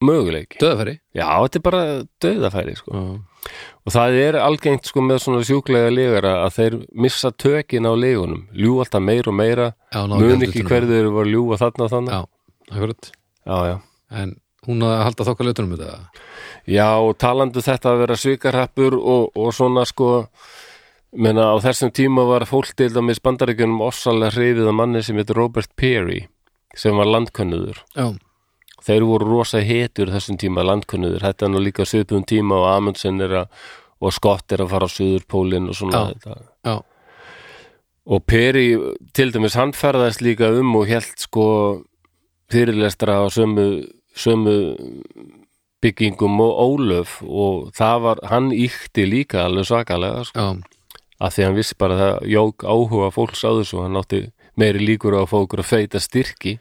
A: möguleik
B: Döðafæri
A: já, þetta er bara döðafæri sko. og það er algengt sko með svona sjúklega legara að þeir missa tökin á legunum ljúga alltaf meira og meira
B: Já,
A: mun
B: ná ekki
A: ekki
B: andlitinu.
A: hverðu eru að ljúga þarna og þannig
B: Já, akkurat
A: já, já.
B: En hún að halda þokka lötunum þetta
A: Já, og talandu þetta að vera svikarhappur og, og svona sko menna á þessum tíma var fólk til dæmis bandaríkjunum ossalega hrifið af manni sem heitir Robert Peary sem var landkönnuður.
B: Já,
A: Þeir voru rosa hetur þessum tíma landkönnuður. Þetta er nú líka svipum tíma og Amundsen er að og Scott er að fara á Suðurpólinn og svona
B: Já.
A: þetta.
B: já,
A: Og Peri, til dæmis, hann ferðast líka um og held sko fyrirlestra á sömu, sömu byggingum og Ólöf og það var, hann íkti líka alveg svakalega sko,
B: já
A: af því hann vissi bara að það jók áhuga fólks á þessu, hann átti meiri líkur á að fá okkur að feita styrki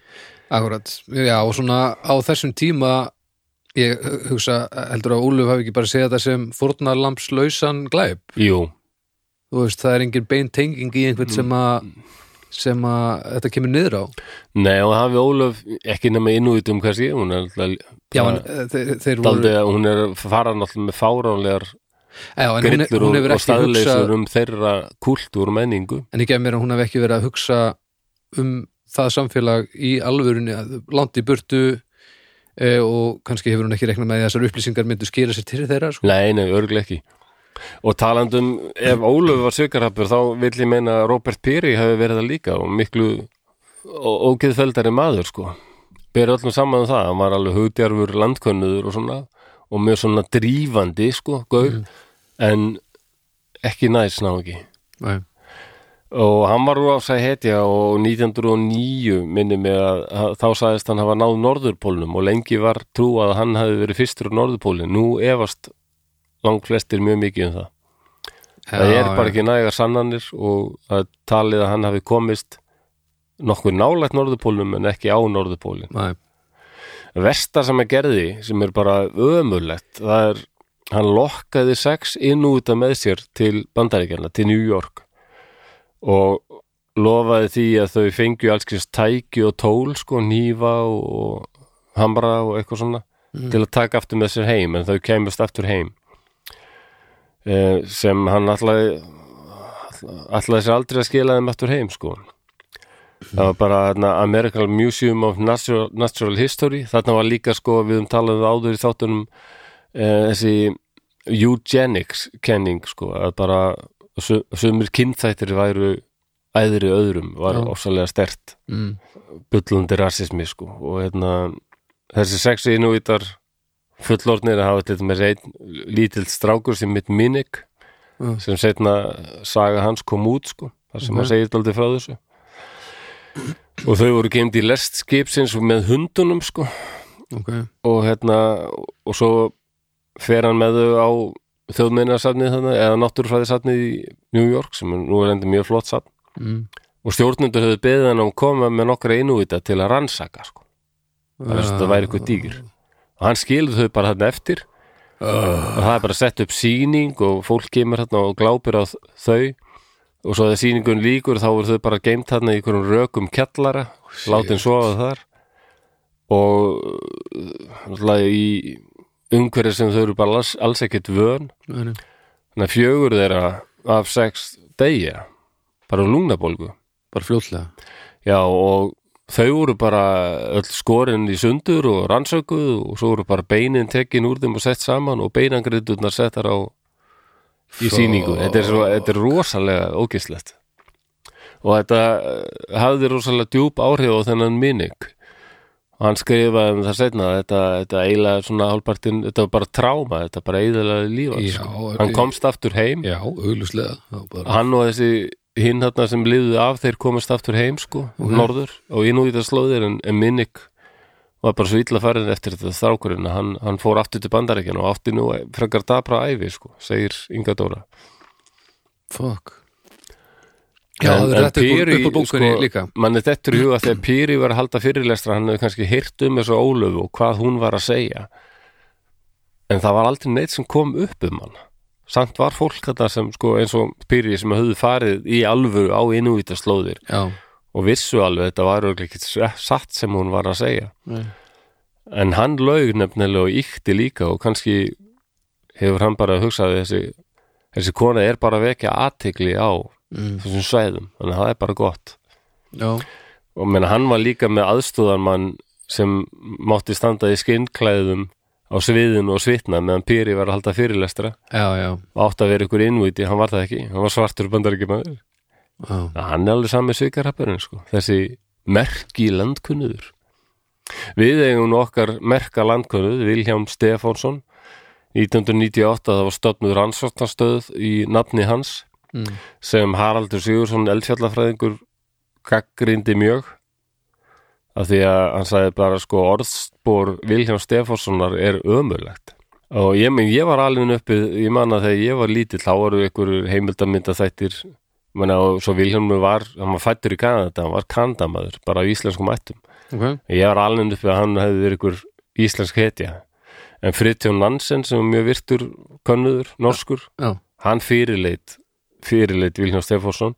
B: Akkurat, já og svona á þessum tíma ég hugsa heldur að Úluf hafi ekki bara segið þetta sem fórnarlampslausan glæp
A: Jú,
B: þú veist, það er engin bein tenging í einhvern
A: Mm.
B: sem að sem að þetta kemur niður á
A: nei og hafi Ólöf ekki nema innúitum kannski, hún er alltaf
B: Já, en eh, þeir, þeir voru
A: daldi að hún er fara náttúrulega með fáránlegar
B: já, en hún,
A: grillur
B: hún
A: og,
B: hefur
A: og
B: ekki hugsað
A: staðleysur um þeirra kultúr og menningu
B: en ég gef mér að hún hefur ekki verið að hugsa um það samfélag í alvörunni að langt í burtu e, og kannski hefur hún ekki reknað með því að þessar upplýsingar myndu skila sér til þeirra sko.
A: Nei, nei, örglega ekki Og talandum, ef Ólöf var svikarhapur þá vill ég meina að Robert Peary hafi verið það líka og miklu ógeðfeldari maður sko Ber öllum saman um það, hann var alveg hugdjarfur landkönnuður og svona og mjög svona drífandi sko,
B: Mm.
A: gaur en ekki næs ná ekki
B: Nei.
A: og hann var úr ásæði hetja og 1909 minni mig að, að þá sagðist hann hafa náð norðurpólnum og lengi var trú að hann hafi verið fyrstur á norðurpólnum, nú efast langflestir mjög mikið um það það
B: Já,
A: er bara
B: já.
A: ekki nægar sannanir og það er talið að hann hafi komist nokkuð nálægt norðurpólnum en ekki á norðurpólin
B: Nei.
A: versta sem hann gerði sem er bara ömurlegt það er, hann lokkaði sex inn út með sér til bandaríkjana til New York og lofaði því að þau fengju allskins tæki og tól sko, nýfa og, og hamra og eitthvað svona til að taka aftur með sér heim en þau kemust aftur heim eh, sem hann allaði allaði sér aldrei að skila þeim aftur heim sko það var bara þarna, American Museum of Natural, Natural History þarna var líka sko við um talaðum áður í þáttunum eh, þessi eugenics kenning sko að bara sum- sumir kynþættir væru æðri öðrum var
B: Já.
A: ofsalega stert
B: Mm.
A: bullandi rasismi sko og hérna þessi sexu innúítar fullornir að hafa þetta með reyn, lítill strákur sem mitt minnig
B: Mm.
A: sem setna saga hans kom út sko þar sem
B: Ok.
A: hann segir aldrei frá þessu og þau voru kemd í lest skipsins og með hundunum sko
B: Ok,
A: og hérna og svo fer hann með þau á þjóðmennasafnið þarna eða náttúrufræðisafnið í New York sem er nú er endur mjög flott safn
B: mm.
A: og stjórnundur höfðu beðið hann um að koma með nokkra innúvita til að rannsaka sko það, uh, það væri eitthvað dýr og hann skilur þau bara þarna eftir
B: uh,
A: og það er bara sett upp sýning og fólk kemur þarna og glápir á þ- þau og svo þegar sýningun líkur þá voru þau bara geimt þarna í einhverjum rökum kjallara látin sofa þar og uh, náttúrulega í umhverju sem þau eru bara alls, alls ekkert vön
B: nei, nei.
A: þannig að fjögur þeirra af sex degja bara um lungnabólgu
B: Bara fljótlega
A: Já og þau voru bara öll skorinn í sundur og rannsökuð og svo voru bara beinin tekin úr þeim og sett saman og beinangriðurnar settar á í
B: Svo-
A: sýningu. Þetta er, svo, þetta er rosalega ógislegt og þetta eh, hafði rosalega djúp áhrif á þennan minning og hann skrifaði um það setna þetta, þetta eiginlega svona hálpartin þetta var bara tráma, þetta bara eiginlega lífa
B: Já,
A: hann
B: ég-
A: komst aftur heim
B: Já, augljuslega Já, bara-
A: hann og þessi hinn þarna sem liðu af þeir komast aftur heim sko, norður og inn úr þetta slóðir en, en minnik var bara svo illa farin eftir þetta þrákurinn að hann, hann fór aftur til bandaríkjan og átti nú frekar dabra ævi sko, segir Inga Dóra
B: Fuck Já, það er rétt upp úr- upp úr bókunni líka
A: sko, mann er þetta í huga þegar Píri var að halda fyrirlestra hann hefði kannski heyrt um þessu ólöfu og hvað hún var að segja en það var aldrei neitt sem kom upp um hann samt var fólk þetta sem sko eins og Píri sem höfðu farið í alvöru á innúvita slóðir
B: Já,
A: og vissu alveg þetta var örugglega ekki satt sem hún var að segja
B: Nei.
A: en hann laug nefnilega og íkti líka og kannski hefur hann bara hugsaði þessi, þessi kona er bara að vekja aðtegli á
B: Mm.
A: þessum svæðum, þannig að það er bara gott
B: Já,
A: og menn hann var líka með aðstóðarmann sem mátti standa í skinnklæðum á sviðinu og svitna meðan Píri var að halda fyrirlestra
B: já, já,
A: og átti að vera ykkur innvíti, hann var það ekki hann var svartur bandaríkjumæður
B: já.
A: hann er alveg sami svikarhappurinn sko. þessi merki landkunnuður við eigum nú okkar merka landkunnuð, Vilhjám Stefánsson 1998 það var stöfnud rannsóknarstöð í nafni hans
B: Mm.
A: sem Haraldur Sigursson eldfjallafræðingur gaggrindi mjög af því að hann sagði bara sko orðspor Vilhjám Stefánssonar er ömulegt og ég, men, ég var alveg uppið, ég man að þegar ég var lítill þá voru ykkur heimildamynda þættir menna, og svo Vilhjálmur var hann var fættur í Kanada, hann var kandamaður bara á íslenskum ættum
B: Ok,
A: ég var alveg uppið að hann hefði verið ykkur íslensk hetja en Fritjón Nansen sem er mjög virtur könnuður, norskur
B: já,
A: hann fyrirleit fyrirleit Vilhján Stefánsson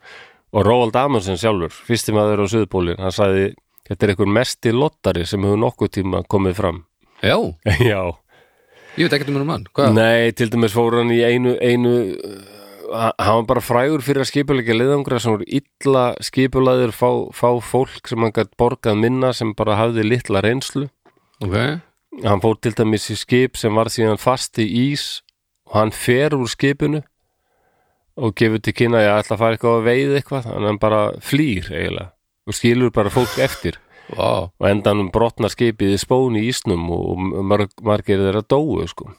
A: og Róald Amundsen sjálfur, fyrsti maður á Suðbólin, hann sagði, þetta er einhver mesti lottari sem hefur nokkuð tíma komið fram
B: já,
A: Já,
B: ég veit ekkert um hennar mann Hvað?
A: nei, til dæmis fór hann í einu, einu uh, hann var bara frægur fyrir að skipulegja leiðangra sem voru illa skipulaðir fá, fá fólk sem hann gætt borgað minna sem bara hafði litla reynslu
B: Ok,
A: hann fór til dæmis í skip sem var síðan fast í ís og hann fer úr skipinu og gefur til kynna að ég ætla að fara eitthvað að veið eitthvað en hann bara flýr eiginlega og skilur bara fólk eftir
B: vá,
A: og endanum brotnar skipið í spón í ísnum og og marg, margir þeirra dóu sko.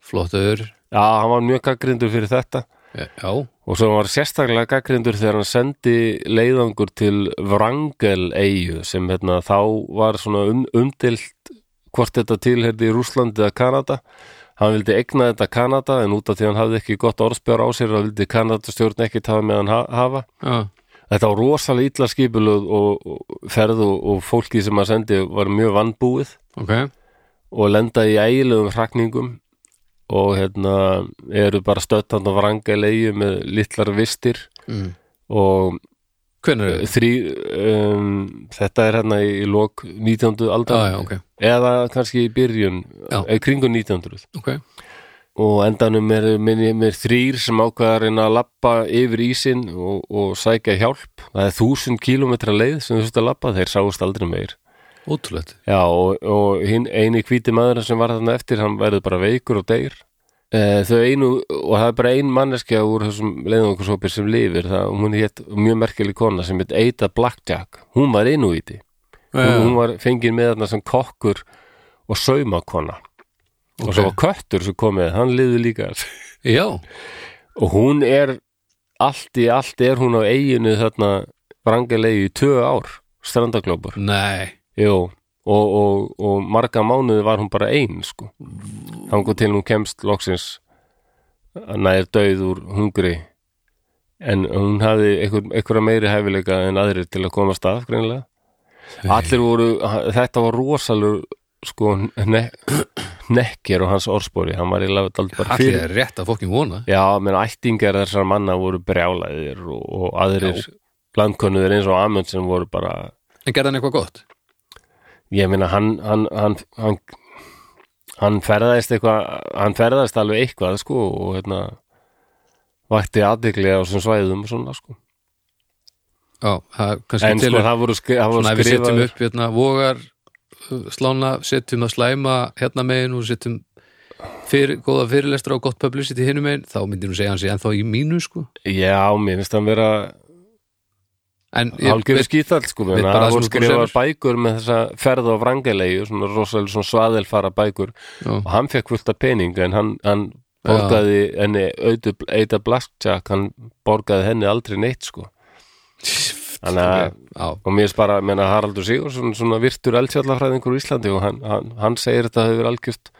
B: flottur
A: Já, hann var mjög gaggrindur fyrir þetta
B: Já,
A: og svo var sérstaklega gaggrindur þegar hann sendi leiðangur til Vrangel eigu sem hérna, þá var svona um, umdilt hvort þetta tilherði í Rússlandi eða Kanada hann vildi egna þetta Kanada en út af því hann hafði ekki gott orðspjör á sér að vildi Kanadastjórn ekki tafa með hann ha hafa
B: já,
A: þetta var rosalega illa skipuluð og, og ferð og, og fólkið sem hann sendi var mjög vannbúið
B: ok
A: og lenda í ægilegum hrakningum og hérna eru bara stöttand á Vrangelegu með litlar vistir
B: mm.
A: og
B: Hvernig er þetta?
A: þrý um, þetta er hérna í lok 19.
B: Já,
A: aldar
B: já, ok,
A: eða kannski í byrjun eh,
B: Já.
A: eða kringu 1900
B: ok
A: og á endanum er minni mér þrýr sem ákveða að reyna að lappa yfir ísin og, og sækja hjálp það er þúsund kílómetra leið sem þú þurft að lappa þeir sáust aldrei meir
B: Ótrúlegt
A: Já, og, og hinn eini hvíti maður sem var þarna eftir, hann verður bara veikur og deyr. E, þau einu, og það er bara ein manneskja úr þessum leiðangursópir sem lifir, það, hún hétt mjög merkileg kona sem hétt Eita Blackjack, hún var einu í því. Hún,
B: Mm.
A: hún var fengin með þarna sem kokkur og saumakona. Og svo var köttur sem komið, hann liði líka.
B: Já,
A: og hún er, allt í allt er hún á eiginu þarna vrangalegi í tvö ár, strandaglópur.
B: nei,
A: Jú, og, og, og marga mánuði var hún bara ein sko. þangu til hún kemst loksins að næður döið úr hungri en hún hafði einhver, einhverja meiri hæfileika en aðrir til að komast að greinlega allir voru, þetta var rosalur sko ne, nekkir og hans orðspori, hann var í lafið aldrei bara
B: allir
A: fyrir
B: er rétt að fokkin vona
A: Já, menn ættingar þessar manna voru brjálæðir og, og aðrir landkönnuðir eins og Amundsen voru bara
B: En gerði hann eitthvað gott?
A: ég meina hann hann, hann, hann, hann ferðaðist eitthvað hann ferðaðist alveg eitthvað sko og hérna vakti aðdegli á þessum svæðum og svona sko
B: Já, það kannski
A: en
B: til
A: sko það voru, skri, það voru
B: Svona ef við setjum
A: skrifaður
B: upp hérna vogar uh, slána, setjum að slæma hérna megin og setjum fyrir, góða fyrirlestra og gott publicity hinum megin, þá myndir hún segja hann sig ennþá í mínu sko.
A: já, mér finnst hann vera
B: En
A: hálfgefi skýtall sko
B: veit
A: menna,
B: bara
A: það
B: það sem
A: voru
B: þú komið
A: skrifaður
B: sjálfur.
A: bækur með þessa ferð á vrangalegu svona rosalega svona svaðelfara bækur
B: Já.
A: og hann fekk fullt af pening en hann, hann borgaði henni auðu, Eita Blaskjak, hann borgaði henni aldrei neitt sko Þannig að-
B: Já,
A: og mér er bara, menna Haraldur Sigursson svona virtur eldfjallafræðingur í Íslandi og hann, hann, hann segir þetta hefur algjört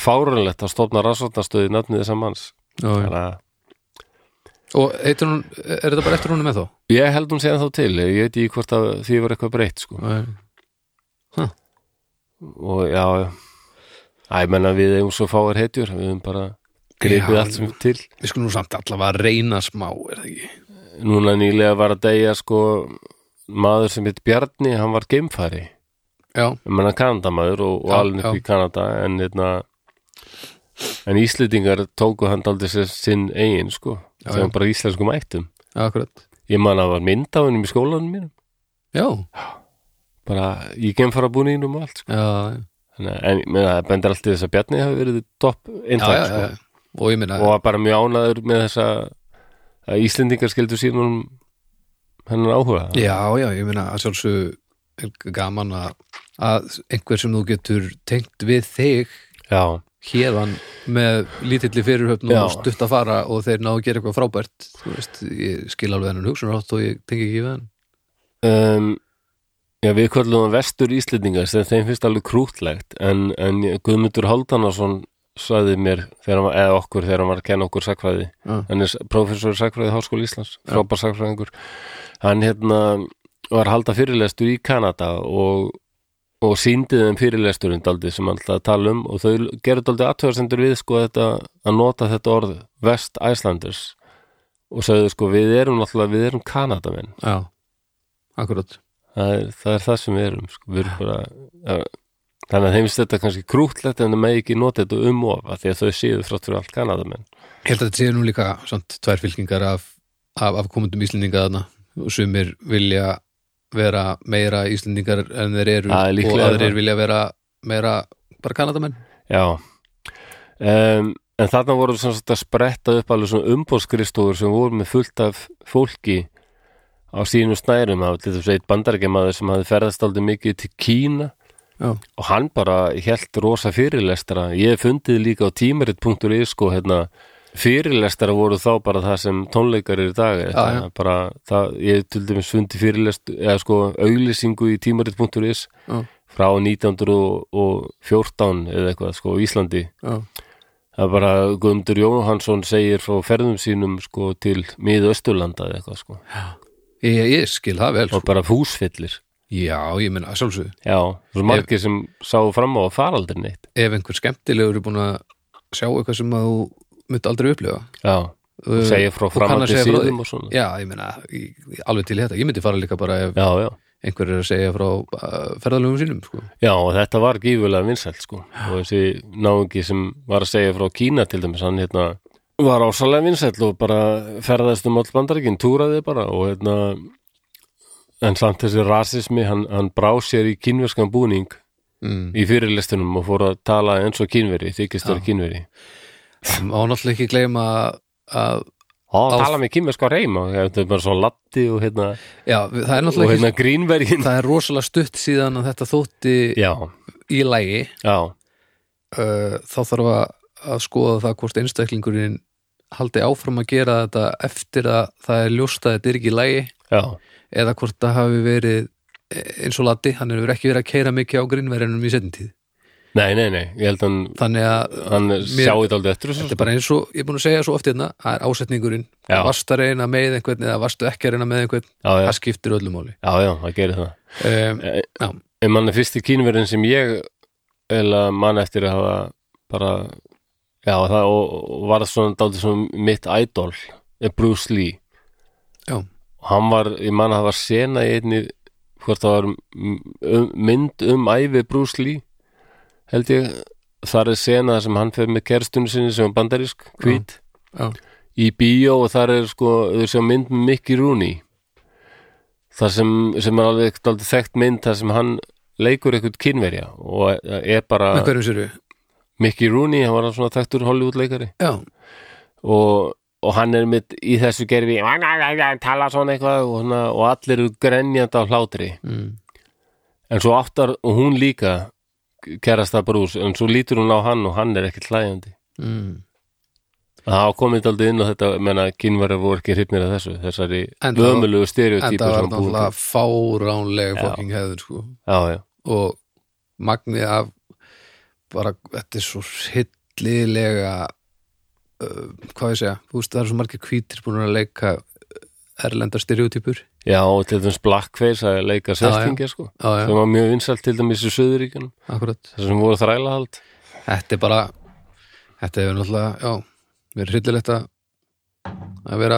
A: fárunlegt að stofna rannsóknastöði nafnið þessa manns
B: já, já.
A: Þannig að
B: Og heitir hún, er þetta bara eftir húnum með þá?
A: ég held hún segja þá til, ég veit ekki hvort að því var eitthvað breytt sko og já, já. Æ, menna við eigum svo fáar hetjur, við hefum bara gripið
B: Já.
A: allt sem til
B: Við skulum nú samt allavega að reyna smá, er það ekki?
A: núna nýlega var að deyja sko maður sem heit Bjarni, hann var geimfari
B: já,
A: ég menna Kanadamaður og, og
B: Já,
A: alveg upp
B: já.
A: í Kanada en, eitna, en Íslendingar tóku hann aldrei sér sinn eigin sko,
B: Já,
A: það
B: já.
A: var bara íslenskum ættum
B: akkurat
A: ég man að það var mynd á hennum í skólanum mínum
B: já,
A: bara í gemfara búninum og allt sko.
B: já, já,
A: Þannig að- en ég meina, það bendir allt í þess að Bjarni hafi verið topp
B: já, já,
A: eintak
B: já,
A: sko.
B: já. og ég meina
A: og var bara mjög ánaður með þessa að Íslendingar skildu sínum hennan áhuga
B: já, já, ég meina að sjálfsög er gaman að, að einhver sem þú getur tengt við þig
A: já,
B: hérðan með lítilli fyrirhöfn
A: Já.
B: og stutt að fara og þeir ná að gera eitthvað frábært þú veist, ég skil alveg hennan hugsunarátt og ég tengi ekki við hann
A: um, já við kvöldum að vestur Íslendingar sem þeim finnst alveg krútlegt en, en Guðmundur Halldanarsson sagði mér, þegar, hann var- eða okkur þegar hann var að kenna okkur sakfræði
B: Já.
A: hann er prófessor í sakfræði í Háskóla Íslands frábær sakfræðingur hann hérna var að halda fyrirlestur í Kanada og, og síndi þeim fyrirlesturinn daldi sem hann alltaf að tala um og þau gerðu daldi aðtöðarsendur við sko þetta, að nota þetta orð West Icelanders og sagði sko við erum náttúrulega, við erum Kanadamenn
B: já, akkurat
A: það er, það er það sem við erum sko. við erum bara ja, þannig að þeim finnst þetta kannski krútlegt en það megi ekki nota þetta um of af því að þau séu frátt fyrir allt Kanadamenn
B: ég held að þetta séu nú líka samt tvær fylkingar af, af, af komundum Íslendinga þarna og sumir vilja vera meira Íslendingar en þeir eru
A: Það er
B: og
A: líklega
B: aðrir
A: það.
B: vilja vera meira bara Kanadamenn
A: já um, en þarna voru sem sagt að spretta upp alveg svona umbóðskristofur sem voru með fullt af fólki á sínum snærum af til þess að eitt bandarækjamaður sem hafði ferðast aldrei mikið til Kína
B: já,
A: og hann bara hélt rosa fyrirlestara ég hef fundið líka á tímarit.is sko hérna fyrirlestara voru þá bara það sem tónleikar er í dag já,
B: já.
A: bara það, ég hef til dæmis fundi fyrirlest eða sko auglýsingu í tímarit.is
B: já,
A: frá 1914 eða eitthvað sko á Íslandi
B: já,
A: það er bara Guðmundur Jóhansson segir frá ferðum sínum sko til miðausturlanda eða eitthvað sko
B: ég, ég skil það vel
A: og bara fúsfyllir
B: já, ég meina, sjálfsögðu
A: já, svo margir sem sáu fram á að fara aldrei neitt
B: ef einhver skemmtilegur er búin að sjá eitthvað sem að þú myndi aldrei upplifa
A: já,
B: Uh,
A: og segja frá
B: og kann að
A: framandi
B: segja frá því.
A: síðum og svona
B: Já, ég meina, ég- ég- alveg til í þetta Ég myndi fara líka bara ef
A: já, já,
B: einhver er að segja frá uh, ferðalöfum sínum sko.
A: já og þetta var gífulega vinsælt sko og þessi náungi sem var að segja frá Kína til dæmis, hann hérna var ásalega vinsælt og bara ferðast um all bandaríkin, túraði bara og hérna en samt þessi rasismi, hann, hann brá sér í kínverskan búning
B: mm.
A: í fyrirlestunum og fór að tala eins og kínveri, þykist þér kínveri
B: Má náttúrulega ekki gleyma að
A: og
B: Á-
A: tala með kínverska reima þetta er bara svo latti og hérna
B: Já, við- það er
A: og
B: náttúrulega ekki
A: hérna grínvergin
B: Það er rosalega stutt síðan að þetta þótti
A: já,
B: í lægi
A: já,
B: uh, Þá þarf að, að skoða það hvort einstaklingurinn haldi áfram að gera þetta eftir að það er ljóst að þetta er ekki í lægi
A: já
B: eða hvort það hafi verið eh, eins og lati, hann hefur ekki verið að keira mikið á grínverjunum í setjum tíð
A: nei, nei, nei, ég held hann
B: þannig að
A: hann sjáði þetta aldrei eftir þessu
B: þetta er bara eins og, ég er búin að segja svo oft hérna það er ásetningurinn,
A: Já.
B: varstu að reyna með einhvern eða varstu ekki að reyna með einhvern
A: já, já,
B: það skiptir öllu máli
A: já, já, það gerir það
B: um,
A: Eh,
B: já,
A: Ég mann að fyrsti kínverðin sem ég eða mann eftir að hafa bara já, það og, og var svona daldið svona mitt idol er Bruce Lee
B: já,
A: og hann var, ég mann að það var sena í einni hvort það var um, um, mynd um ævi Bruce Lee held ég þar er sena sem hann fer með kerstunni sinni sem er bandarísk, hvít
B: já,
A: í bíó og þar er sko þau sjá mynd með Mickey Rooney þar sem, sem er alveg, alveg þekkt mynd þar sem hann leikur eitthvað kynverja og er bara
B: með hverjum sér við
A: Mickey Rooney, hann var svona þekktur Hollywood leikari
B: já,
A: og, og hann er mitt í þessu gerfi tala svona eitthvað og, svona, og allir eru grenjandi á hlátri
B: mm,
A: en svo aftar og hún líka kærast það brús, en svo lítur hún á hann og hann er ekkert hlægjandi
B: mm.
A: Það hafa komið aldrei inn á þetta menna kynverðar voru ekki hrifnir af þessu þessari
B: En það-
A: vömmulugu
B: en
A: stereotypu
B: það
A: sem
B: var
A: búið
B: náttúrulega
A: til.
B: fáránlega
A: Já.
B: fokking hefður sko.
A: Já, já,
B: og magnið af bara, þetta er svo hillilega uh, hvað ég segja, þú veist það eru svo margir hvítir búin að leika uh, erlendar stereotypur
A: já, og til dæmis blackface að leika svertingja sko
B: já, já,
A: sem var mjög vinsælt til dæmis í Suðuríkjunum
B: akkurat
A: þar sem voru þrælahald
B: Þetta er bara Þetta er náttúrulega, já Mér er hryllilegt að sko. að vera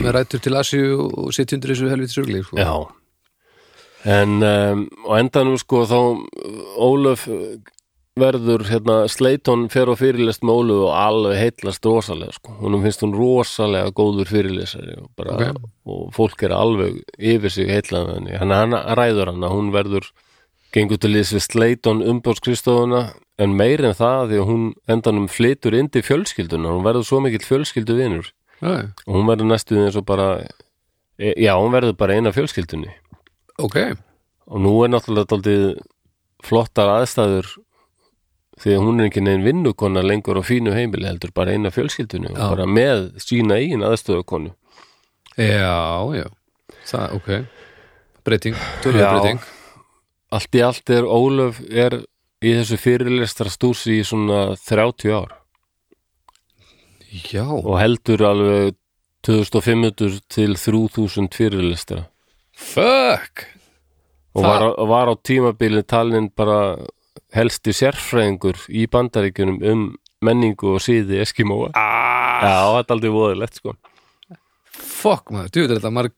B: með rættur til Asíu og sitja undir þessu helviti surgli sko.
A: Já, en um, á endanum sko þá Ólöf uh, verður hérna, Sleiton fer á fyrirlest með Ólöf og alveg heitlast rosalega sko, húnum finnst hún rosalega góður fyrirlesari og, bara,
B: Ok.
A: og fólk er alveg yfir sig heitlað með henni, hann, hann ræður hann að hún verður gengur til liðs við Sleiton umbóðskristofuna en meir en það því að hún endanum flytur indi fjölskylduna, hún verður svo mikill fjölskyldu vinur
B: Já, já.
A: og hún verður næstu eins og bara e, já, hún verður bara eina fjölskyldunni
B: ok,
A: og nú er náttúrulega daldið flottar aðstæður því að hún er ekki negin vinnukona lengur á fínu heimili heldur bara eina fjölskyldunni og
B: Já.
A: bara með sína eigin aðstöðukonu
B: já, já það, ok breyting, tölvöð
A: Já.
B: breyting
A: allt í allt er Ólöf er í þessu fyrirlestra stúsi í svona 30 ár
B: já,
A: og heldur alveg 2500 til 3000 fyrirlestra
B: fuck
A: og
B: Það-
A: var, á- var á tímabili talin bara helsti sérfræðingur í bandaríkjunum um menningu og síði Eskimóa
B: ah,
A: Já, þetta er aldrei voðilegt sko
B: fuck maður, djúður þetta marg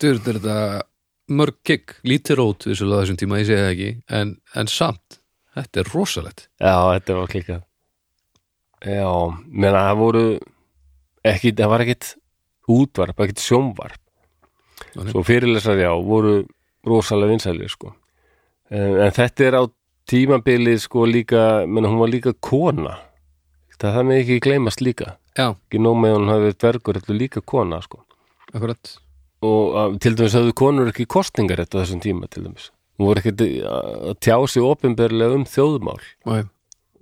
B: djúður þetta mörg gig lítið rót vissulega á þessum tíma, ég segi það ekki en, en samt, þetta er rosalegt
A: Já, þetta var klikkað Já, menna það voru ekki, það var ekkit útvarp, ekkit sjónvarp
B: Nei.
A: Svo fyrirlesar já, voru rosalega vinsælir sko en, en þetta er á tímabili sko líka, menna hún var líka kona Það það með ekki gleymast líka
B: já,
A: ekki nóg með að hún hafi verið dvergur heldur líka kona sko.
B: akkurat
A: og að, til dæmis hafðu konur ekki kostningar þetta þessum tíma til dæmis hún voru ekkert í- að að tjá sig opinberlega um þjóðmál
B: Nei.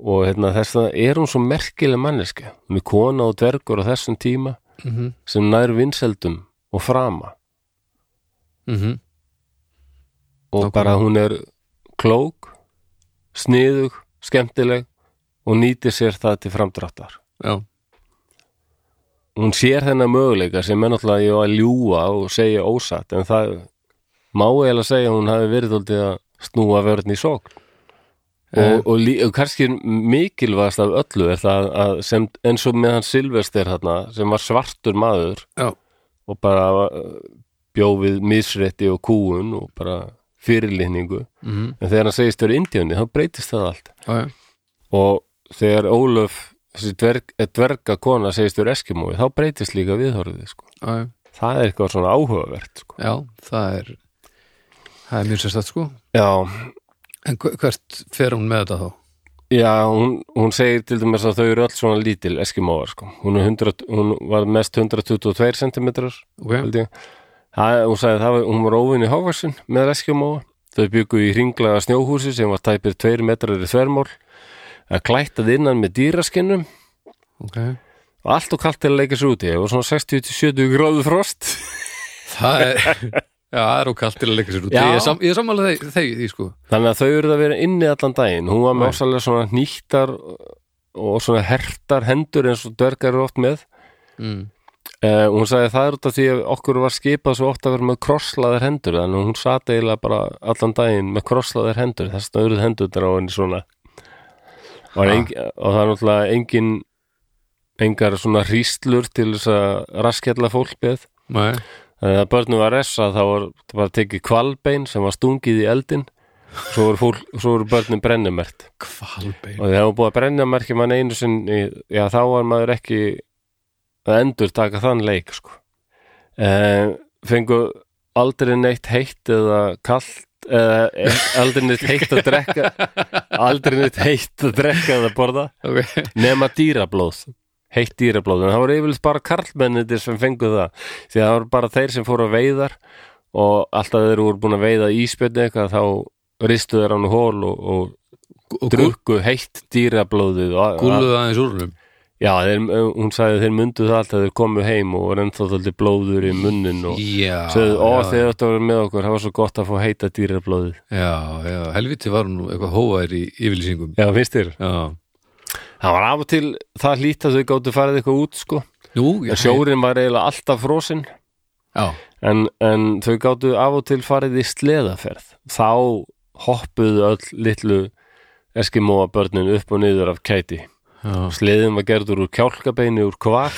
A: og hérna, þess að er hún svo merkileg manneski hún er kona og dvergur á þessum tíma
B: Mhm.
A: sem nær vinseldum og frama
B: Mhm.
A: og
B: Nákvæmlega.
A: bara hún er klók, sniðug skemmtileg og nýtir sér það til framdráttar
B: já,
A: hún sér þennan möguleika sem er náttúrulega ég á að ljúga og segja ósatt en það má eiginlega segja að hún hafi verið þóldið að snúa vörðin í sókn og, og, lí, og kannski mikilvægast af öllu er það að sem, eins og með hann Silvester þarna sem var svartur maður
B: já,
A: og bara bjóð við misrétti og kúun og bara fyrirlýningu
B: mhm,
A: en þegar hann segist þér indjóni þá breytist það allt
B: já, já
A: og þegar Ólöf þessi dverg, dverga kona segist þér Eskimói þá breytist líka viðhorfið sko
B: já, já.
A: Það er eitthvað svona áhugavert sko.
B: Já, það er það er mjög sérstætt sko
A: Já,
B: En hver- hvert fer hún með þetta þá?
A: já hún, hún segir til dæmis að þau eru öll svona lítil eskimóar sko. hún, er 100, hún var mest 122 cm
B: Ok,
A: held ég það, hún sagði það var, hún var óvinni hávarsin með eskimóa þau byggu í hringlaga snjóhúsi sem var tæpir 2 metrar í þvermál að klættað innan með dýraskinnum
B: ok
A: og allt og kalt til að leika sér úti það var svona 60-70 gráðu frost
B: Það er, já, það er ok allt til að leika sér út
A: Já.
B: Ég er, sam, ég er sammála þeg, þeg, því sko
A: Þannig að þau eru að vera inni allan daginn Hún var
B: Já.
A: með ásalega svona nýttar og svona hertar hendur eins og dvergar eru oft með
B: mm.
A: eh, Hún sagði það er út af því að okkur var skipað svo oft að vera með krosslaðar hendur þannig að hún sat eiginlega bara allan daginn með krosslaðar hendur þess að auðruð hendur á henni svona og,
B: Ha.
A: engi, og það er náttúrulega engin engar svona hríslur til þess að raskjalla fólk með
B: Nei,
A: Þegar börnum var ressa þá var það bara tekið kvalbein sem var stungið í eldin svo voru, fólk, svo voru börnum brennumert
B: kvalbein
A: og þegar var búið að brennumerkja mann einu sinni já þá var maður ekki að endur taka þann leik sko. e, fengu aldrei neitt heitt eða kalt eða e, aldrei neitt heitt að drekka aldrei neitt heitt að drekka eða borða
B: okay.
A: nema dýrablóð heitt dýrablóð, en það voru yfirleitt bara karlmennitir sem fengu það því að það voru bara þeir sem fóru að veiðar og alltaf þeir voru búin að veiða íspjöndu eitthvað þá ristu þeir hann hól og, og
B: Og gúl,
A: drukku heitt dýrablóðið og,
B: gúluðu aðeins úr húnum
A: já, þeir, hún sagði að þeir mundu það alltaf þeir komu heim og var ennþá þaldi blóður í munnin og
B: Já,
A: sagði, ó
B: já,
A: þeir þetta voru með okkur það var svo gott að fá heita dýrablóðið
B: já, já, helviti var hún nú eitthvað hóaðir í yfirlýsingum
A: já, finnst þér?
B: Já,
A: Það var af og til það hlýtt að þau gáttu farið eitthvað út sko,
B: nú, já,
A: sjórin var eiginlega alltaf frosinn
B: já,
A: en, en þau gáttu af og til farið í sleðaferð þá hoppuðu öll litlu eskimóa börnin upp og niður af kæti
B: já,
A: sleðin var gerður úr kjálkabeini úr kvar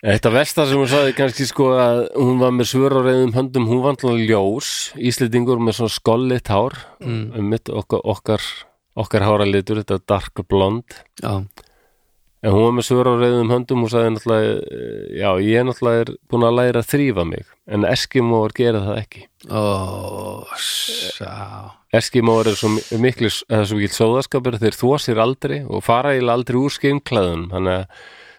A: Þetta versta sem hún sagði kannski sko að hún var með svör á reyðum höndum, hún var alltaf ljós, íslendingur með svona skollit hár,
B: Mm.
A: um mitt okkar, okkar, okkar háralitur, þetta dark blond,
B: já,
A: en hún var með svör á reyðum höndum og sagði náttúrulega, eh, já, ég er náttúrulega er búin að læra að þrýfa mig, en Eskimóar gera það ekki.
B: ó, sá
A: Eskimóar er svo mi- miklu, eða svo mikil sóðaskapur, þeir þvó sér aldrei og fara eiginlega aldrei úr skeimklaðum, þannig að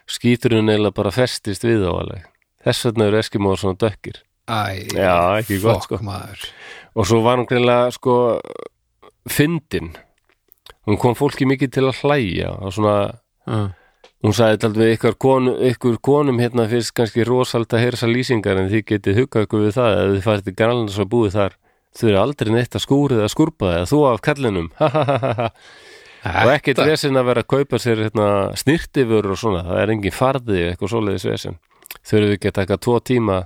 A: skíturinn eiginlega bara festist við á alveg. Þess vegna eru Eskimóar svona dökkir.
B: Æ,
A: Já, ekki gott, sko.
B: fokk, maður
A: Og svo var hún greinlega sko fyndin. Hún kom fólki mikið til að hlæja og svona,
B: Já,
A: hún sagði þetta alveg ykkur, konu, ykkur konum hérna fyrst kannski rosald að heyra þessar lýsingar en þið getið hugað ykkur við það eða þið farið til grannlands að búið þar. Þau eru aldrei neitt að skúrið að skurpa eða þú af kallinum. Ha, ha, ha, ha, ha. og ekkert
B: þetta-
A: vesen að vera að kaupa sér hérna, snirtifur og svona, það er engin farði eitthvað svoleiðis vesen þurfum við ekki að taka tvo tíma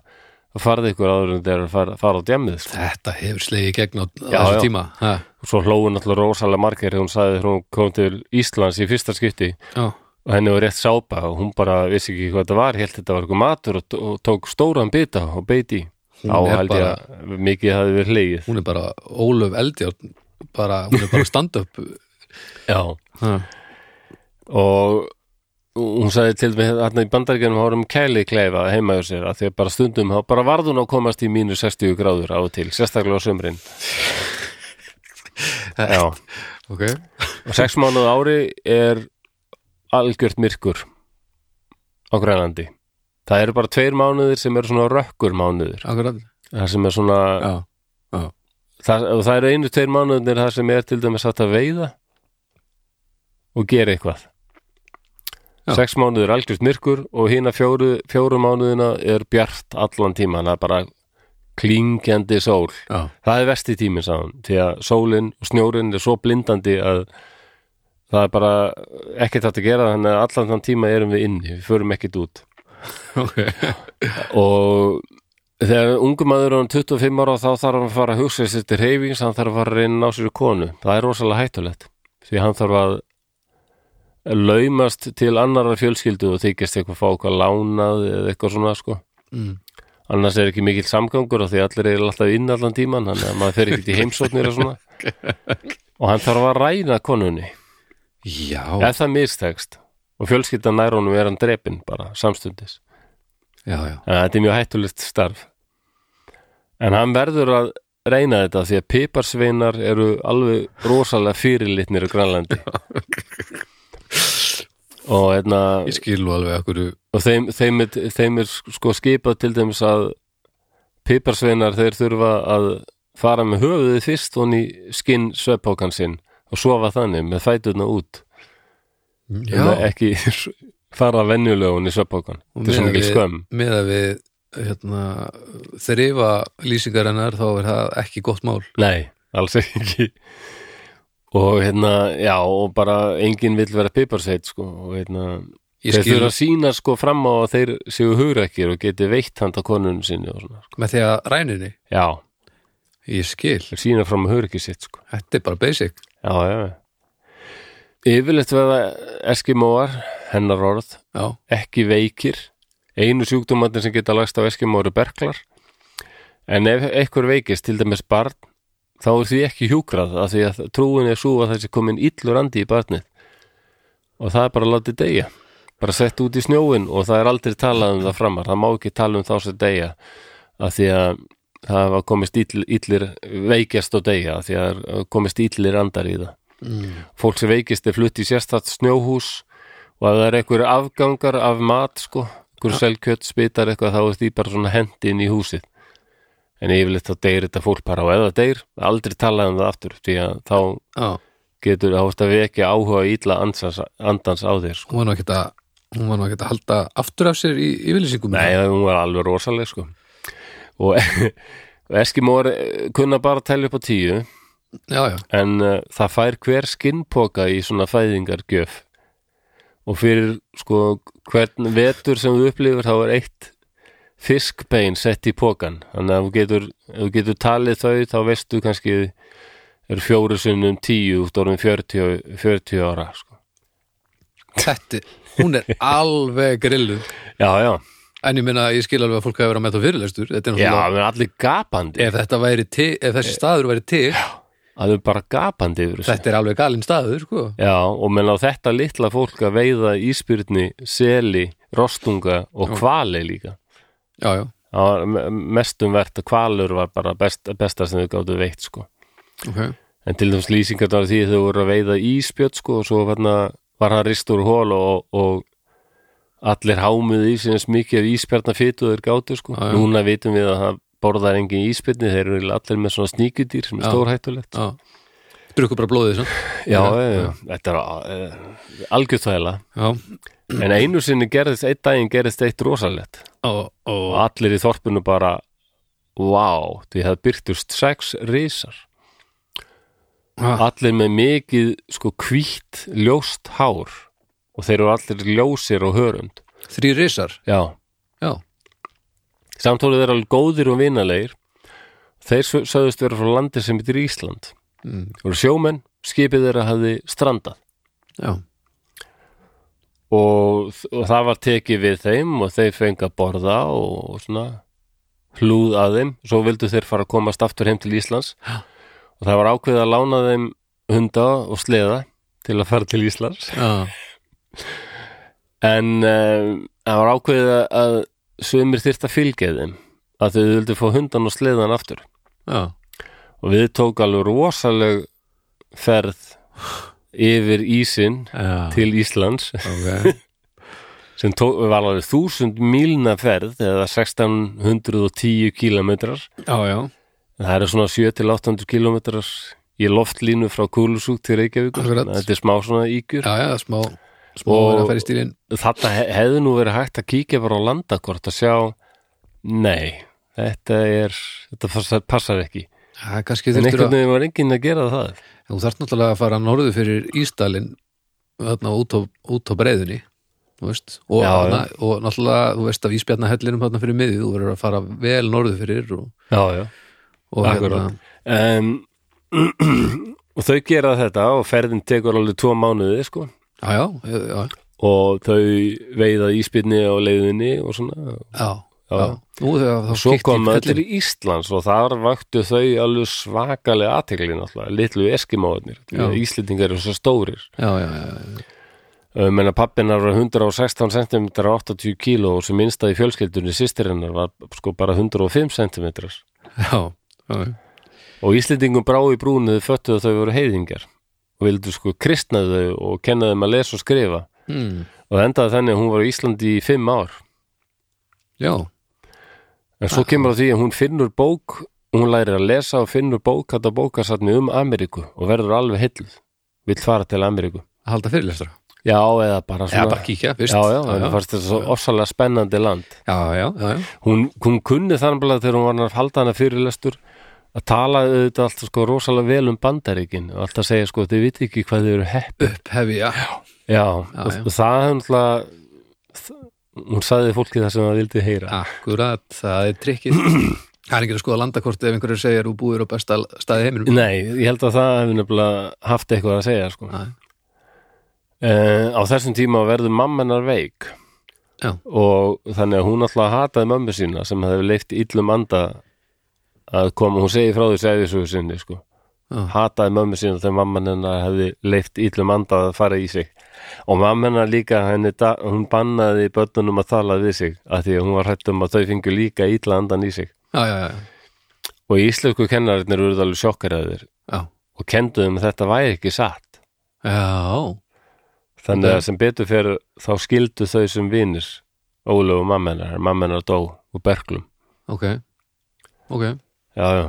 A: að farði ykkur áður en þeir eru að fara, fara á djemið sko.
B: Þetta hefur slegið í gegn á á
A: Já,
B: þessum
A: já.
B: tíma ha,
A: og svo hlóðu náttúrulega rosalega margir þegar hún sagði þegar hún kom til Íslands í fyrsta skipti
B: Já,
A: og henni var rétt sápa og hún bara vissi ekki hvað þetta var, held þetta var eitthvað matur og, og tók stóran bita og beiti
B: Hún
A: á
B: er
A: held ég að mikið hafi verið hlegið
B: hún er bara Ólöf Eldjárn bara, hún er bara stand-up
A: Já,
B: ha,
A: og hún sagði til mig hérna í bandaríkjanum að vorum kæli kleifa heima hjá sér að því að bara stundum þá bara varð hún að komast í mínus 60 gráður á og til, sérstaklega á sömrin Já, og
B: ok
A: sex mánuð á ári er algjört myrkur á Grænlandi Það eru bara tveir mánuðir sem eru svona rökkur mánuðir
B: Akkurat,
A: það sem er svona,
B: já,
A: það, og það eru einu tveir mánuðir það sem er til dæmis hægt að veiða og gera eitthvað
B: Já.
A: sex mánuðir er algjörst myrkur og hína fjóru, fjóru mánuðina er bjart allan tíma, það er bara klingjandi sól
B: já,
A: það er vesti tíminn sáðan, því að sólin og snjórin er svo blindandi að það er bara ekkert hægt að gera þannig að allan þann tíma erum við inni við förum ekkert út
B: ok
A: og þegar ungu maður er hann 25 ára þá þarf hann að fara að hugsa sér til reyfings hann þarf að fara að reyna að ná sér í konu það er rosalega hættulegt því hann þarf að laumast til annarra fjölskyldu og þykist eitthvað fá eitthvað lánað eða eitthvað svona sko
B: mm.
A: annars er ekki mikill samgangur af því allir eru alltaf inn allan tíman þannig að maður fer ekki í heimsóknir og svona og hann þarf að ræna konunni
B: Já,
A: ef það mistekst og fjölskyldan nær honum er hann drepin bara samstundis
B: já, já
A: Þannig að Eh, þetta er mjög hættulegt starf. En hann verður að reyna þetta því að piparsveinar eru alveg rosalega fyrirlitnir á Grænlandi. og, einna,
B: Ég skil nú alveg okkur
A: og þeim, þeim, er- þeim er sko skipað til dæmis að piparsveinar þeir þurfa að fara með höfuðið fyrst og ný skinn sveppókan sinn og sofa þannig með fætuna út
B: Já,
A: en ekki fara venjulegun í sveppókan.
B: Og
A: Þetta er svo
B: miðað
A: mikil
B: við-
A: skömm.
B: með að við hérna, þrifa lýsingar hennar þá er það ekki gott mál
A: Nei, alls ekki og hérna, já, og bara enginn vill vera piparsveit, sko og hérna,
B: Ég
A: þeir
B: skil
A: þurfa að sína sko fram á að þeir séu hugrækir og geti veitt handa konunum sinni og svona, sko.
B: með því að ræninni
A: já,
B: Ég skil,
A: þeir sína fram á hugrækir sitt, sko
B: þetta er bara basic
A: já, já, já yfirleitt verða eskimóar hennar orð,
B: Já,
A: ekki veikir einu sjúkdómatnir sem geta lagst á eskimóar eru berklar en ef einhver veikist, til dæmis barn þá er því ekki hjúkrað af því að trúin er svo að þessi komin illur andi í barnið og það er bara látið deyja bara sett út í snjóin og það er aldrei talað um það framar það má ekki tala um þá sem deyja af því að það hafa komist ill, illir veikjast og deyja af því að það er komist illir andar í það fólk sem veikist er flutt í sérstætt snjóhús og að það er einhver afgangar af mat sko, einhver selkjött spitar eitthvað þá er því bara svona hendi inn í húsið en yfirleitt þá deyr þetta fólk bara og ef það deyr, aldrei talað um það aftur því að þá
B: já
A: getur þá veist að við ekki áhuga ítla andans, andans á þér sko.
B: hún var nú ekkert að hún var nú ekkert að halda aftur af sér í yfirlýsingum
A: Nei, hún var alveg rosaleg sko og, og Eskimóar eh, kunna bara að telja upp á tíu
B: já, já,
A: en uh, það fær hver skinnpoka í svona fæðingargjöf og fyrir sko hvern vetur sem þú upplifir þá er eitt fiskbein sett í pokan þannig að ef þú getur, ef þú getur talið þau þá veistu kannski er fjóru sunnum tíu út orðin 40, 40 ára sko.
B: þetta, hún er alveg grilluð
A: já já
B: En ég minna, ég skil alveg að fólk hafi verið að mæta á fyrirlestur Þetta er
A: Já,
B: náttúrulega,
A: við erum allir gapandi
B: ef þetta væri til ef
A: Eh,
B: þessi staður væri til,
A: að við erum bara gapandi yfir þessu
B: þetta er alveg galinn staður, sko
A: Já, og menn á þetta litla fólk að veiða íspyrni, seli, rostunga og hvali líka
B: Já, já,
A: Það var me- mestum vert að hvalur var bara best, besta sem þau gáttu veitt sko
B: ok
A: en til þess lýsingar var því að þau voru að veiða íspjött sko og svo varna, var hann rist úr hól og, og allir hámuðu í sig eins mikið af íspjarnar fytu og þeir gátu sko
B: Já, já.
A: núna vitum við að það borðar engin íspjarni þeir eru allir með svona sníkudýr sem er
B: Já.
A: stórhættulegt
B: Já. Drukku bara blóðið, svo
A: já, já, já, þetta er uh, algjörð þvæla
B: Já,
A: en einu sinni gerðist, einn daginn gerðist eitt rosalegt
B: og,
A: og
B: og
A: allir í þorpinu bara wow, því það byrtust sex risar
B: Ha,
A: allir með mikið sko hvítt ljóst hár og þeir eru allir ljósir og hörund
B: þrý risar
A: já,
B: Já,
A: samtólu þeir alveg góðir og vinalegir þeir sö- sögðust vera frá landi sem heitir Ísland
B: Mm.
A: og sjómenn, skipið þeirra hafði strandað
B: já,
A: og, og það var tekið við þeim og þeir fengi að borða og, og svona hlúð að þeim svo vildu þeir fara að komast aftur heim til Íslands og það var ákveðið að lána þeim hunda og sleða til að fara til Íslands
B: já,
A: en uh, það var ákveðið að- að sömur þyrft að fylgja þeim að þau vildu fá hundan og sleðan aftur
B: já.
A: og við tók alveg rosaleg ferð yfir ísin
B: já.
A: til Íslands
B: Ok,
A: sem tók, var alveg þúsund mílna ferð eða 1610 kílometrar
B: já, já,
A: það eru svona 7-800 kílometrar í loftlínu frá Kúlusúk til Reykjavíkur
B: Akkurat.
A: Þannig að þetta er smá svona ígjur
B: já, já, smá smá
A: Og-
B: verið að færi stílinn
A: þetta he- hefði nú verið hægt að kíkja bara á landakort að sjá nei, þetta er þetta passar, passar ekki
B: Já, kannski
A: en
B: þurftur
A: einhvern
B: að,
A: veginn var enginn að gera það
B: þú þarft náttúrulega að fara norðu fyrir Ísdalinn þarna út á, út á breiðinni þú veist, og,
A: Já,
B: hana, og náttúrulega þú veist af Ísbjarnahellinum þarna fyrir miðið þú verður að fara vel norðu fyrir og,
A: já, já
B: og hérna-
A: Akkurat. um, og þau gera þetta og ferðin tekur alveg tvo mánuði sko
B: já, já, já, já,
A: og þau veiða íspyrni á leiðinni og svona
B: já,
A: Já.
B: já. Nú, þegar, þá
A: svo
B: kikki
A: koma allir
B: hellin.
A: í Íslands og þar vaktu þau alveg svakalega aðtegli náttúrulega, litlu eskimóðnir
B: Já.
A: Íslendingar eru svo stórir
B: já, já, já, já,
A: Ég meina pappinar var 116 cm og 80 kg og sem minnstaði fjölskyldunni sýstirinnar var sko bara 105 cm
B: já, já,
A: og Íslendingum brá í brúnu þau föttu að þau voru heiðingar og vildu sko kristnaðu þau og kenna þeim að lesa og skrifa
B: hmm,
A: og það endaði þannig að hún var á Íslandi í fimm ár
B: já,
A: En svo kemur á því að hún finnur bók hún lærir að lesa og finnur bók þetta bókasatni um Ameríku og verður alveg heilluð, vill fara til Ameríku
B: að halda fyrirlestra
A: Já, eða bara
B: Já,
A: svona
B: bara kíkja, fyrst
A: Já, já,
B: já,
A: henni fannst þetta svo ofsalega spennandi land
B: já, já, já, já.
A: Hún, hún kunni þannig að þegar hún var að halda hana fyrirlestur að tala auðvitað alltaf sko rosalega vel um bandaríkin og alltaf segja sko þið viti ekki hvað þið eru hepp
B: upphefi, já,
A: Já,
B: Já,
A: og
B: já.
A: og það er náttúrulega hún sagði fólki það sem það vildi heyra
B: akkurat, það er trikkið það er ekki að skoða landakort ef einhverju segir þú búir á besta staði í heiminum
A: Nei, ég held að það hefði nefnilega haft eitthvað að segja sko.
B: Nei.
A: Uh, á þessum tíma verður mammenar veik
B: Já.
A: og þannig að hún alltaf hataði mömmu sína sem hefði leift illum anda að koma, hún segi frá því segðisögu sinni sko.
B: Já.
A: hataði mömmu sína þegar mamman hennar hefði leift illum anda að fara í sig og mamma hennar líka henni, da- hún bannaði börnunum að tala við sig af því að hún var hrætt um að þau fengu líka illa andan í sig
B: já, já, já,
A: og íslensku kennarinnir eru alveg sjokkaraðir
B: já,
A: og kenduðum að þetta væri ekki satt
B: já,
A: Þannig að
B: Ok.
A: sem betur fyrir þá skildu þau sem vinir Ólöf og mammenar, mammenar dó og berglum.
B: ok ok,
A: Já, já.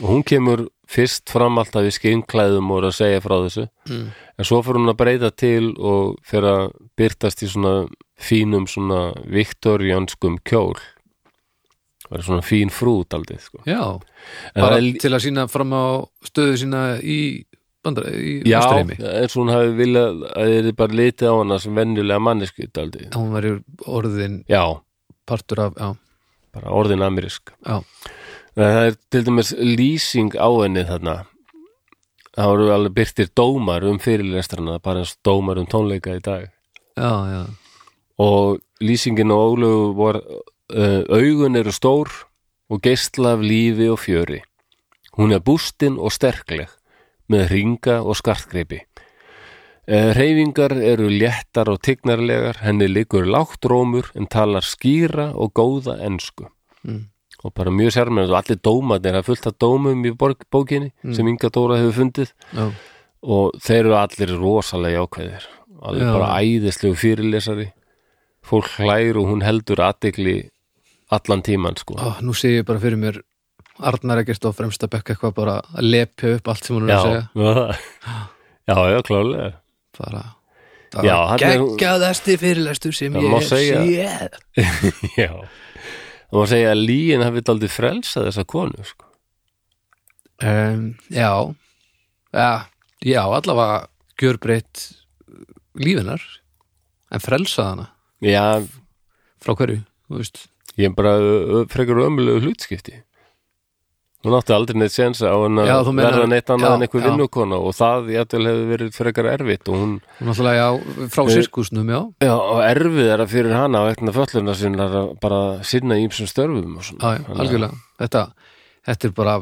A: Og hún kemur fyrst fram alltaf í skinnklæðum og er að segja frá þessu.
B: Mm.
A: En svo fyrir hún að breyta til og fyrir að byrtast í svona fínum svona viktorjanskum kjól. Það er svona fín frút aldrei, sko.
B: já
A: En
B: bara
A: það er-
B: til að sína fram á stöðu sína í bandar, í
A: Já,
B: Vesturheimi
A: eins og hún hafi viljað að þið er bara litið á hana sem venjulega mannesku aldrei.
B: hún var orðin
A: Já,
B: partur af, já,
A: bara orðin amerísk.
B: já,
A: Nei, það er til dæmis lýsing á henni þarna það voru alveg byrtir dómar um fyrirlestrana bara eins og dómar um tónleika í dag
B: já, já
A: og lýsingin á ólegu var uh, augun eru stór og geisla af lífi og fjöri. Hún er bústin og sterkleg með ringa og skartgreipi. Uh, reyfingar eru léttar og tignarlegar, henni liggur lágt rómur en talar skýra og góða ensku.
B: Mm.
A: Og bara mjög sérmennast og allir dómat er að fullta dómum í borg, bókinni sem Inga Dóra hefur fundið
B: já,
A: og þeir eru allir rosalega jákvæðir alveg
B: Já.
A: bara æðislegu fyrirlesari fólk hlær og hún heldur aðdegli allan tíman sko
B: Ó, nú sé ég bara fyrir mér Arnar ekkert á fremsta bekk eitthvað bara að lepja upp allt sem hún er að segja
A: já, já, já, klálega
B: bara,
A: Já,
B: það var
A: hann er-
B: geggjaðasti fyrirlestur sem
A: Já,
B: ég
A: má
B: hef
A: segja.
B: séð
A: já, það var að segja að líin hafi aldrei frelsað þessa konu sko.
B: um, já ja, já, allavega gjörbreytt lífinar en frelsað hana
A: já,
B: frá hverju, þú veist
A: ég er bara ö, ö, frekar ömulegu hlutskipti hún átti aldrei neitt séns á hann
B: Já,
A: að
B: þú meinar-
A: verða neitt annað
B: já,
A: en einhver
B: já.
A: vinnukona og það jætvel hefði verið frekar erfitt og hún
B: hún alltaf, já, frá sirkusnum, já
A: Já, og erfið er að fyrir hana á eitthvað fölluna sinna að bara sinna ímsum störfum og svona.
B: Já, já, algjörlega þetta, þetta er bara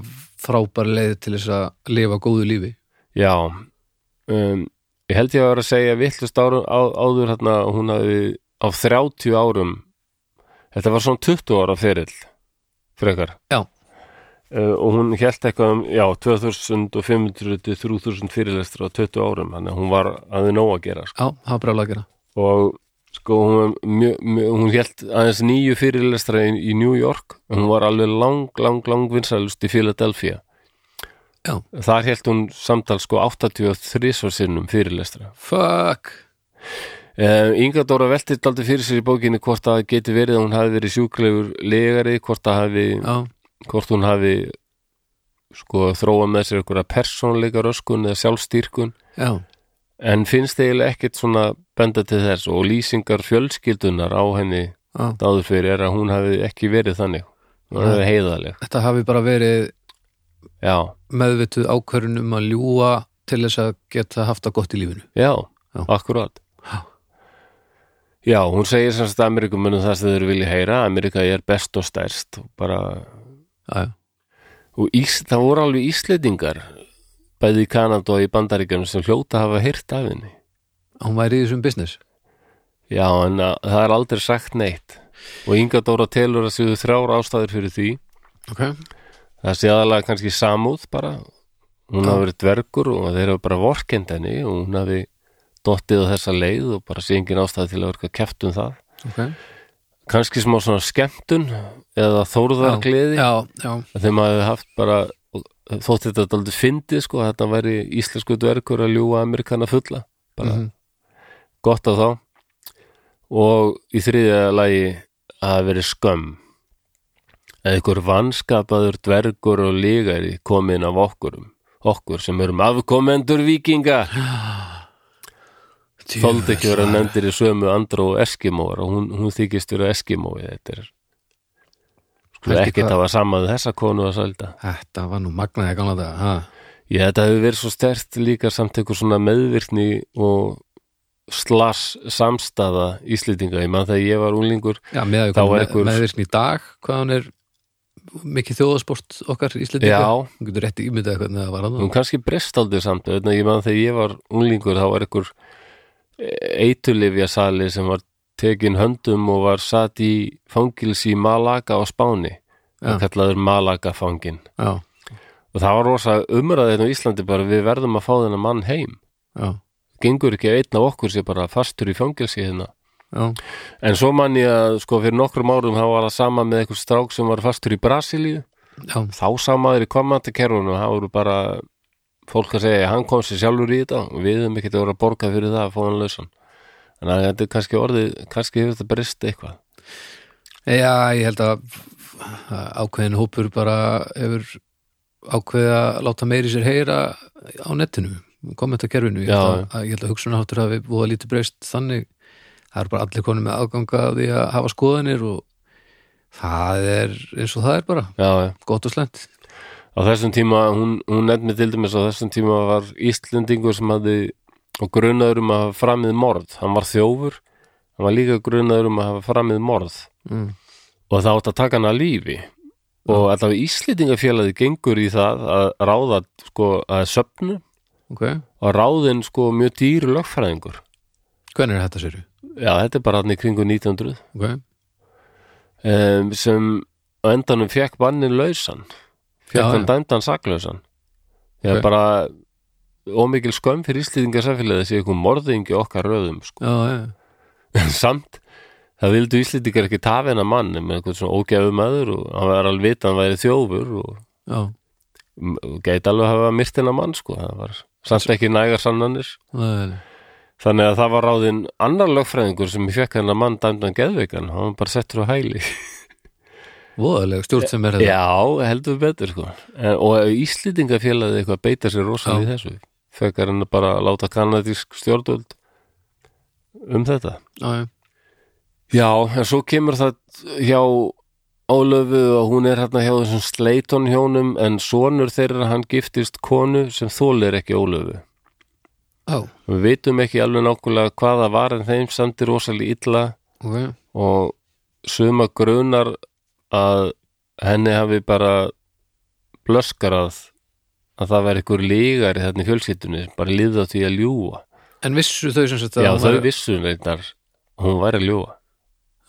B: frábær leið til þess að lifa góðu lífi
A: Já, um, ég held ég að vera að segja vittlust árum, á, áður hérna að hún hafi á 30 árum, þetta var svona 20 ára ferill, frekar.
B: Já.
A: Uh, og hún held eitthvað um, já, 2500-3000 fyrirlestur á 20 árum, þannig að hún var aðeins nóg að gera, sko.
B: Já, það var brjálega að gera
A: og sko hún, var mjög, mjög, hún held aðeins nýju fyrirlestra í, í New York en hún var alveg lang, lang, lang vinsælust í Philadelphia
B: Já.
A: þar held hún samtals sko 83 svo sinnum fyrirlestra
B: Fuck
A: Uh, Inga Dóra veltist aldrei fyrir sér í bókinni hvort að geti verið að hún hafi verið sjúklegur legari, hvort, að hafi,
B: Já,
A: hvort hún hafi sko þróa með sér einhverja persónleika röskun eða sjálfstýrkun
B: já,
A: en finnst eiginlega ekkert svona benda til þess og lýsingar fjölskyldunar á henni
B: já
A: dáður fyrir er að hún hafi ekki verið þannig hún hafi verið heiðaleg
B: Þetta hafi bara verið
A: já,
B: meðvituð ákvörun um að ljúga til þess að geta haft það gott í lífinu
A: já,
B: Já.
A: akkurát
B: Já.
A: já, hún segir semst að Amerikumunum það sem þeir vilja heyra Amerika er best og stærst og bara,
B: Já, já,
A: og ís, það voru alveg íslendingar bæði í Kanada og í Bandaríkjunum sem hljóta hafa heyrt af henni
B: hún væri í þessum business
A: já, en að, það er aldrei sagt neitt og Inga Dóra telur að séu þrjár ástæður fyrir því
B: Ok
A: það sé aðalega kannski samúð bara hún hafi verið dvergur og þeir hafi bara vorkend henni og hún hafi dottið á þessa leið og bara sé engin ástæði til að verka keft um það
B: Ok
A: kannski smá svona skemmtun eða þórðargleði
B: Já, já,
A: þegar maður hafi haft bara þótt þetta aldrei fyndið sko þetta væri íslensku dvergur að ljúga Amerikana fulla bara
B: Mhm.
A: gott af þá og í þriðja lagi að hafa verið skömm eða einhver vanskapaður dvergur og lígari komin af okkurum okkur sem erum afkomendur vikinga
B: Djöfull,
A: þóldi ekki vera nefndir í sömu andra og eskimóar og hún, hún þykist vera eskimói þetta er sko
B: Helgi,
A: ekkert
B: hvað-
A: að var saman við þessa konu að sælda
B: Þetta var nú magnaði gamla þetta ha.
A: ég þetta hefur verið svo stert líka samt einhver svona meðvirkni og slass samstaða íslendinga, ég mann þegar ég var úlingur
B: Já, með
A: Þá
B: að
A: er einhver-
B: meðvirkni í dag hvað hann er mikið þjóðasport okkar Íslendinga
A: Já.
B: Hún getur rétt ímyndað hvernig það var hann
A: Hún kannski breyst aldrei samt þannig að ég man þegar ég var unglingur þá var einhver eitulifja sali sem var tekin höndum og var satt í fangilsi í Malaga á Spáni
B: Já.
A: og kallaður Malaga fangin
B: Já,
A: og það var rosa umræðið á Íslandi bara við verðum að fá þennan mann heim
B: já,
A: gengur ekki að einn af okkur sé bara fastur í fangilsi hérna
B: já
A: en svo man ég að sko fyrir nokkrum árum þá var það sama með einhver strák sem var fastur í Brasilíu
B: Já,
A: þá samaður í komandakerfunum þá voru bara fólk að segja hann kom sér sjálfur í þetta og við höfum ekkert að voru að borga fyrir það að fá hann lausan en að þetta er kannski orðið kannski hefur þetta brist eitthvað
B: Já, ég held að ákveðin hópur bara hefur ákveðið að láta meiri sér heyra á netinu, kommentakerfinu ég held, að, að, ég held að hugsunaháttur hafi búið að lítið breyst þannig, það er bara allir konum með aðganga að því að hafa skoðanir og það er eins og það er bara,
A: já, já.
B: gott og slæmt
A: á þessum tíma, hún, hún nefndi til dæmis á þessum tíma var Íslendingur sem hafði og grunaður um að hafa framið morð hann var þjófur hann var líka grunaður um að hafa framið morð
B: mm.
A: og það átt að taka hann að lífi og allavega Íslendingafélagi gengur í það að ráða sko að söfnu
B: ok,
A: og ráðin sko mjög dýr lögfræðingur
B: hvernig er þetta sér
A: já þetta er bara hann í kringu 1900
B: ok,
A: um, sem á endanum fekk bannin lausan
B: Já,
A: fekk hann
B: já.
A: dæmdan saklausan það
B: Ok.
A: er bara ómikil skömm fyrir Íslendingasafélagi sé eitthvað morðingi okkar röðum sko
B: já, já,
A: En samt það vildu Íslendingar ekki tafa hennar mann með eitthvað svona ógæfu maður og hann var alveg vita að hann væri þjófur og,
B: já
A: og gæti alveg að hafa myrt hennar mann sko, það var samt ekki nægar sannanir
B: Nei, nei.
A: þannig að það var ráðinn annar lögfræðingur sem fekk hennar mann dæmdan geðveikan hann var bara settur á hæli
B: voðalega stjórn sem er hérna. þetta
A: já, heldur betur sko en, og Íslendingafélagið eitthvað beita sér rosalega í
B: Já.
A: þessu fekar hennar bara að láta kanadísk stjórnvöld um þetta
B: já, já,
A: Já, en svo kemur það hjá Ólöfu og hún er hérna hjá þessum Sleiton hjónum en sonur þeirra hann giftist konu sem þólir ekki Ólöfu.
B: já,
A: Við vitum ekki alveg nákvæmlega hvaða var en þeim samtir rosalega illa
B: ok já,
A: og suma grunar að henni hafi bara blöskarað að það væri einhver lígar í þarna í fjölskyldunni sem bara líða því að ljúga.
B: en vissu þau sem sagt að
A: Já,
B: hún
A: þau
B: væri-
A: vissu reyndar, að hún væri að ljúga.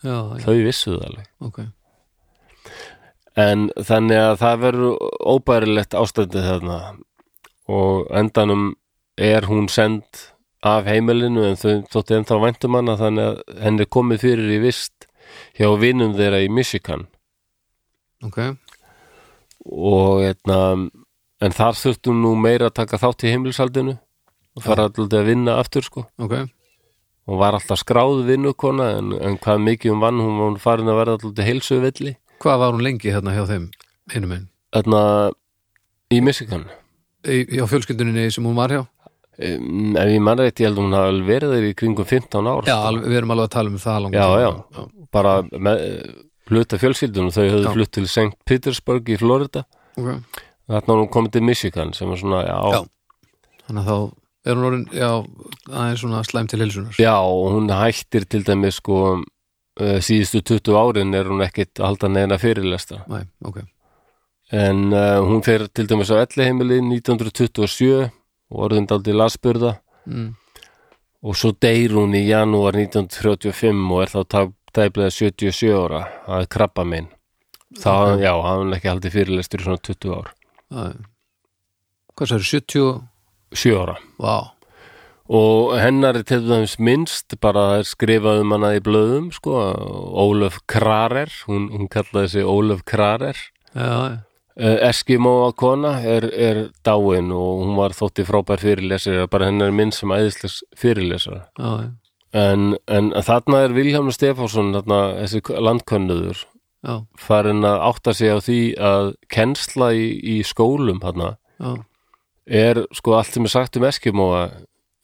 B: já, já,
A: Þau vissu það alveg.
B: ok
A: en þannig að það verður óbærilegt ástandið þarna og endanum er hún send af heimilinu en þau þótti ennþá væntum hana þannig að henni er komið fyrir í vist hjá vinum þeirra í Michigan
B: ok,
A: og etna, en þar þurftum nú meira að taka þátt í heimilishaldinu og fara alltaf að vinna aftur sko
B: ok,
A: og var alltaf skráð vinnukona en, en hvað mikið um vann hún var hún farin að verða alltaf heilsuvilli
B: hvað var hún lengi hérna hjá þeim hinum einn,
A: þarna hérna, í Michigan
B: hjá fjölskylduninni sem hún var hjá
A: Um, ef ég mann rétt, ég held að hún hafi alveg verið þeir í kringum 15 ár
B: já,
A: sko.
B: alveg, við erum alveg að tala um það langt
A: já, já, bara með, eh, hluta fjölskyldunum, þau höfðu
B: Já.
A: flutt til St. Petersburg í Florida
B: ok
A: þarna var hún komið til Michigan sem var svona, já,
B: Já. Þannig að þá er hún orðin, já, aðeins svona slæm til hilsunar.
A: já. og hún hættir til dæmis sko eh, síðustu 20 árin er hún ekkit að halda neina fyrirlesta
B: Næ, ok.
A: en uh, hún fer til dæmis á elliheimili 1927 og orðin daldi lasburða
B: Mm.
A: og svo deyr hún í janúar 1935 og er þá tæ- tæplega 77 ára að krabba minn þá, já, hann ekki haldið fyrirlestur í svona 20 ár,
B: Það er, hvað það 70,
A: 7 ára
B: vá,
A: og hennar er til dæmis minnst bara það er skrifað um hana í blöðum sko, Ólöf Krarer hún, hún kallaði sig Ólöf Krarer
B: já, já,
A: Eh, Eskimo kona er, er dáin og hún var þótti frábær fyrirlesir bara hennar er minnst sem æðislegs fyrirlesara
B: já, já,
A: En, en þarna er Vilhjálmur Stefánsson, þarna, þessi landkönnuður,
B: já,
A: farin að átta sig á því að kennsla í, í skólum þarna,
B: já,
A: er sko allt sem er sagt um Eskimóa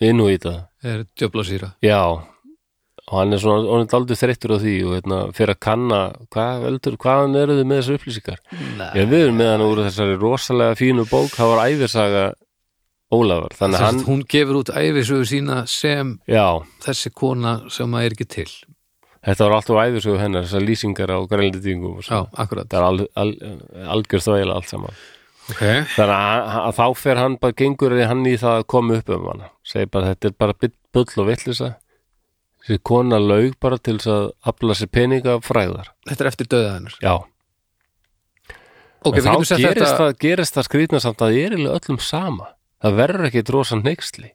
A: inn og í það.
B: er djöfla síra.
A: Já, og hann er svona orðin aldrei þreyttur á því og hérna, fyrir að kanna hvað veldur, hvaðan eru þið með þessu upplýsingar?
B: Nei.
A: Ég við erum með hann úr þessari rosalega fínu bók, það var æfirsaga Ólafar, þannig að
B: Hann,
A: hann,
B: hún gefur út æfisögu sína sem
A: já,
B: þessi kona sem að er ekki til.
A: þetta var alltaf æfirsugu hennar, þessar lýsingar á grænlendingum og svo.
B: Já, akkurat.
A: það er al, al, algjör þvægilega allt saman
B: Ok.
A: þannig að, að þá fer hann bara gengur hann í það að koma upp um hana segir bara þetta er bara bull- bull og vittlisa þessi kona laug bara til þess að afla sér peninga af fræðar
B: Þetta er eftir döða hennar.
A: já,
B: Ok,
A: en
B: við
A: þá
B: getum sett
A: gerist
B: þetta.
A: það, gerist það skrýtna samt að það er eiginlega öllum sama það verður ekkit rosa neyksli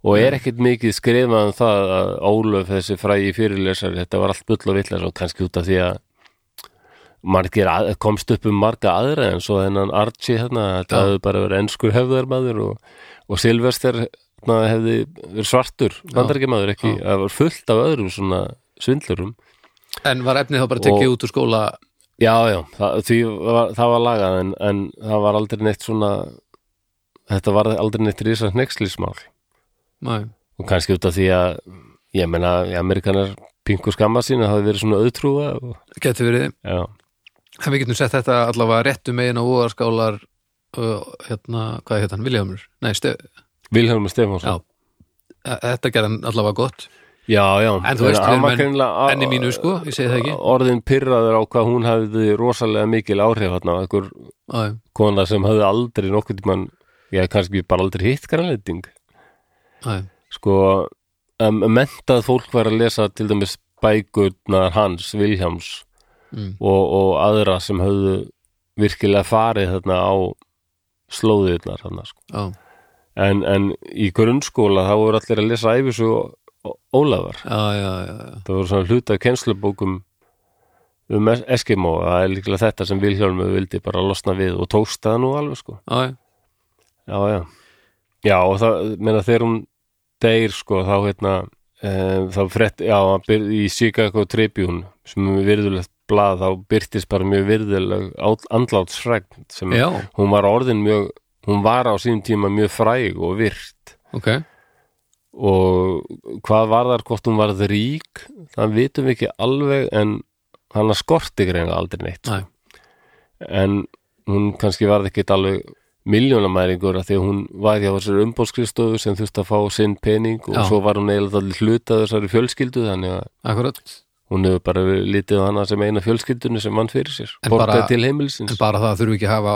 A: og er ekkit mikið skrifað um það að Ólöf þessi frægi fyrirlesari, þetta var allt bull og vittlisa og kannski út af því að margir að, komst upp um marga aðra en svo þennan Archie hérna þetta
B: Já.
A: hefði bara verið enskur hefðarmadur og, og Silvester hérna, hefði verið svartur, bandarækjamaður ekki,
B: Já.
A: það var fullt af öðrum svona svindlurum
B: En var efnið þá bara tekið út úr skóla?
A: já, já, það, því var, það var lagað en, en það var aldrei neitt svona þetta var aldrei neitt rísa hnekslísmál
B: Næ,
A: og kannski út af því að ég menna, Amerikanar pingu skamma sín að það hafi verið svona auðtrúa og,
B: geti verið.
A: já,
B: En við getum sett þetta allavega réttu megin á óarskálar uh, hérna, hvað heit hann, Viljámur? Nei, stef,
A: Vilhelm Stefánsson
B: e- já, Þe- þetta gerði hann allavega gott
A: já, já
B: En þú veist, við
A: hann
B: erum
A: var
B: enn-
A: greinilega-
B: enn í mínu, sko, ég segi það ekki.
A: Orðin pyrraður á hvað hún hafði rosalega mikil áhrif hann einhver
B: já,
A: kona sem hafði aldrei nokkuð tímann, ég hafði kannski bara aldrei hitt grænleiting
B: já, já,
A: sko, um, mentað fólk var að lesa til dæmis bækurnar hans, Vilhjáms
B: Mm.
A: og, og aðra sem höfðu virkilega farið þarna á slóðirnar þarna, sko.
B: já,
A: en, en í grunnskóla þá voru allir að lesa æfisu Ólafar
B: já, já, já,
A: það voru svona hluta af kennslubókum um Es- Eskimo það er líklega þetta sem Vilhjálmu vildi bara losna við og tókst það nú alveg sko
B: já, já,
A: Já, já. Já, og það, meina, þegar hún deyr, sko, þá hérna, e, þá frett, já, hann byr, í Chicago Tribune, sem er virðulegt blað, þá byrtist bara mjög virðuleg át- andlátsfregn sem
B: já,
A: hún var orðin mjög, hún var á sínum tíma mjög fræg og virt
B: ok,
A: og hvað var þar hvort hún varð rík, það vitum við ekki alveg en hann skorti greina aldrei neitt
B: næ,
A: en hún kannski varð ekkit alveg miljónamæringur að því að hún var hjá þessari umbóðskristofu sem þurfti að fá sinn pening og
B: Já.
A: svo var hún eiginlega allir hluta þessari fjölskyldu þannig að
B: akkurat,
A: hún hefur bara verið litið á hana sem eina fjölskyldunni sem mann fyrir sér,
B: En
A: borgað
B: bara-
A: til heimilisins
B: en bara það þurfum við ekki að hafa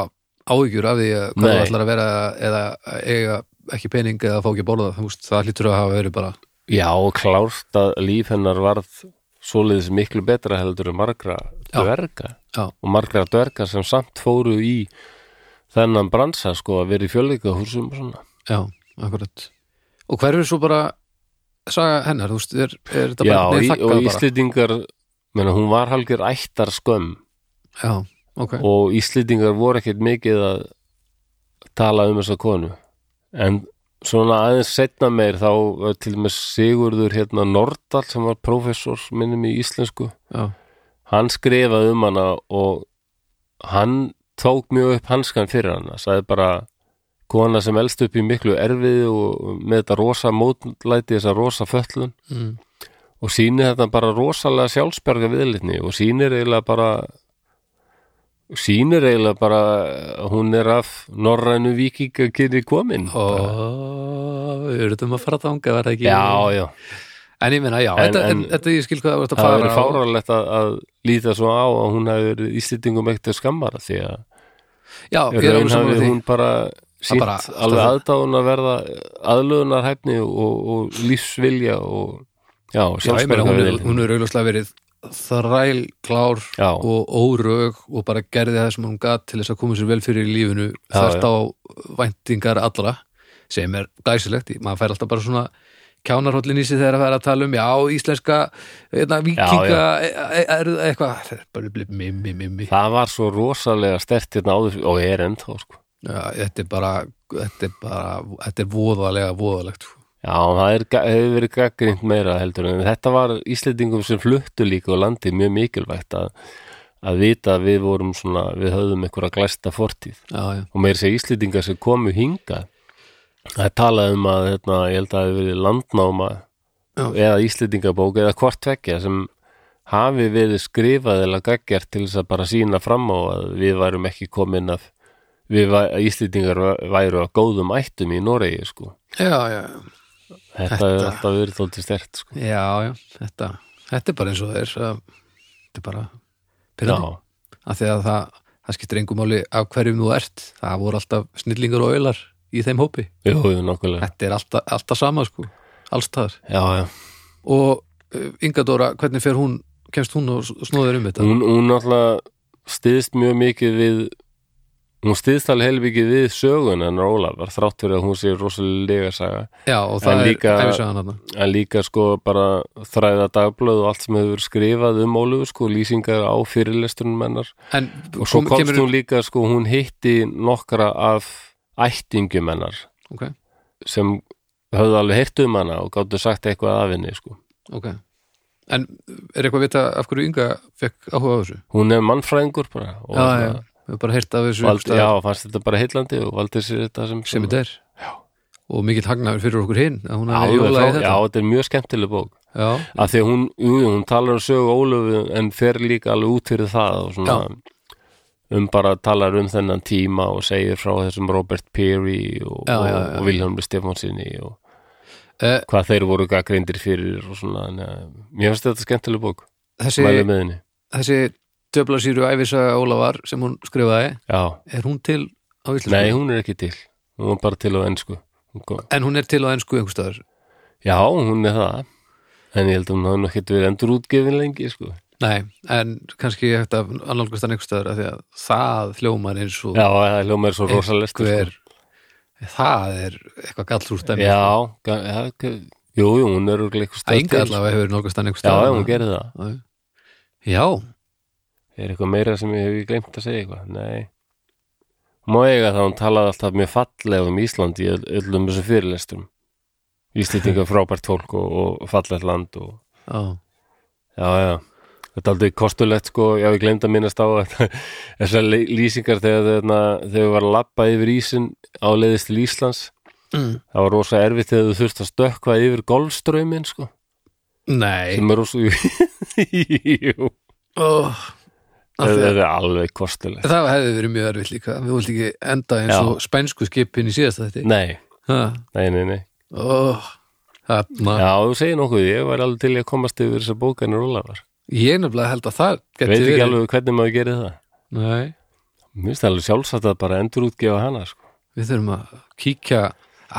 B: áhyggjur af því að hvað
A: Nei.
B: það ætlar að vera eða eiga ekki pening eða fá ekki að borða, þú veist, það hlýtur að hafa verið bara,
A: Já, og klárt að líf hennar varð svoleiðis miklu betra heldur en margra
B: Já.
A: dverga
B: Já.
A: og margra dverga sem samt fóru í þennan bransa sko að vera í fjölleika húsum og svona
B: já, akkurat og hver er svo bara saga hennar, þú veist, er, er þetta
A: Já,
B: bara
A: og,
B: neð
A: í-
B: þakkað
A: og
B: bara,
A: Íslendingar menna, hún var halger ættar skömm
B: já, ok
A: og Íslendingar voru ekkert mikið að tala um þessa konu en svona aðeins setna meir þá var til og með Sigurður hérna Nordal sem var prófessor minnum í íslensku
B: já,
A: hann skrifaði um hana og hann tók mjög upp hanskan fyrir hana sagði bara kona sem elst upp í miklu erfiði og með þetta rosa mótlæti þessa rosa föllun
B: mm,
A: og sýnir þetta bara rosalega sjálfsberga viðlitni og sýnir eiginlega bara sýnir eiginlega bara að hún er af norrænu vikingakynni komin
B: og við erum að fara að þanga, var það ekki
A: já, já,
B: en ég meina, já,
A: En-
B: þetta, en,
A: en-
B: þetta ég skil hvað það var að
A: það
B: fara
A: verið
B: og-
A: fáralegt að, að líta svo á að hún hafi verið íslendingum ekkert til skammara því að
B: já,
A: í
B: ég
A: raun
B: er alveg
A: hafi
B: saman því
A: hún bara sínt
B: bara-
A: alveg aðdáðun að verða aðlöðunarhæfni og, og lífsvilja og já,
B: Já, ég meina,
A: sjálfsberga
B: hún er,
A: viðlitni
B: hún er auðvitað verið þræl, klár
A: Já.
B: og órög og bara gerði það sem hún gat til þess að koma sér vel fyrir í lífinu
A: Já,
B: þvert á væntingar allra sem er glæsilegt, Í- maður fær alltaf bara svona kjánarhóllin í sig þegar það er að tala um já, íslenska, eitna, vikinga e- e- er eitthvað það er bara blip, mimmi, mimmi
A: það var svo rosalega stert hérna áður og er ennþá sko
B: Já, þetta er bara, þetta er bara þetta er voðalega, voðalegt sko.
A: Já, það er, hefur verið gaggrind meira heldur en þetta var Íslendingum sem fluttu líka og landi mjög mikilvægt að, að vita að við vorum svona, við höfðum einhverja glæsta fortíð
B: já, já,
A: og meir segja Íslendingar sem komu hingað það er talað um að hérna, ég held að það hefur verið landnáma
B: Já.
A: eða Íslendingabók eða hvort tvekja sem hafi verið skrifað eða gaggjart til þess að bara sína fram á að við værum ekki komin af við væ- að Íslendingar væru að góðum ættum í Noregi sko
B: já, já, já.
A: Þetta, hefur alltaf verið þóttið stert sko.
B: Já, já, þetta, þetta er bara eins og það er að- þetta er bara
A: Já,
B: pyrrandi, af því að það, það skiptir engum máli af hverjum þú ert það voru alltaf snillingar og auðlar í þeim hópi,
A: jú, jú, nokkulega
B: þetta er alltaf, alltaf sama sko, allstaðar
A: Já, já,
B: og uh, Inga Dóra, hvernig fer hún kemst hún og snóður um þetta?
A: hún, hún náttúrulega stiðst mjög mikið við hún stiðst alveg helvikið við sögun en Ólafar, þrátt fyrir að hún sé rosalega saga,
B: Já, og
A: En
B: það er
A: líka-
B: æfisagan hann
A: en líka sko bara þræða dagblöð og allt sem hefur verið skrifað um Ólöfu sko, lýsingar á fyrirlestunum hennar
B: en
A: og svo
B: kom-
A: komst
B: kemur-
A: hún líka sko, hún hitti nokkra af ættingum hennar
B: ok,
A: sem höfðu alveg heyrt um hana og gáttu sagt eitthvað af henni sko.
B: ok en er eitthvað að vita af hverju Inga fekk áhuga á þessu?
A: hún er mannfræðingur bara og hérna
B: Já, já, við erum bara heyrt af þessu einhvers
A: Valdi,
B: staðar.
A: já, fannst þetta bara heillandi og valdi sér þetta sem,
B: sem þetta er og mikill hagnaður fyrir okkur hinn að hún hafi
A: alveg
B: jólað í
A: frá, já,
B: þetta
A: þetta er mjög skemmtileg bók
B: já,
A: af því að hún, jú, jú, hún talar um sögu Ólöfu en fer líka alveg út fyrir það og svona um bara talar um þennan tíma og segir frá þessum Robert Peary og,
B: Já,
A: og,
B: já, já.
A: og Vilhelm Stefánsinni og
B: Eh,
A: hvað þeir voru gaggreindir fyrir og svona, neða, mér finnst þetta skemmtileg bók
B: þessi,
A: mælu með henni
B: þessi döblasýru æfisaga Ólafar sem hún skrifaði
A: já,
B: er hún til á íslensku?
A: nei, hún er ekki til hún var bara til á ennsku Hún kom-
B: en hún er til á ennsku einhverstaðar
A: já, hún er það en ég held að hún hafði nú ekkert verið endur útgefin lengi sko.
B: nei, en kannski ég hægt að annálgast hann einhverstaðar af því að það hljómar eins og
A: já, það hljóma er svo rosalest sko.
B: hver það er eitthvað gallsúrt dæmi
A: já, ga- ja, ka- jú, jú, hún er örugglega eitthvað
B: það
A: stöð
B: ynga
A: til.
B: allavega hefur nálgast hann
A: já, já,
B: einhverstaðar
A: hún gerði það
B: hún já,
A: er eitthvað meira sem ég hef glemt að segja eitthvað nei má eiga það, hún talaði alltaf mjög fallega um Ísland í öll- öllum þessum fyrirlestrum Íslendinga frábært fólk og, og fallegt land og
B: já,
A: já, já Þetta er aldrei kostulegt sko, já ég glemt að minnast á þetta. þessar lý- lýsingar þegar, þeirna, þegar við var að labba yfir ísin á leiðist til Íslands
B: Mm.
A: það var rosa erfitt þegar þú þurft að stökkva yfir golfströmin sko,
B: nei
A: sem er rosa Jú,
B: oh,
A: þetta er alveg kostulegt
B: það hefði verið mjög erfitt líka við vilt ekki enda eins
A: Já.
B: og spænsku skipin í síðasta þetta
A: Nei, nei, nei, nei
B: oh, þarna
A: Já, þú segir nokkuð, ég var alveg til í að komast yfir þessar bókanir Ólafar.
B: ég nefnilega held að það
A: Ég
B: geti
A: veit ekki
B: verið
A: alveg hvernig maður gerir það.
B: nei,
A: Mér finnst það alveg sjálfsagt að bara endur útgefa hana, sko.
B: við þurfum að kíkja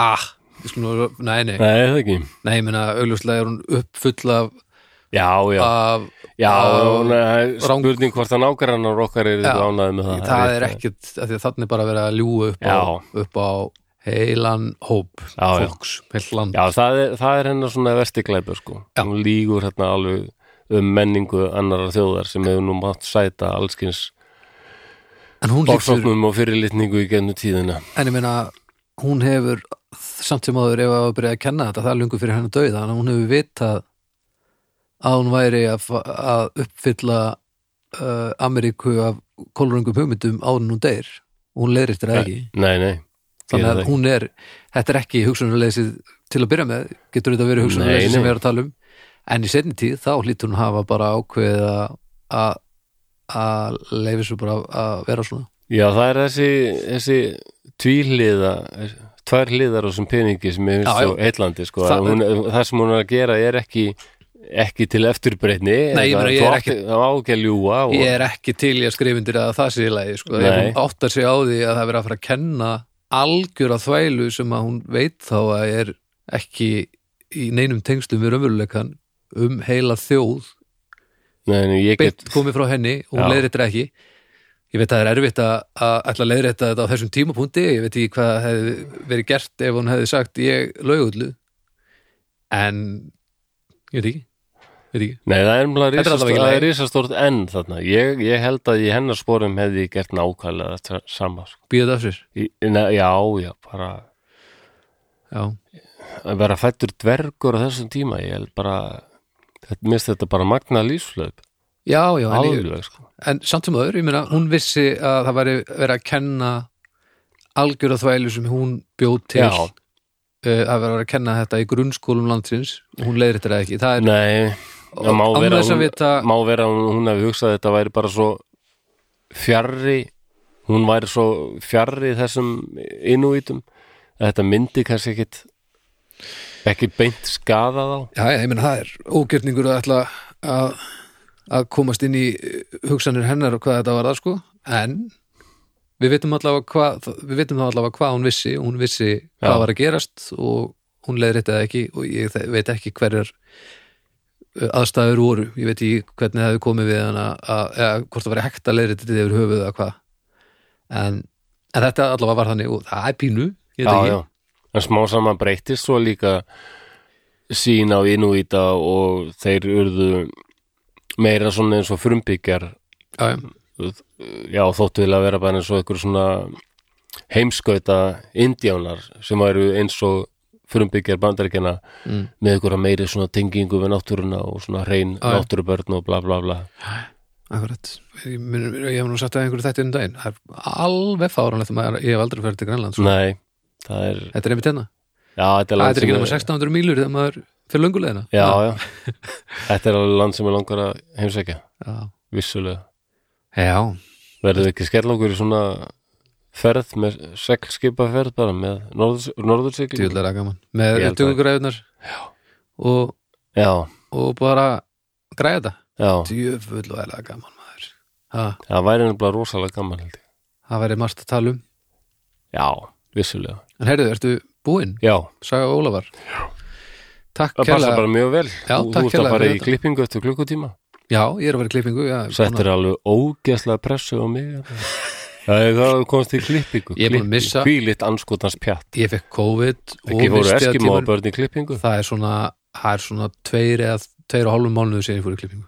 B: ah, við skulum, nei, nei,
A: Nei, það ekki.
B: nei, ég meina augljóslega er hún uppfull af,
A: Já, já,
B: af
A: já,
B: á-
A: hún er
B: rang-
A: spurning hvort að nágrannar okkar eru
B: Já.
A: ánaði með það.
B: það er ekkit, af því að þannig bara verið að ljúga upp á, upp á heilan hóp
A: Já, já.
B: fólks, heilt land
A: Já, það er, það er hennar svona vestiglæpur, sko.
B: Já.
A: Hún lígur hérna alveg um menningu annara þjóðar sem hefur nú mátt sæta allskins
B: en hún lítur,
A: orsóknum og fyrirlitningu í gennum tíðina.
B: en ég meina hún hefur samt sem áður ef að byrja að kenna þetta, það er lungu fyrir henni að dauða þannig að hún hefur vitað að hún væri að, fa- að uppfylla uh, Ameríku af kolröngum hugmyndum áður en hún deyr hún leirir þetta ekki
A: Nei, nei.
B: þannig
A: Gerir
B: að
A: það
B: hún er, þetta er ekki hugsunarleysið til að byrja með, getur þetta
A: Nei,
B: verið
A: nei.
B: hugsunarleysið sem við erum að tala um en í setni tíð þá hlýtur hún hafa bara ákveðið að- að að leifa svo bara að vera svona
A: Já, það er þessi, þessi tvíhliða, tvær hliðar á þessum peningi sem ég finnst
B: Já, já.
A: svo heitlandi, sko.
B: Það-
A: Það, hún, það sem hún er að gera er ekki, ekki til eftirbreytni.
B: Nei, ég meina, ég er ekki-
A: Það á ekki að ljúga og...
B: ég er ekki til í að skrifundir að það sé í lagi sko, ef
A: Nei.
B: hún áttar sig á því að það er verið að fara að kenna algjöra þvælu sem að hún veit þá að er ekki í neinum tengslum við raunveruleikan um heila þjóð
A: Nei, nei, ég get...
B: beint komið frá henni og hún
A: Já.
B: leiðréttir ekki ég veit að það er erfitt að, að ætla að leiðrétta þetta á þessum tímapunkti ég veit ekki hvað hefði verið gert ef hún hefði sagt ég laugullu en ég veit ekki, veit ekki.
A: Nei, það er umlega
B: Þetta er
A: risastort,
B: allavega ekki
A: það
B: lagi.
A: er risastort enn þarna. Ég, ég held að í hennar sporum hefði ég gert nákvæmlega þetta sama, sko.
B: býða þetta af sér
A: Í- na- Já, já, bara
B: já,
A: að vera fættur dvergur á þessum tíma, ég held bara... Þetta, mér finnst þetta bara magna lífslöp.
B: já, já en, ég,
A: Alveg, sko.
B: en samt sem öður, ég meina hún vissi að það væri verið að kenna algjöra þvælu sem hún bjóð til
A: Já.
B: uh, að vera að kenna þetta í grunnskólum landsins hún leiðréttir það ekki, það er
A: Nei, það má
B: án
A: vera,
B: þess að
A: hún,
B: vita
A: má vera hún, hún hefði hugsað að þetta væri bara svo fjarrri hún væri svo fjarrri þessum innúítum að þetta myndi kannski ekkit ekki beint skaða þá
B: Já, já, ég meina það er ógjörningur að ætla að, að komast inn í eh, hugsanir hennar og hvað þetta var það sko en við vitum allavega hvað við vitum þá allavega hvað hún vissi hún vissi hvað
A: Já.
B: var að gerast og hún leiðir þetta ekki og ég þe- veit ekki hverjar eh, aðstæður voru, ég veit ekki hvernig það hefði komið við hana að, eða hvort það var hægt að leiðir þetta yfir höfuð eða hvað en, en þetta allavega var þannig og það er pínu, ég veit
A: já,
B: ekki
A: já. en smá saman breytist svo líka sín á innúíta og þeir urðu meira svona eins og frumbyggjar
B: Já, já.
A: já, þóttu vilja vera bara eins og einhver svona heimskauta indjánar sem eru eins og frumbyggjar bandaríkjana
B: Mm.
A: með einhverja meiri svona tengingu við náttúruna og svona hrein
B: Já, já.
A: náttúrubörn og bla bla bla
B: Akkurat, ég, mun- ég hef nú sagt að einhverju þetta um daginn, það er alveg fáranlegt maður, ég hef aldrei ferið til Grænland sko.
A: Nei, það er,
B: Þetta er einmitt hérna,
A: já, þetta er
B: það
A: land
B: er ekki
A: sem
B: nema 1600 mílur þegar maður fyrir löngulegina
A: Já, já, þetta er alveg land sem er langar að heimsækja,
B: Já,
A: vissulega
B: já.
A: Verður ekki skell okkur í svona ferð með seglskipaferð bara með norður, norðursigli
B: djúlega gaman með
A: Ég held að-
B: dugugræðunar og,
A: já,
B: og bara græða þetta
A: já,
B: djöfull og eða gaman maður ha,
A: það væri nefnilega rosalega gaman held ég,
B: það væri margt að tala um
A: já, vissulega
B: en heyrðu, ertu búinn,
A: já,
B: Saga Ólafar já. takk
A: það passa
B: kærlega
A: bara mjög vel
B: Já,
A: þú,
B: takk
A: þú ert
B: kærlega
A: að fara
B: fyrir
A: í
B: þetta.
A: klippingu eftir klukkutíma
B: já, ég er að vera í klippingu já,
A: settir alveg ógeðslega pressu á mig það er það komst í klippingu
B: Ég er búin að missa-
A: hvílitt anskotans pjatt
B: ég fekk COVID og
A: ekki fóru
B: vistiða
A: eskimá
B: tímar-
A: börn í klippingu
B: Sko, það er svona, það er svona tveir eða tveir og hálfum mánuðu sér ég fór í klippingu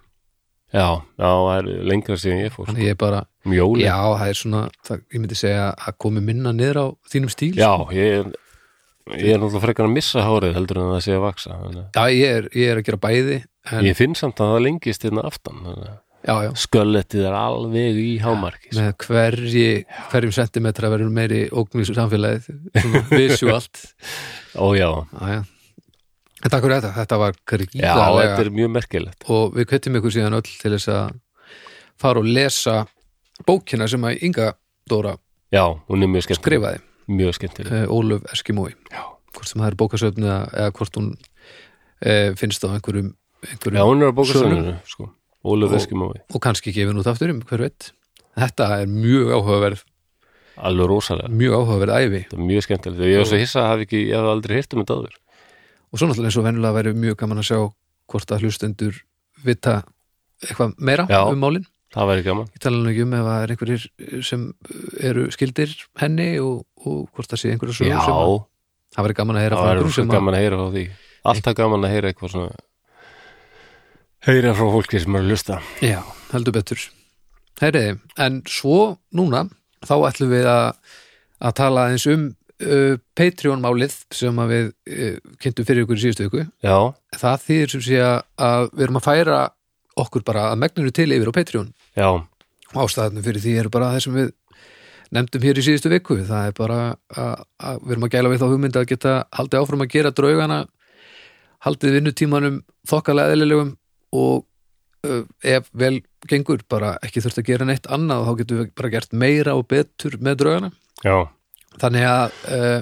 A: já, já, það er lengra síðan ég fór sko.
B: þannig ég er bara,
A: mjóli,
B: já,
A: já,
B: það er svona það, ég myndi segja að komi minna niður á þínum stíl
A: ég er ég er náttúrulega frekar að missa hárið heldur en það sé að vaksa þannig.
B: já ég, er, ég er að gera bæði en,
A: ég finn samt að það lengist hérna aftan þannig. að
B: já, já,
A: sköllettið er alveg í hámarki sko.
B: með hverji, hverjum sentimetra verður meiri ógnvísu samfélagið svona visuált
A: ó já,
B: Æja. En takk fyrir þetta, þetta var
A: já, þetta
B: gríðarlega
A: er mjög merkilegt
B: og við kvettum ykkur síðan öll til þess að fara og lesa bókina sem að Inga Dóra
A: já, hún er mjög skemmtileg
B: skrifaði,
A: mjög skemmtileg,
B: uh, Ólöf Eskimói
A: Já.
B: hvort sem það er bókasöfn eða, eða hvort hún uh, finnst á einhverjum,
A: já,
B: einhverjum
A: hún er að bóka
B: Sölum.
A: sönnu sko. Ólef
B: Og-
A: Eskimói,
B: og kannski gefin út aftur um hver veit Þetta er mjög áhugaverð,
A: alveg rosalega
B: mjög áhugaverð æfi
A: Þetta er mjög skemmtilegt og ég var svo hissa að hafa ekki, ég hef aldrei hirt um þetta aður.
B: og svo náttúrulega eins og venjulega væri mjög gaman að sjá hvort að hlustendur vita eitthvað meira
A: Já.
B: um málin
A: Það væri gaman.
B: ég tala nú ekki um ef það er einhverjir sem eru skildir henni og, og hvort það sé einhverju sögur
A: Já,
B: sem að, það væri gaman að heyra
A: það
B: frá
A: væri
B: einhverjum
A: svo
B: sem að,
A: gaman að heyra frá því. Alltaf gaman að heyra eitthvað svona, heyra frá fólki sem er að lusta.
B: já, heldur betur heyriði, en svo núna þá ætlum við að, að tala eins um uh, Patreon-málið sem að við uh, kynntum fyrir ykkur í síðustu viku
A: Já,
B: það þýðir sem sé að, að við erum að færa okkur bara að megninu til yfir á Patreon
A: já,
B: og ástæðanum fyrir því eru bara það sem við nefndum hér í síðustu viku það er bara að, að við erum að gæla við þá hugmynd að geta haldið áfram að gera draugana haldið vinnutímanum þokkalega eðlilegum og uh, ef vel gengur bara ekki þurft að gera neitt annað þá getum við bara gert meira og betur með draugana
A: já.
B: þannig að uh,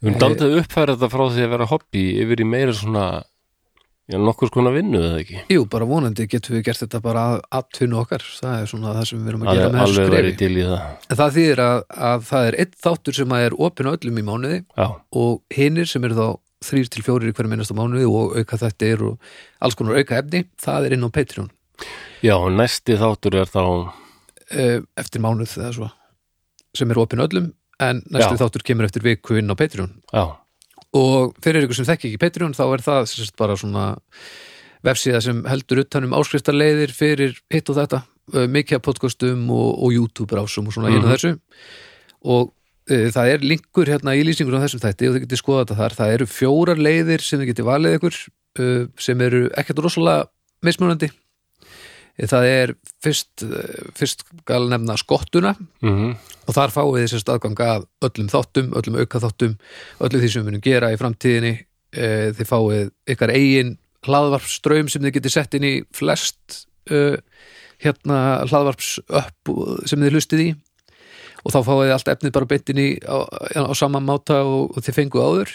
A: Við
B: Eh,
A: erum daldið að uppfæra þetta frá því að vera hobby yfir í meira svona, já, nokkur skona vinnu eða ekki.
B: jú, bara vonandi getum við gert þetta bara að atvinnu okkar það er svona það sem við erum að gera
A: Alveg,
B: með þessu
A: alveg
B: skrifi
A: væri til í það.
B: en það þýðir að, að það er einn þáttur sem að er opin á öllum í mánuði
A: Já,
B: og hinnir sem eru þá þrýr til fjórir í hverjum einasta mánuði og auka þættir og alls konar auka efni, það er inn á Patreon
A: já, og næsti þáttur er þá,
B: eh, eftir mánuð eða svo sem er opin öllum en næstu
A: Já.
B: þáttur kemur eftir viku inn á Patreon
A: já,
B: og fyrir ykkur sem þekki ekki Patreon þá er það sérst bara svona vefsíða sem heldur utanum áskriftarleiðir fyrir hitt og þetta eh, mikið af podcastum og, og YouTube rásum og svona mm
A: Mhm.
B: og þessu og e, það er linkur hérna í lýsingur á þessum þætti og þið getið skoða þetta þar það eru fjórar leiðir sem þið getið valið ykkur e, sem eru ekkert rosalega mismunandi e, það er fyrst, eh, fyrst gal nefna skottuna
A: mhm,
B: og þar fáið þið sérst aðganga að öllum þáttum, öllum auka þáttum öllu því sem við munum gera í framtíðinni e, þið fáið ykkar eigin hlaðvarpströym sem þið getið sett inn í flest e, hérna hlaðvarps upp sem þið hlustið í og þá fáið þið allt efnið bara beint inn í á, á sama máta og, og þið fenguð áður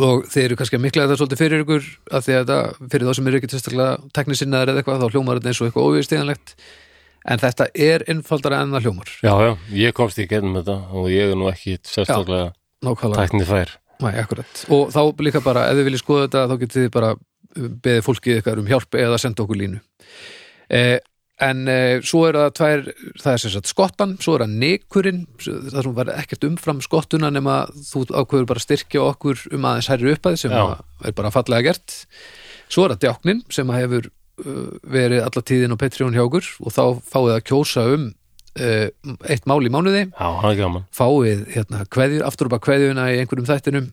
B: og þið eru kannski að mikla þetta svolítið fyrir ykkur að því að þetta, fyrir þá sem eru ekki testaklega teknisinnaðar eða eitthvað, þá hljómar þetta eins og eitthvað óviðstíðanlegt en þetta er innfaldara en það hljómar
A: já, já, ég komst í gennum þetta og ég er nú ekki sérstaklega
B: Nákvæmlega,
A: tæknið fær.
B: Næ, akkurat og þá líka bara, ef þið viljið skoða þetta þá getið þið bara uh, beðið fólkið ykkar um hjálp eða senda okkur línu eh, en eh, svo er það tvær það er sem sagt skottan, svo er það nekurinn það sem var ekkert umfram skottuna nema þú ákveður bara að styrkja okkur um aðeins hærri uppæð sem
A: Já.
B: að er bara fallega gert svo er það djáknin sem að hefur uh, verið alla tíðin á Patreon hjá okkur og þá fáið að kjósa um uh, eitt mál í mánuði
A: Já, það er gaman.
B: fáið hérna kveðjur, aftur upp að kveðjuna í einhverjum þættinum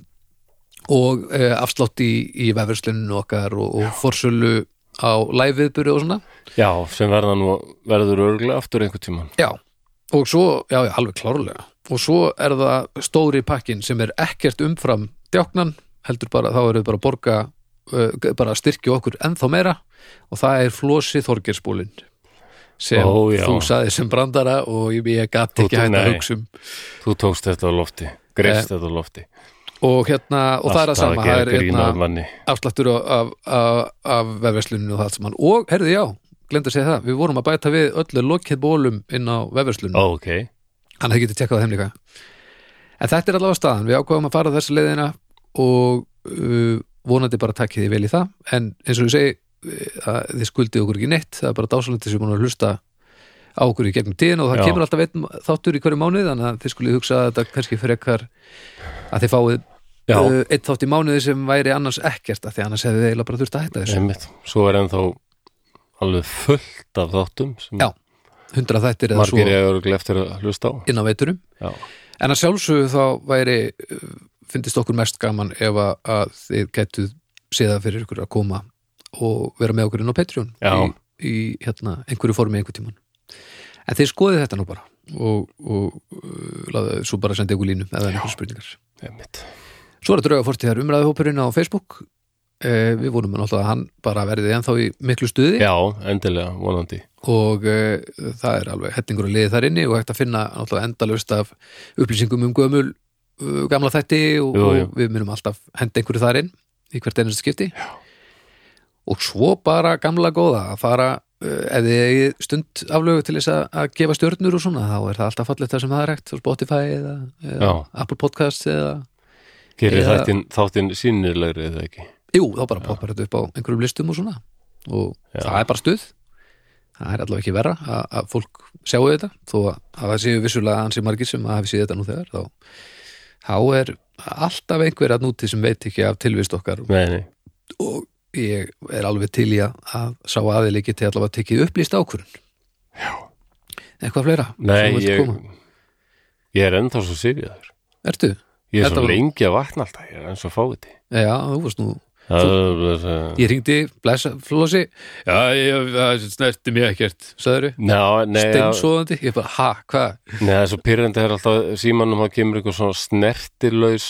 B: og e, afslátt í, í vefursluninu okkar og, og forsölu á læfiðbyrju og svona
A: Já, sem verða nú, verður örgulega aftur einhvern tímann.
B: já, og svo, já, já, alveg klárlega og svo er það stóri pakkin sem er ekkert umfram djáknan, heldur bara, þá eru bara að borga eh, uh, bara að styrkja okkur ennþá meira og það er flosi þorgersbólin sem
A: Ó, já.
B: þú saði sem brandara og ég, ég gat ekki
A: Þú-
B: hægt að
A: nei.
B: hugsa um
A: Þú tókst þetta á lofti, greist þetta á lofti
B: og hérna, Eh, og það er að sama það
A: gera
B: er
A: grín
B: hérna
A: að manni
B: afslættur af, af, af, af vefversluninu og það allt saman og, herðu já, glemd að segja það við vorum að bæta við öllu lokið bólum inn á vefversluninu,
A: Ó, ok,
B: hann hefði getið tjekkað á þeim líka en þetta er allavega staðan, við ákvaðum að fara þessa leiðina og uh, vonandi bara takkið þið vel í það en eins og ég segi, uh, að þið skuldið okkur ekki neitt, það er bara dásalandi sem búin að hlusta á okkur í gegnum tíðin og það
A: Já.
B: kemur alltaf einn þáttur í hverju mánuð þannig að þið skulið hugsa að þetta kannski frekar að þið fáið
A: já,
B: uh, einn þátt í mánuði sem væri annars ekkert af því annars hefði þið eiginlega bara þurft að hætta þessu
A: einmitt Svo er ennþá alveg fullt af þáttum sem
B: Já, hundra þættir eða
A: margir ég eru eftir að hlusta á
B: svo inn á veiturum
A: Já,
B: en að sjálfsögðu þá væri uh, fyndist okkur mest gaman ef að, að þið getuð séða fyrir ykkur að koma og vera með okkur inn á Patreon
A: Já.
B: í, í hérna, einhverju formi einhver tíman en þið skoðið þetta nú bara og, og uh, laðu, svo bara sendið ykkur línu eða einhverju spurningar
A: einmitt
B: Svo er að drauga fórtíðar umræðuhópurinn á Facebook eh, við vonum náttúrulega að hann bara verðið ennþá í miklu stuði
A: Já, endilega, vonandi
B: og uh, það er alveg hellingur að liði þar inni og hægt að finna náttúrulega endalaust af upplýsingum um gömul uh, gamla þætti og,
A: Jú, jú.
B: og við munum alltaf henda einhverju þar inn í hvert einast skipti Já. og svo bara gamla góða að fara uh, ef þið eigið stund aflögu til þess að, að gefa stjörnur og svona þá er það alltaf fallið það sem það er hægt á Spotify eða, eða
A: Já.
B: Apple Podcast eða
A: Gerir
B: Eða-
A: þættin, þáttin sínilegri eða ekki
B: Jú, þá bara poppar þetta upp á einhverjum listum og svona og
A: Já.
B: það er bara stuð það er allavega ekki verra að, að fólk sjáu þetta þó að að það séu vissulega ansi margir sem að hafi séð þetta nú þegar þá, þá er alltaf einhver að núti sem veit ekki af tilvist okkar
A: Nei, nei,
B: og ég er alveg til í að, að sá aðeil ekki til allavega tekið upplýst ákvörun Já Eitthvað fleira? sem
A: nei
B: þú vilt
A: ég,
B: koma?
A: ég er ennþá svo sifjaður
B: Ertu?
A: Ég er
B: Þetta
A: svo
B: var-
A: lengi að vakna alltaf, ég er enn svo fáviti
B: Já, þú varst nú
A: Það er- það er-
B: Ég ringdi, blessa, flósi Já, ég, það snerti mér ekkert Sæður
A: Já, nei, já,
B: steinsóðandi, ég bara, ha, hvað
A: nei, það er svo pyrrandi er alltaf símanum að kemur eitthvað svona snertilaus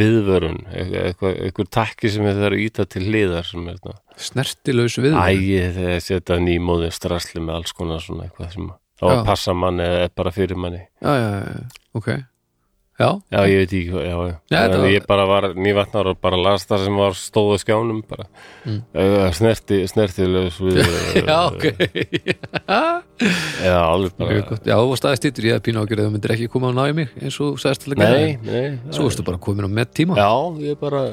A: viðvörun e- eitthvað, eitthvað takki sem þetta er að íta til hliðar sem er þetta
B: snertilausu við
A: Æ, þegar setja nýmóðin strasli með alls konar svona eitthvað sem á að
B: Já.
A: passa manni eða er bara fyrir manni
B: já, já, já, ok já,
A: Já, ég veit ekki hvað, já, já.
B: Já, þetta
A: En
B: var-
A: Ég bara var nývatnar og bara las það sem var stóðu skjánum bara
B: Mm.
A: uh, snerti, snertilaus við,
B: já, ok
A: Já, alveg bara
B: Mjög gott. já, þú varst aðeins stýttur, ég hef pínu ágjörð að þú myndir ekki koma á náði mig eins og þú sagðist alltaf
A: Nei, nei það
B: svo
A: er-
B: varstu bara komin á með tíma
A: Já, ég bara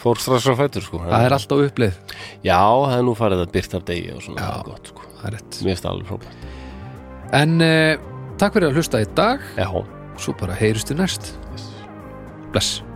A: fór strax á fætur sko
B: það er alltaf uppleið,
A: Já, það er nú farið að byrta af degi og svona
B: Já.
A: það er gott sko
B: það er rétt
A: Mér finnst það alveg frábært
B: en eh, takk fyrir að hlusta í dag
A: Já,
B: svo bara heyristu næst
A: Yes.
B: bless